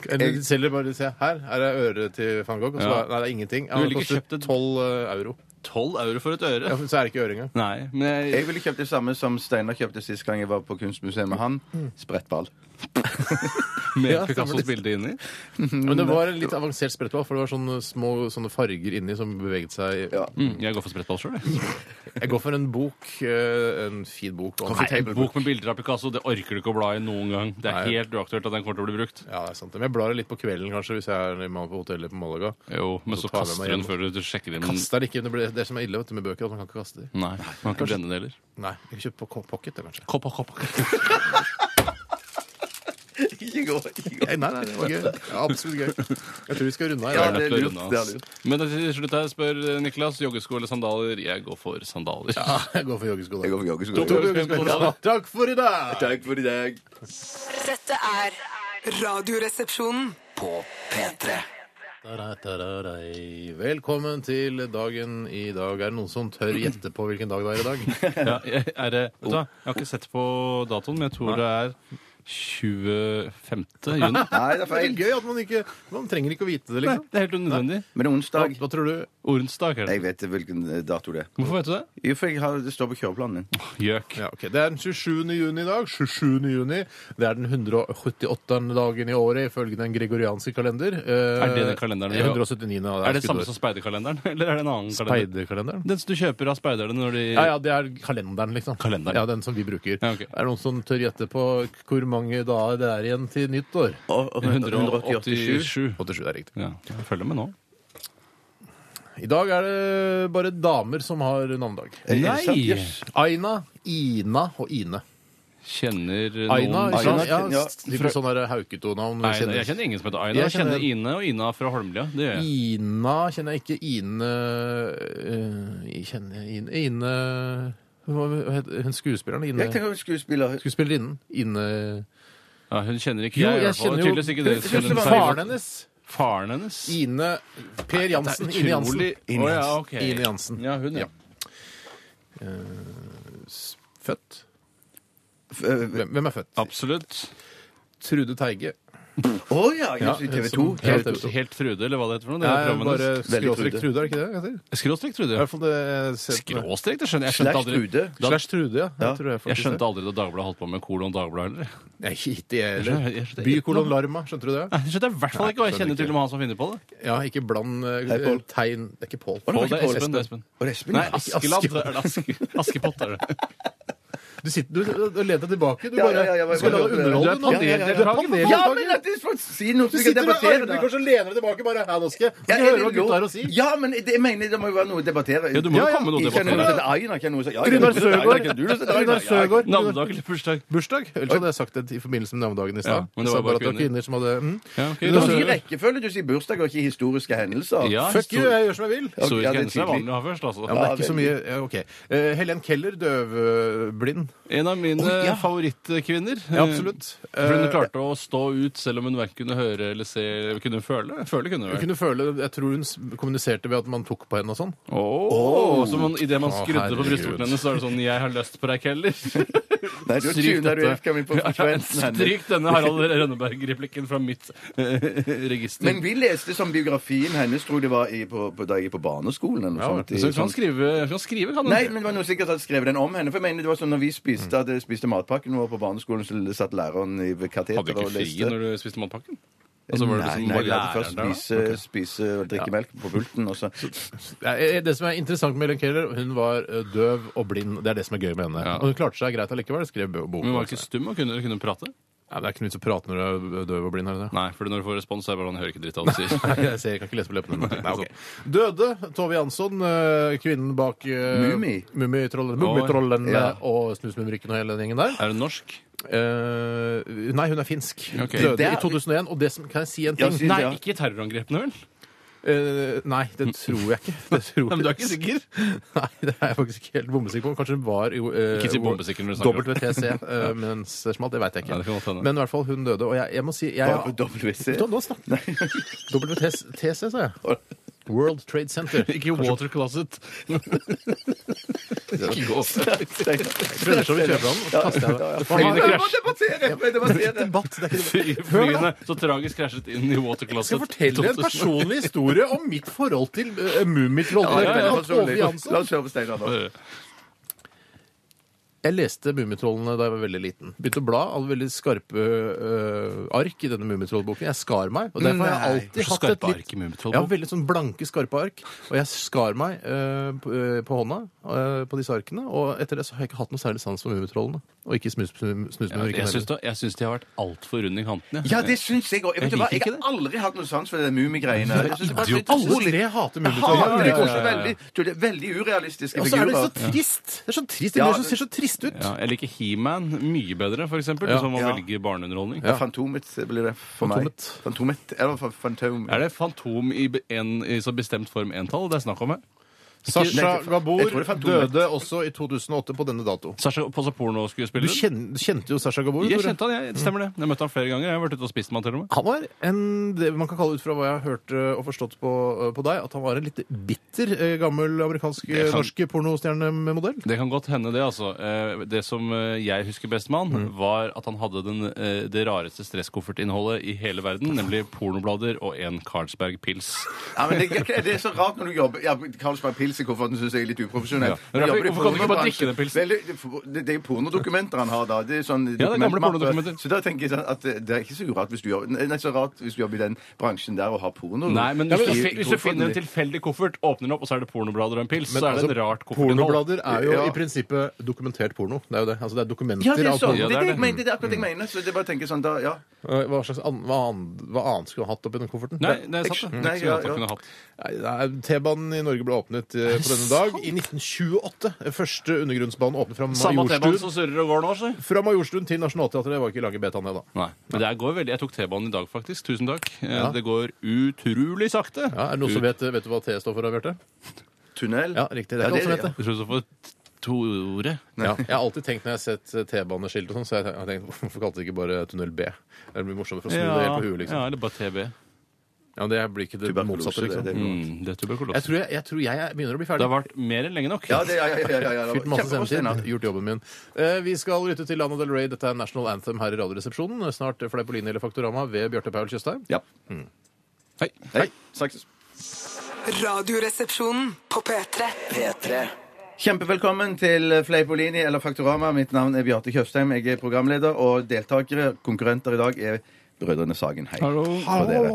Speaker 5: Du
Speaker 3: Eller de selger bare se, her er det øre til van Gogh, og så
Speaker 5: Ja.
Speaker 3: er- nei, det er ingenting. Ja,
Speaker 5: Du
Speaker 3: det
Speaker 5: ville ikke kjøpt
Speaker 3: koster
Speaker 5: et-
Speaker 3: 12 euro.
Speaker 5: Tolv euro for et
Speaker 3: Ja,
Speaker 5: øre?
Speaker 3: så er det ikke øre
Speaker 5: Mm,
Speaker 3: engang.
Speaker 5: Nei, men jeg
Speaker 4: Jeg ville kjøpt det samme som Steinar kjøpte sist gang jeg var på kunstmuseet med han. Sprettball.
Speaker 5: Med
Speaker 3: Ja,
Speaker 5: Picassos
Speaker 3: stemmer det.
Speaker 5: bilde inni.
Speaker 3: Men det var en litt avansert sprettball, for det var sånne små sånne farger inni som beveget seg
Speaker 4: Ja.
Speaker 5: Mm, jeg går for sprettball sjøl, jeg.
Speaker 3: Jeg går for en bok. eh, En fin bok. og-
Speaker 5: Nei, en bok med bilder av Picasso det orker du ikke å bla i noen gang. Det er
Speaker 3: Nei.
Speaker 5: helt uaktuelt at den kommer til å bli brukt.
Speaker 3: Ja, det er sant. Men jeg blar litt på kvelden, kanskje, hvis jeg er en mann på hotellet på Malaga.
Speaker 5: Jo, men
Speaker 3: Så
Speaker 5: så
Speaker 3: tar jeg
Speaker 5: kaster
Speaker 3: meg
Speaker 5: du den
Speaker 3: igjen.
Speaker 5: før du sjekker inn.
Speaker 3: Kaster det ikke, men det blir det som er ille vet du, med bøker, at man kan ikke kaste dem.
Speaker 5: Nei, man kan ikke brenne den heller.
Speaker 3: Nei, jeg kan kjøpe på ko- pocket, det, kanskje.
Speaker 5: Kopp, kopp, kopp.
Speaker 4: Ikke gå, ikke gå.
Speaker 3: Nei, nei, nei, det var gøy. Ja, absolutt gøy. Jeg tror vi skal runde av. i
Speaker 4: Ja,
Speaker 3: dag.
Speaker 4: det
Speaker 5: Nødt
Speaker 4: er
Speaker 5: til å
Speaker 4: lurt,
Speaker 5: runde av,
Speaker 4: det er
Speaker 5: ass. Men til slutt her spør eh, Niklas joggesko eller sandaler. Jeg går for sandaler.
Speaker 3: Ja, jeg går for joggesko.
Speaker 4: Jeg
Speaker 3: da.
Speaker 4: går for joggesko.
Speaker 5: To joggesko.
Speaker 3: Ja, Takk for i dag!
Speaker 4: Takk for i dag.
Speaker 9: Dette er Radioresepsjonen.
Speaker 2: På P3
Speaker 3: Da-da-da-da-dei. Velkommen til dagen i dag. Er det noen som tør gjette på hvilken dag det er i dag?
Speaker 5: <laughs>
Speaker 4: <laughs>
Speaker 5: Ja, jeg- er det, vet du hva, jeg har ikke sett på datoen, men jeg tror det er 25. juni.
Speaker 4: Nei, det er
Speaker 3: Det er
Speaker 4: feil.
Speaker 3: gøy at man ikke Man trenger ikke å vite det,
Speaker 5: Nei,
Speaker 3: liksom.
Speaker 5: det er helt unødvendig.
Speaker 4: Men det er
Speaker 3: Hva,
Speaker 4: onsdag
Speaker 3: hva tror du?
Speaker 5: Ordensdag er det.
Speaker 4: Jeg vet hvilken eh, dato det er.
Speaker 5: Hvorfor vet du det?
Speaker 4: Jo, for jeg har, det står på kjøreplanen min.
Speaker 5: Gjøk.
Speaker 3: Ja, ok. Det er den 27. juni i dag. 27. juni. Det er den 178. dagen i året ifølge den gregorianske kalender. Eh,
Speaker 5: Er det den kalenderen vi
Speaker 3: det er
Speaker 5: har?
Speaker 3: 179. av
Speaker 5: Er det samme
Speaker 3: skuddår.
Speaker 5: som speiderkalenderen? <laughs> Eller er det en annen kalender?
Speaker 3: speiderkalenderen?
Speaker 5: Den som du kjøper av speiderne når de
Speaker 3: Ja, ja, det er kalenderen, liksom.
Speaker 5: Kalenderen.
Speaker 3: Ja, Den som vi bruker.
Speaker 5: Ja, ok.
Speaker 3: Er det noen som tør gjette på hvor mange dager det er igjen til nyttår?
Speaker 4: Og- og 187.
Speaker 5: 187.
Speaker 3: 87, det er riktig.
Speaker 5: Ja, jeg følger med nå.
Speaker 3: I dag er det bare damer som har navnedag.
Speaker 5: Nei!
Speaker 3: Aina, Ina og Ine.
Speaker 5: Kjenner
Speaker 3: Aina,
Speaker 5: noen
Speaker 3: ikke sant?
Speaker 4: Aina,
Speaker 3: ja,
Speaker 4: ja.
Speaker 3: Typisk sånn der Hauketo-navn.
Speaker 5: Aina, Jeg kjenner ingen som heter Aina.
Speaker 3: Jeg
Speaker 5: Jeg kjenner
Speaker 3: kjenner-
Speaker 5: Ine og Ina fra Holmlia. Det gjør jeg.
Speaker 3: Ina kjenner jeg ikke. Ine eh, Kjenner jeg Ine Ine Hva heter hun skuespilleren?
Speaker 4: Jeg
Speaker 3: Ine
Speaker 4: tenker skuespiller
Speaker 3: Skuespillerinnen? Ine
Speaker 5: Ja, hun kjenner ikke
Speaker 3: Jo,
Speaker 5: jeg, i
Speaker 3: jeg
Speaker 5: hvert fall.
Speaker 3: kjenner jo
Speaker 5: Tydeligvis ikke dere som kjenner
Speaker 3: Faren hennes!
Speaker 5: Faren hennes.
Speaker 3: Ine Per Jansen. Ine Jansen.
Speaker 5: Utrolig- Å, ja, ok.
Speaker 3: Ine Jansen. Eh,
Speaker 5: Ja, hun, ja.
Speaker 3: Født?
Speaker 4: F- øh,
Speaker 3: Hvem, hvem er født?
Speaker 5: Absolutt.
Speaker 3: Trude Teige.
Speaker 4: Å ja! ja så i TV 2.
Speaker 3: Ja,
Speaker 5: Helt, helt Trude, eller hva det heter for noe. Det er
Speaker 3: Nei,
Speaker 5: programmet
Speaker 3: bare
Speaker 5: hennes.
Speaker 4: Veldig
Speaker 3: skråstrek
Speaker 4: Trude.
Speaker 3: Trude, er det ikke det? jeg sier?
Speaker 5: Skråstrek, Trude.
Speaker 3: I
Speaker 5: ja.
Speaker 3: hvert fall det jeg ser på-
Speaker 5: Skråstrek, det skjønner jeg. Jeg skjønte
Speaker 4: Slash
Speaker 5: aldri,
Speaker 4: Trude.
Speaker 5: da,
Speaker 3: Slash Trude, ja.
Speaker 4: Ja.
Speaker 3: Det tror jeg
Speaker 5: jeg
Speaker 3: faktisk
Speaker 5: skjønte aldri da Dagbladet holdt på med kolon Dagbladet heller.
Speaker 3: det. Nei, ikke jeg
Speaker 5: Jeg skjønte- jeg
Speaker 3: heller.
Speaker 5: skjønte-
Speaker 3: Bykolon Larma, skjønte du det?
Speaker 5: Nei, Det skjønte jeg i hvert fall ikke, og jeg kjenner til og med han som finner på det.
Speaker 3: Ja, ikke bland eh,
Speaker 4: Hei, Pål.
Speaker 3: tegn Det er ikke Pål.
Speaker 5: Og
Speaker 3: Pål,
Speaker 5: det er Espen. Det er Espen.
Speaker 4: Og Espen,
Speaker 5: Nei, altså,
Speaker 4: ja.
Speaker 5: Askeland. Er det Aske, Askepott er det.
Speaker 3: Du, sitter, du, du, du lener deg tilbake. Du
Speaker 4: Ja,
Speaker 3: bare
Speaker 4: ja, ja, jeg bare-
Speaker 3: skal la
Speaker 4: bare-
Speaker 3: deg underholde
Speaker 5: Du er panel-
Speaker 3: nå. Du er panel-
Speaker 4: Ja, men at det er for å si noe
Speaker 3: Du sitter med
Speaker 4: så vi kan debattere
Speaker 3: armene i
Speaker 4: det.
Speaker 3: kors og lener deg tilbake. Bare, ja, nå skal jeg nå
Speaker 4: Ja,
Speaker 3: skal jeg høre
Speaker 4: er
Speaker 3: hva
Speaker 4: det
Speaker 3: gutta har
Speaker 4: lov?
Speaker 3: å si.
Speaker 4: Ja, men det, jeg mener det må jo være noe å debattere.
Speaker 5: Ja, det må jo
Speaker 4: ja,
Speaker 5: komme noe å
Speaker 4: Ikke noe
Speaker 5: debattere.
Speaker 4: som heter Aina, ikke noe som ja,
Speaker 3: Runar
Speaker 4: du sier Aina,
Speaker 3: Søgaard.
Speaker 4: ikke du sier Aina,
Speaker 3: Runar
Speaker 4: ja,
Speaker 3: Søgaard.
Speaker 5: Navnedag eller bursdag?
Speaker 3: Bursdag? Ellers hadde jeg sagt det i forbindelse med navnedagen i
Speaker 5: Ja,
Speaker 3: stad.
Speaker 5: men det
Speaker 3: Så
Speaker 5: var bare
Speaker 3: at det var
Speaker 5: kvinner.
Speaker 3: kvinner som hadde mm.
Speaker 5: Ja, ok.
Speaker 3: Men
Speaker 4: Du
Speaker 3: da-
Speaker 4: sier rekkefølge, du sier bursdag og ikke historiske hendelser.
Speaker 5: Ja,
Speaker 3: Fuck you, jeg gjør som jeg vil.
Speaker 4: Ja,
Speaker 5: Historisk
Speaker 4: det er
Speaker 5: hendelse er
Speaker 4: tydelig.
Speaker 5: vanlig å ha først, altså.
Speaker 3: Ja, men det
Speaker 4: Ja,
Speaker 3: er ikke så
Speaker 4: veldig.
Speaker 3: mye ja, OK. Eh, Helen Keller, døvblind.
Speaker 5: En av mine
Speaker 4: Å, ja.
Speaker 5: favorittkvinner.
Speaker 3: Ja, absolutt.
Speaker 5: Eh, For hun
Speaker 3: Eh,
Speaker 5: klarte å stå ut selv om hun verken kunne høre eller se Kunne hun føle? Føle kunne hun.
Speaker 3: Hun
Speaker 5: vel.
Speaker 3: kunne føle, Jeg tror hun s- kommuniserte ved at man tok på henne og sånn.
Speaker 5: Åh, Så man, idet man
Speaker 3: Å,
Speaker 5: skrudde på
Speaker 3: herregud.
Speaker 5: brystvorten hennes, så er det sånn 'Jeg har lyst på deg, <laughs> Keller'.
Speaker 4: Nei, du
Speaker 5: Stryk
Speaker 4: tuner du
Speaker 5: dette.
Speaker 4: Elka mi på frekvensen hennes.
Speaker 5: Stryk denne Harald Rønneberg-replikken fra mitt eh, register.
Speaker 4: Men vi leste som biografien hennes, tror jeg det var i, på, på, da jeg gikk på barneskolen. Eller noe sånt.
Speaker 5: så hun kan skrive, hun kan skrive kan hun?
Speaker 4: <laughs> Nei, men det var noe sikkert hadde skrevet den om henne. For jeg mener det var sånn når vi spiste,
Speaker 5: Mm.
Speaker 4: hadde spiste matpakken vår på barneskolen, så satt læreren i ved
Speaker 5: Hadde du
Speaker 4: kateteret
Speaker 5: ikke
Speaker 4: og
Speaker 5: fri
Speaker 4: leste.
Speaker 5: når du spiste matpakken? Altså, var det
Speaker 4: nei,
Speaker 5: liksom
Speaker 4: nei,
Speaker 5: bare
Speaker 4: vi hadde
Speaker 5: læreren
Speaker 4: først
Speaker 5: der, da?
Speaker 4: spise, spise og drikke melk på pulten, og så <laughs>
Speaker 3: Ja, eh, Det som er interessant med Helen Keller, hun var eh, døv og blind. Det er det som er gøy med henne.
Speaker 5: Ja.
Speaker 3: Og hun klarte seg greit allikevel. Skrev bo- bok.
Speaker 5: Men hun var
Speaker 3: også.
Speaker 5: ikke stum og kunne, kunne hun prate?
Speaker 3: Ja, det er ikke noe vits å prate når du er døv og blind. Er det det?
Speaker 5: Nei, for når du får respons, så er det bare han hører ikke dritt av det du sier.
Speaker 3: Nei, jeg ser, jeg kan ikke lese på leppene. men- Nei, ok. <laughs> Døde Tove Jansson, eh, kvinnen bak eh,
Speaker 4: Mummi.
Speaker 3: Mummitrollen Mummitrollen, eh,
Speaker 4: Ja.
Speaker 3: og Snusmumrikken og hele den gjengen der.
Speaker 5: Er hun norsk?
Speaker 3: Eh, nei, hun er finsk.
Speaker 5: Ok.
Speaker 3: Døde
Speaker 4: Det er-
Speaker 3: i 2001. Og det som, kan jeg si en
Speaker 4: Ja,
Speaker 3: ting?
Speaker 4: si det,
Speaker 5: Nei,
Speaker 4: ja.
Speaker 5: ikke i terrorangrepene, vel?
Speaker 3: Eh, nei, det tror jeg ikke. Det tror
Speaker 4: <laughs>
Speaker 5: Nei, men du er
Speaker 3: jeg
Speaker 5: ikke sikker?
Speaker 3: <laughs> Nei, det er jeg faktisk ikke helt bombesikker på. Kanskje hun var jo eh,
Speaker 5: Ikke si bombesikker når du snakker om det. <laughs>
Speaker 3: WTC eh, mens det smalt. Det veit jeg
Speaker 5: Nei, det kan godt
Speaker 3: ikke.
Speaker 5: hende.
Speaker 3: Men i hvert fall, hun døde. Og jeg, jeg må si jeg,
Speaker 4: Bare på WC.
Speaker 3: Nå- Nå snakker WTC, sa jeg.
Speaker 4: <laughs>
Speaker 3: World Trade Center.
Speaker 5: Ikke water closet.
Speaker 3: Prøvde så vidt kjøpe den, og så kaster jeg det. Hva har-
Speaker 5: Flyene
Speaker 4: Jeg må
Speaker 5: krasj.
Speaker 4: debattere! Jeg må debattere.
Speaker 3: Debatt, det er ikke
Speaker 5: Fly- Flyene så tragisk krasjet inn i water
Speaker 3: Jeg <laughs> skal
Speaker 5: closet.
Speaker 3: fortelle en
Speaker 5: 2000. <laughs>
Speaker 3: personlig historie om mitt forhold til uh, Mummitrollet.
Speaker 4: Ja, ja, ja,
Speaker 3: Tove
Speaker 4: personlig.
Speaker 5: Eh,
Speaker 3: Jansson.
Speaker 4: La oss høre på Steinar nå.
Speaker 3: Jeg leste Mummitrollene da jeg var veldig liten. Begynte å bla av veldig skarpe øh, ark i denne Mummitrollboken. Jeg skar meg. og derfor har jeg
Speaker 5: Nei,
Speaker 3: alltid
Speaker 5: hvorfor
Speaker 3: hatt et
Speaker 5: skarpe
Speaker 3: litt...
Speaker 5: ark i Mummitrollboken?
Speaker 3: Ja, veldig sånn blanke, skarpe ark. Og jeg skar meg øh, på, øh, på hånda øh, på disse arkene, og etter det så har jeg ikke hatt noe særlig sans for Mummitrollene. Og ikke snus- snus- Snusmumrikken
Speaker 5: Jeg
Speaker 3: heller.
Speaker 5: syns da- jeg syns de har vært altfor runde i kantene.
Speaker 4: Ja, det syns jeg òg. Jeg,
Speaker 5: Jeg
Speaker 4: vet du hva,
Speaker 5: liker
Speaker 4: jeg
Speaker 5: ikke
Speaker 4: har aldri hatt noe sans for de mummigreiene. Jeg synes det bare-
Speaker 5: Idiot.
Speaker 4: jeg synes-
Speaker 3: Alle tre hater
Speaker 4: Jeg hater
Speaker 3: Mummitrollene.
Speaker 4: det.
Speaker 3: Ja, ja,
Speaker 4: Jeg
Speaker 3: ja.
Speaker 4: synes det er veldig, tror det er veldig urealistiske
Speaker 3: Og så er det
Speaker 4: figurer.
Speaker 3: så trist! Det er så trist. Det
Speaker 4: Ja,
Speaker 3: blir så- ser så trist ut.
Speaker 5: Ja, jeg liker He-Man mye bedre, for eksempel,
Speaker 3: Ja.
Speaker 5: som man
Speaker 4: Ja.
Speaker 5: velger barneunderholdning.
Speaker 4: Ja. Fantomet blir det for
Speaker 3: Fantomet.
Speaker 4: meg. Fantomet. Eller fa- Fantom.
Speaker 5: Er det Fantom i, be- en, i så bestemt form entall det er snakk om her?
Speaker 3: Sasha
Speaker 4: Nei, jeg tror
Speaker 3: Gabor
Speaker 4: det er fem-
Speaker 3: døde også i 2008 på denne dato.
Speaker 5: Sasha, på
Speaker 3: Du
Speaker 4: Mm.
Speaker 5: pornoskuespiller?
Speaker 3: kjen- kjente jo Sasha Gabor?
Speaker 5: Jeg
Speaker 3: Tore.
Speaker 5: kjente han, jeg. det Stemmer det. Jeg møtte han flere ganger. Jeg har vært ute og spist med han til og med.
Speaker 3: Han var en, det man kan kalle ut fra hva jeg har hørt eh, og forstått på, eh, på deg, at han var en litt bitter eh, gammel amerikansk eh,
Speaker 5: Det kan-
Speaker 3: norsk pornostjernemodell.
Speaker 5: Det kan godt hende, det. altså. Eh, Det som eh, jeg husker best med han,
Speaker 3: Mm.
Speaker 5: var at han hadde den, eh, det rareste stresskoffertinnholdet i hele verden, nemlig pornoblader og en Carlsberg-pils.
Speaker 4: Ja, men det, det er så rart når du jobber ja, Carlsberg Pils i kofferten syns jeg er litt uprofesjonell.
Speaker 5: Ja.
Speaker 4: Når jobber i
Speaker 5: Hvorfor kan du ikke bare drikke den pilsen?
Speaker 4: Vel, det- det, det er jo pornodokumenter han har da. Det er sånn
Speaker 5: Ja, det er gamle
Speaker 4: dokumentmappe.
Speaker 5: pornodokumenter.
Speaker 4: Så da tenker jeg sånn at det er ikke så urart hvis du jobber Nei, så rart hvis du jobber i den bransjen der og har porno.
Speaker 5: Nei, men
Speaker 4: i-
Speaker 5: hvis,
Speaker 4: i
Speaker 5: du, hvis du
Speaker 4: kofferten
Speaker 5: finner en
Speaker 4: din.
Speaker 5: tilfeldig koffert, åpner den opp, og så er det pornoblader og en pils,
Speaker 3: Men
Speaker 5: så er det
Speaker 3: altså,
Speaker 5: et rart koffertinnhold.
Speaker 3: Pornoblader er jo
Speaker 4: Ja.
Speaker 3: i prinsippet dokumentert porno. Det er jo det. Altså, det er dokumenter
Speaker 4: ja, det er
Speaker 3: av
Speaker 4: sånn.
Speaker 3: porno.
Speaker 4: Det
Speaker 5: Ja,
Speaker 4: er
Speaker 5: det er det. Mm.
Speaker 4: det jeg mener. Det er akkurat det jeg mener. Så det er bare å tenke sånn da, ja.
Speaker 3: Eh, Hva, slags an, hva, annet, hva annet skulle han hatt oppi den kofferten?
Speaker 5: Nei, det er sant.
Speaker 4: Action.
Speaker 3: Mm.
Speaker 5: det.
Speaker 4: Nei,
Speaker 5: Skulle
Speaker 4: ja,
Speaker 5: jeg
Speaker 4: ja.
Speaker 5: kunne hatt.
Speaker 3: Nei, nei, T-banen i Norge ble åpnet eh, på denne dag i 1928. Første undergrunnsbanen åpnet fra
Speaker 5: Samme T-banen
Speaker 3: Majorstuen.
Speaker 5: som surrer og går nå, så.
Speaker 3: Fra Majorstuen til Nationaltheatret. Det var ikke lange betaen, det, da.
Speaker 5: Nei. Men det her går veldig. Jeg tok T-banen i dag, faktisk. Tusen takk. Eh, Det går utrolig sakte.
Speaker 3: Ja, er det noen som vet, vet du hva T står for, Bjarte?
Speaker 4: Tunnel.
Speaker 3: Ja, riktig. Det
Speaker 4: Ja,
Speaker 3: er noen som vet det.
Speaker 5: Jeg tror du får Tore.
Speaker 3: Ja. Jeg har alltid tenkt når jeg har sett T-baneskilt og sånn, så jeg har tenkt hvorfor kalte de ikke bare tunnel B? Det blir morsommere for å snu det helt på huet, liksom.
Speaker 5: ja, eller bare TB.
Speaker 3: Ja, men det blir ikke det
Speaker 4: Tuberkulose,
Speaker 3: motsatte,
Speaker 4: det- det
Speaker 3: liksom.
Speaker 4: er noe.
Speaker 5: Mm, det er tuberkulose.
Speaker 3: Jeg tror jeg, jeg, tror jeg er- begynner å bli
Speaker 5: Det
Speaker 3: ferdig.
Speaker 5: har vært mer enn lenge nok.
Speaker 4: Ja, det, ja, ja, ja, ja, ja.
Speaker 3: Fylt masse
Speaker 4: Kjempebra, Steinar.
Speaker 3: sendetid, gjort jobben min. Eh, Vi skal lytte til Lana Del Rey. Dette er National Anthem her i Radioresepsjonen. Snart eh, Fleipolini eller Faktorama ved Bjarte Paul Tjøstheim.
Speaker 4: Ja.
Speaker 5: Hei.
Speaker 4: Hei. Snakkes.
Speaker 9: Radioresepsjonen på P3.
Speaker 2: P3
Speaker 4: Kjempevelkommen til Fleipolini eller Faktorama. Mitt navn er Bjarte Tjøstheim. Jeg er programleder, og deltakere, konkurrenter i dag, er Brødrene Sagen. Hei.
Speaker 5: Hallo.
Speaker 4: på dere.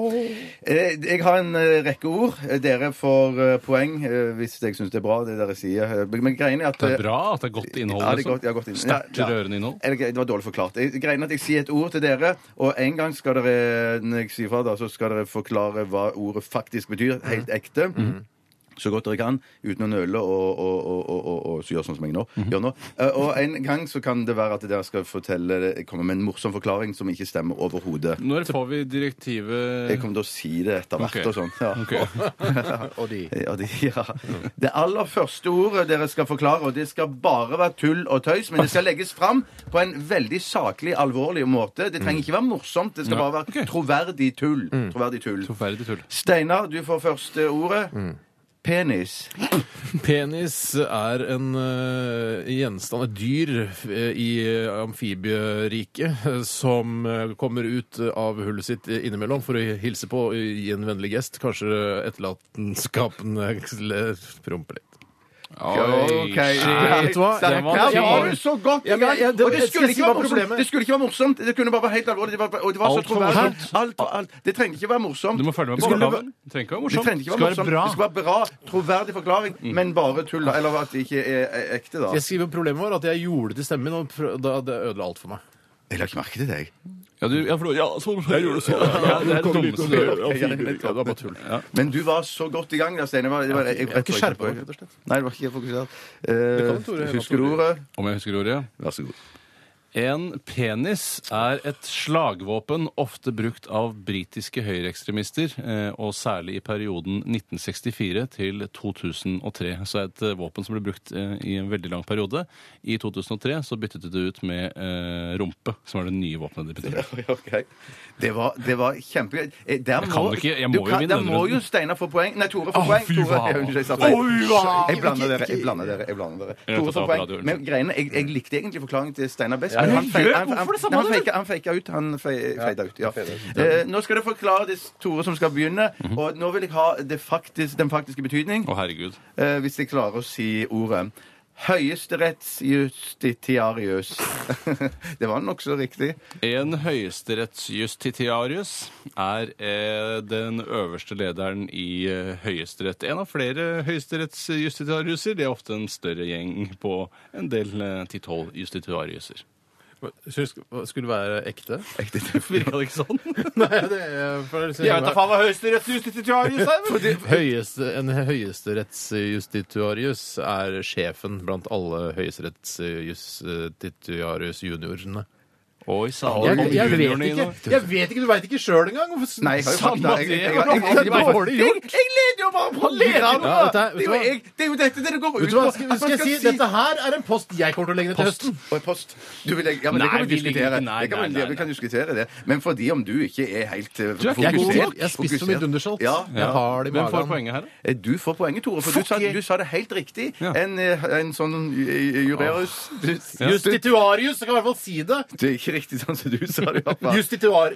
Speaker 4: Eh, Jeg har en eh, rekke ord. Eh, Dere får eh, poeng eh, hvis jeg syns det er bra, det dere sier. Eh, Men greien er at
Speaker 5: Det er bra at det er godt innhold.
Speaker 4: Ja, det er
Speaker 5: liksom.
Speaker 4: godt, ja, godt innhold.
Speaker 5: Sterkt
Speaker 4: Ja, ja.
Speaker 5: rørende innhold.
Speaker 4: Eller, det var dårlig forklart. Jeg- Greien er at jeg sier et ord til dere, og en gang skal dere når jeg sier fra da, så skal dere forklare hva ordet faktisk betyr,
Speaker 5: Mhm.
Speaker 4: helt ekte. Så godt dere kan, uten å nøle og, og, og, og, og, og så gjør sånn som jeg nå.
Speaker 5: Mhm.
Speaker 4: gjør nå. Eh, Og en gang så kan det være at dere skal fortelle, komme med en morsom forklaring som ikke stemmer overhodet.
Speaker 5: Når får vi
Speaker 4: Jeg
Speaker 5: direktivet
Speaker 4: kommer til å si det etter hvert
Speaker 5: Ok.
Speaker 4: og sånn. Ja.
Speaker 5: Ok.
Speaker 3: Og de.
Speaker 4: Eh, Ja, det, <laughs> ja. det aller første ordet dere skal forklare, og det skal bare være tull og tøys, men det skal legges fram på en veldig saklig, alvorlig måte. Det
Speaker 5: Mm.
Speaker 4: trenger ikke være morsomt, det skal bare være troverdig tull. Troverdig tull.
Speaker 5: Forferdelig tull.
Speaker 4: Steinar, du får første ordet.
Speaker 5: Mm.
Speaker 4: Penis.
Speaker 3: Penis er en eh, gjenstand, et dyr eh, i amfibieriket eh, som eh, kommer ut eh, av hullet sitt eh, innimellom for å hilse på og gi en vennlig gest. Kanskje eh, etterlatenskapen eh, <laughs> le- promper litt.
Speaker 4: Ok.
Speaker 3: Nei, vet du hva?
Speaker 4: Der
Speaker 3: Jeg var-
Speaker 4: der
Speaker 3: jeg
Speaker 4: var
Speaker 3: var-
Speaker 4: du så godt i
Speaker 3: Ja, men
Speaker 4: gang.
Speaker 3: jeg- det-
Speaker 4: Og
Speaker 3: jeg
Speaker 4: det
Speaker 3: skal
Speaker 4: skulle
Speaker 3: si
Speaker 4: ikke være
Speaker 3: hva
Speaker 4: morsomt.
Speaker 3: problemet-
Speaker 4: Det skulle ikke være morsomt. Det kunne bare være helt alvorlig. Det var, og det var så
Speaker 5: Alt for
Speaker 4: troverdig.
Speaker 5: morsomt.
Speaker 4: Alt og alt. Det trengte ikke være morsomt.
Speaker 5: Du må følge med på
Speaker 4: Det skulle
Speaker 5: oppgaven. Det trenger ikke være
Speaker 4: Det
Speaker 5: morsomt.
Speaker 4: trenger ikke
Speaker 5: Det skal
Speaker 4: være
Speaker 5: være
Speaker 4: morsomt.
Speaker 5: bra. Mm.
Speaker 4: Det skal være bra, troverdig forklaring, men bare tull. da. Eller at det ikke er er ekte, da.
Speaker 3: Jeg skriver problemet vår at jeg gjorde det til stemmen min, og prø- da det ødela alt for meg.
Speaker 4: Jeg la ikke merke til deg.
Speaker 5: Ja, du, ja, for, ja, sånn, jeg gjorde det sånn. Ja, det er det dummeste du gjør.
Speaker 4: Ja, det var bare tull. Men du var så godt i gang der, Steine. Jeg, var- jeg, jeg,
Speaker 3: Jeg har ikke skjerpa meg, rett og slett.
Speaker 4: Nei, du var ikke fokusert.
Speaker 3: kan Tore
Speaker 4: Eh,
Speaker 3: gjøre,
Speaker 4: husker du
Speaker 3: Tore.
Speaker 4: ordet?
Speaker 5: Om jeg husker ordet?
Speaker 4: Vær så god.
Speaker 5: En penis er et slagvåpen ofte brukt av britiske høyreekstremister, eh, og særlig i perioden 1964 til 2003. Så er det et eh, våpen som ble brukt eh, i en veldig lang periode. I 2003 så byttet de det ut med eh, rumpe, som er det nye våpenet de betyr.
Speaker 4: <laughs> Ja, ok. Det var, det var kjempegøy. Eh, Der
Speaker 5: Jeg kan ikke- jeg må
Speaker 4: du
Speaker 5: jo vinne
Speaker 4: Der
Speaker 5: denne
Speaker 4: må
Speaker 5: runden.
Speaker 4: jo Steinar få poeng. Nei, Tore får
Speaker 5: Å,
Speaker 4: poeng.
Speaker 5: fy
Speaker 4: Tore,
Speaker 5: faen.
Speaker 4: jeg, unnskyld, jeg, sa
Speaker 5: Å,
Speaker 4: feil.
Speaker 5: fy faen.
Speaker 4: jeg blander dere. Jeg blander dere. Jeg blander dere.
Speaker 5: Jeg
Speaker 4: Tore
Speaker 5: tar
Speaker 4: får
Speaker 5: på
Speaker 4: poeng.
Speaker 5: radio, unnskyld.
Speaker 4: Men greiene, jeg, jeg likte egentlig forklaringen til Steinar best. Men han
Speaker 5: gjør-
Speaker 4: feida han,
Speaker 5: hvorfor det samme,
Speaker 4: nei, han
Speaker 5: du?
Speaker 4: feiket- han feiket ut. Han fe- feida ut. Ja. Eh, nå skal dere forklare det Tore som skal begynne. Og nå vil jeg ha det faktisk, den faktiske betydning,
Speaker 5: Å, herregud.
Speaker 4: eh, hvis jeg klarer å si ordet. Høyesterettsjustitiarius. <laughs> det var nokså riktig.
Speaker 5: En høyesterettsjustitiarius er eh, den øverste lederen i eh, Høyesterett. En av flere høyesterettsjustitiariuser. Det er ofte en større gjeng på en del eh, ti-tolv justitiariuser. <laughs>
Speaker 3: Syns det skulle være ekte?
Speaker 5: Virka det ikke sånn?
Speaker 3: <laughs> Nei, det er for det er liksom-
Speaker 5: faen hva høyesterettsjustitiarius er! men-
Speaker 3: Høyeste, en høyesterettsjustitiarius er sjefen blant alle høyesterettsjustitiarius-juniorene.
Speaker 5: Oi sann.
Speaker 3: Jeg,
Speaker 5: mange
Speaker 3: jeg,
Speaker 5: juniorer
Speaker 3: vet ikke,
Speaker 5: inne.
Speaker 3: jeg vet ikke, Du veit ikke sjøl engang! Hvorfor-
Speaker 4: Nei, jeg har jo
Speaker 3: Samme
Speaker 4: fakta. Jeg-
Speaker 3: det,
Speaker 4: jeg- jeg-
Speaker 3: hva
Speaker 4: jeg- jeg-
Speaker 3: er det
Speaker 4: jeg-
Speaker 3: dårlig gjort?
Speaker 4: Jeg leder jo bare på lederen!
Speaker 3: Ja, dette er- vet
Speaker 4: det, er
Speaker 3: du
Speaker 4: jo
Speaker 3: hva?
Speaker 4: jeg, det er jo dette det går ut
Speaker 3: Vet du hva, skal, skal jeg si, Dette her er en post jeg kommer til å legge ned til høsten.
Speaker 4: Og post. Du vil, ja, men det
Speaker 5: Nei,
Speaker 4: kan
Speaker 5: vi ligger
Speaker 4: vi diskutere.
Speaker 5: ikke- nei,
Speaker 4: det kan vi,
Speaker 5: nei, nei,
Speaker 4: vi kan diskutere det. Men fordi om du ikke er helt eh,
Speaker 5: er ikke
Speaker 3: Jeg er god
Speaker 4: fokusert
Speaker 3: nok. Jeg spiser så mye
Speaker 4: fokusert.
Speaker 3: dundersolgt.
Speaker 4: Ja,
Speaker 3: Jeg har det i
Speaker 5: Hvem får
Speaker 3: magen.
Speaker 5: poenget her, da?
Speaker 4: Eh, Du får poenget, Tore, for du sa, du sa det helt riktig.
Speaker 5: Ja.
Speaker 4: En, eh, en sånn eh, jurerus
Speaker 5: <laughs>
Speaker 4: du- du-
Speaker 3: Justitiarius! Jeg kan i hvert fall si det.
Speaker 4: Det er ikke riktig sånn som du sa det. i hvert fall.
Speaker 3: Justituar,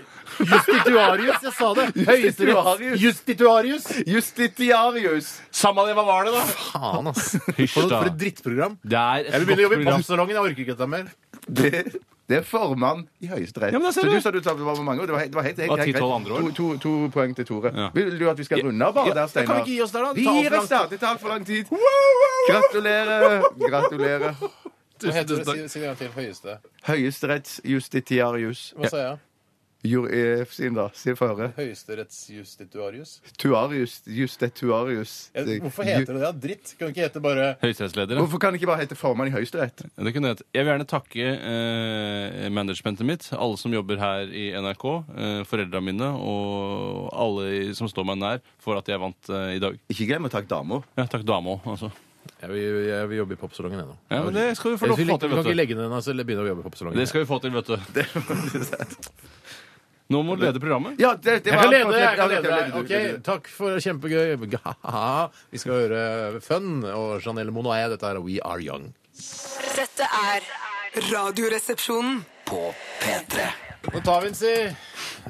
Speaker 3: justitiarius, jeg sa det.
Speaker 4: Justitiarius.
Speaker 3: Høyesterett. Justitiarius.
Speaker 4: Justitiarius!
Speaker 5: Samme det, hva var det, da?
Speaker 3: Faen, ass.
Speaker 5: Hysj,
Speaker 3: For,
Speaker 5: da.
Speaker 3: for et drittprogram.
Speaker 5: Det er et
Speaker 3: Jeg vil begynne å
Speaker 5: godt
Speaker 3: jobbe i
Speaker 5: program.
Speaker 3: popsalongen. Jeg orker ikke dette mer.
Speaker 4: Det, det er formann i Høyesterett.
Speaker 5: Ja, men da ser
Speaker 4: så
Speaker 5: du.
Speaker 4: du sa du tapte var mange, og det var helt, det var helt, helt,
Speaker 5: var
Speaker 4: helt
Speaker 5: 10-12
Speaker 4: greit.
Speaker 5: andre år.
Speaker 4: To, to, to poeng til Tore.
Speaker 5: Ja.
Speaker 4: Vil du at vi skal runde av bare
Speaker 5: Ja,
Speaker 4: der,
Speaker 5: da
Speaker 4: Steinar?
Speaker 5: kan vi ikke gi oss der, da. Det
Speaker 4: Vi
Speaker 5: tar
Speaker 4: gir
Speaker 5: altfor
Speaker 4: oss
Speaker 5: lang
Speaker 4: der! Det tar altfor lang tid. Gratulerer. Gratulerer.
Speaker 3: Si det en gang til. Høyeste.
Speaker 4: Høyesterettsjustitiarius.
Speaker 3: Hva sa jeg?
Speaker 4: Jur- eh, Sin, da. Si få høre.
Speaker 3: Høyesterettsjustitiarius?
Speaker 4: Tuarius. Justetuarius.
Speaker 3: Hvorfor heter det det? Dritt? Kan det ikke hete bare
Speaker 5: Høyesterettsledere.
Speaker 4: Hvorfor kan det ikke bare hete formann i Høyesterett?
Speaker 5: Det kunne hett. Jeg vil gjerne takke eh, managementet mitt, alle som jobber her i NRK, eh, foreldra mine og alle i- som står meg nær, for at jeg vant eh, i dag.
Speaker 4: Ikke glem å takke dama.
Speaker 5: Ja, takk dame òg, altså.
Speaker 3: Jeg vil, jeg vil jobbe i popsalongen ennå.
Speaker 5: Ja, men det skal vi få
Speaker 3: Ellers
Speaker 5: lov
Speaker 3: vil
Speaker 5: til å få
Speaker 3: jeg ikke-
Speaker 5: til,
Speaker 3: kan ikke
Speaker 5: vet du.
Speaker 3: legge ned den, altså, eller begynne å jobbe i popsalongen.
Speaker 5: Det skal vi få til, vet du. Nå må du lede programmet.
Speaker 4: Ja, det, det
Speaker 3: Jeg
Speaker 4: var
Speaker 3: kan lede,
Speaker 4: alt.
Speaker 3: jeg kan
Speaker 4: Ja,
Speaker 3: lede deg.
Speaker 4: du, leder
Speaker 3: Ok,
Speaker 4: du.
Speaker 3: Takk for kjempegøy. Gahaha. Vi skal høre Fun og Janelle Monae. Dette er We Are Young.
Speaker 9: Dette er Radioresepsjonen.
Speaker 2: På P3.
Speaker 3: Nå tar vi en, si.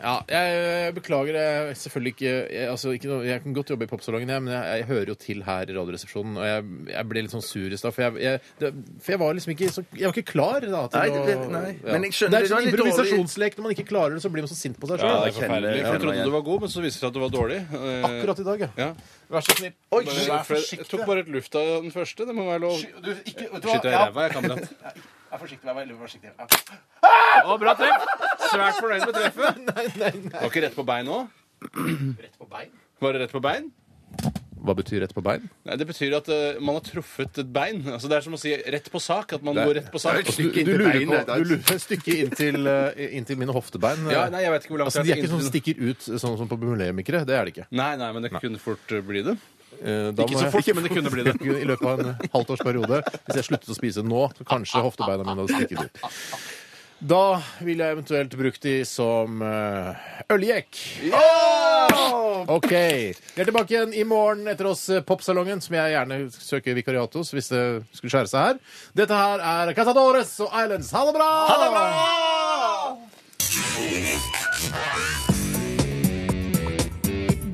Speaker 3: Ja, jeg eh, beklager det. Selvfølgelig ikke jeg, altså, ikke noe, jeg kan godt jobbe i popsalongen, jeg, men jeg, jeg hører jo til her i Radioresepsjonen. Og jeg, jeg ble litt sånn sur i stad, for jeg, jeg, det, for jeg var liksom ikke så Jeg var ikke klar da til
Speaker 4: Nei, det-
Speaker 3: å
Speaker 4: nei.
Speaker 3: Ja.
Speaker 4: Men jeg skjønner
Speaker 3: Det er sånn
Speaker 4: det var litt dårlig.
Speaker 3: improvisasjonslek. Når man ikke klarer det, så blir man så sint på seg
Speaker 5: Ja, det
Speaker 3: sjøl.
Speaker 5: er forferdelig.
Speaker 4: jeg
Speaker 5: Jeg
Speaker 4: kjenner meg
Speaker 5: trodde du var god, men så viste det seg at du var dårlig. Eh,
Speaker 3: Akkurat i dag, ja.
Speaker 5: Ja.
Speaker 3: Vær så snill.
Speaker 5: Oi, jeg tok bare et luft av den første. Det må være lov.
Speaker 3: Du, ikke, vet du
Speaker 5: Skyt deg i ræva, jeg, kamerat.
Speaker 3: Vær forsiktig. Vær veldig forsiktig.
Speaker 5: Å, bra treff! Svært fornøyd med <laughs> treffet. Var ikke rett på bein òg? Var det rett på bein?
Speaker 3: Hva betyr rett på bein?
Speaker 5: Nei, Det betyr at eh, man har truffet et bein. Altså, det er som å si rett på sak. At man
Speaker 3: Det er-
Speaker 5: går rett på sak.
Speaker 4: det er
Speaker 3: Du,
Speaker 4: Stykke
Speaker 3: du
Speaker 4: inntil
Speaker 3: lurer på
Speaker 4: beinet, det er-
Speaker 3: du lurer et stykke inntil, eh, inntil mine hoftebein.
Speaker 5: Ja, nei, jeg vet ikke hvor langt
Speaker 3: altså, de
Speaker 5: det
Speaker 3: er ikke sånn stikker ut sånn som på bulemikere. Det er det ikke.
Speaker 5: Nei, nei, men det kunne fort eh, bli det.
Speaker 3: Eh, da
Speaker 5: Ikke
Speaker 3: må
Speaker 5: så
Speaker 3: jeg-
Speaker 5: fort, men det kunne bli det.
Speaker 3: I løpet av en halvtårsperiode. Hvis jeg sluttet å spise nå, så kanskje hoftebeina mine hadde stikket ut. Da ville jeg eventuelt brukt de som eh, øljekk. OK. Vi er tilbake igjen i morgen etter oss eh, Popsalongen, som jeg gjerne søker vikariat hos hvis det skulle skjære seg her. Dette her er Casadores og Islands. Ha det bra! Ha det bra!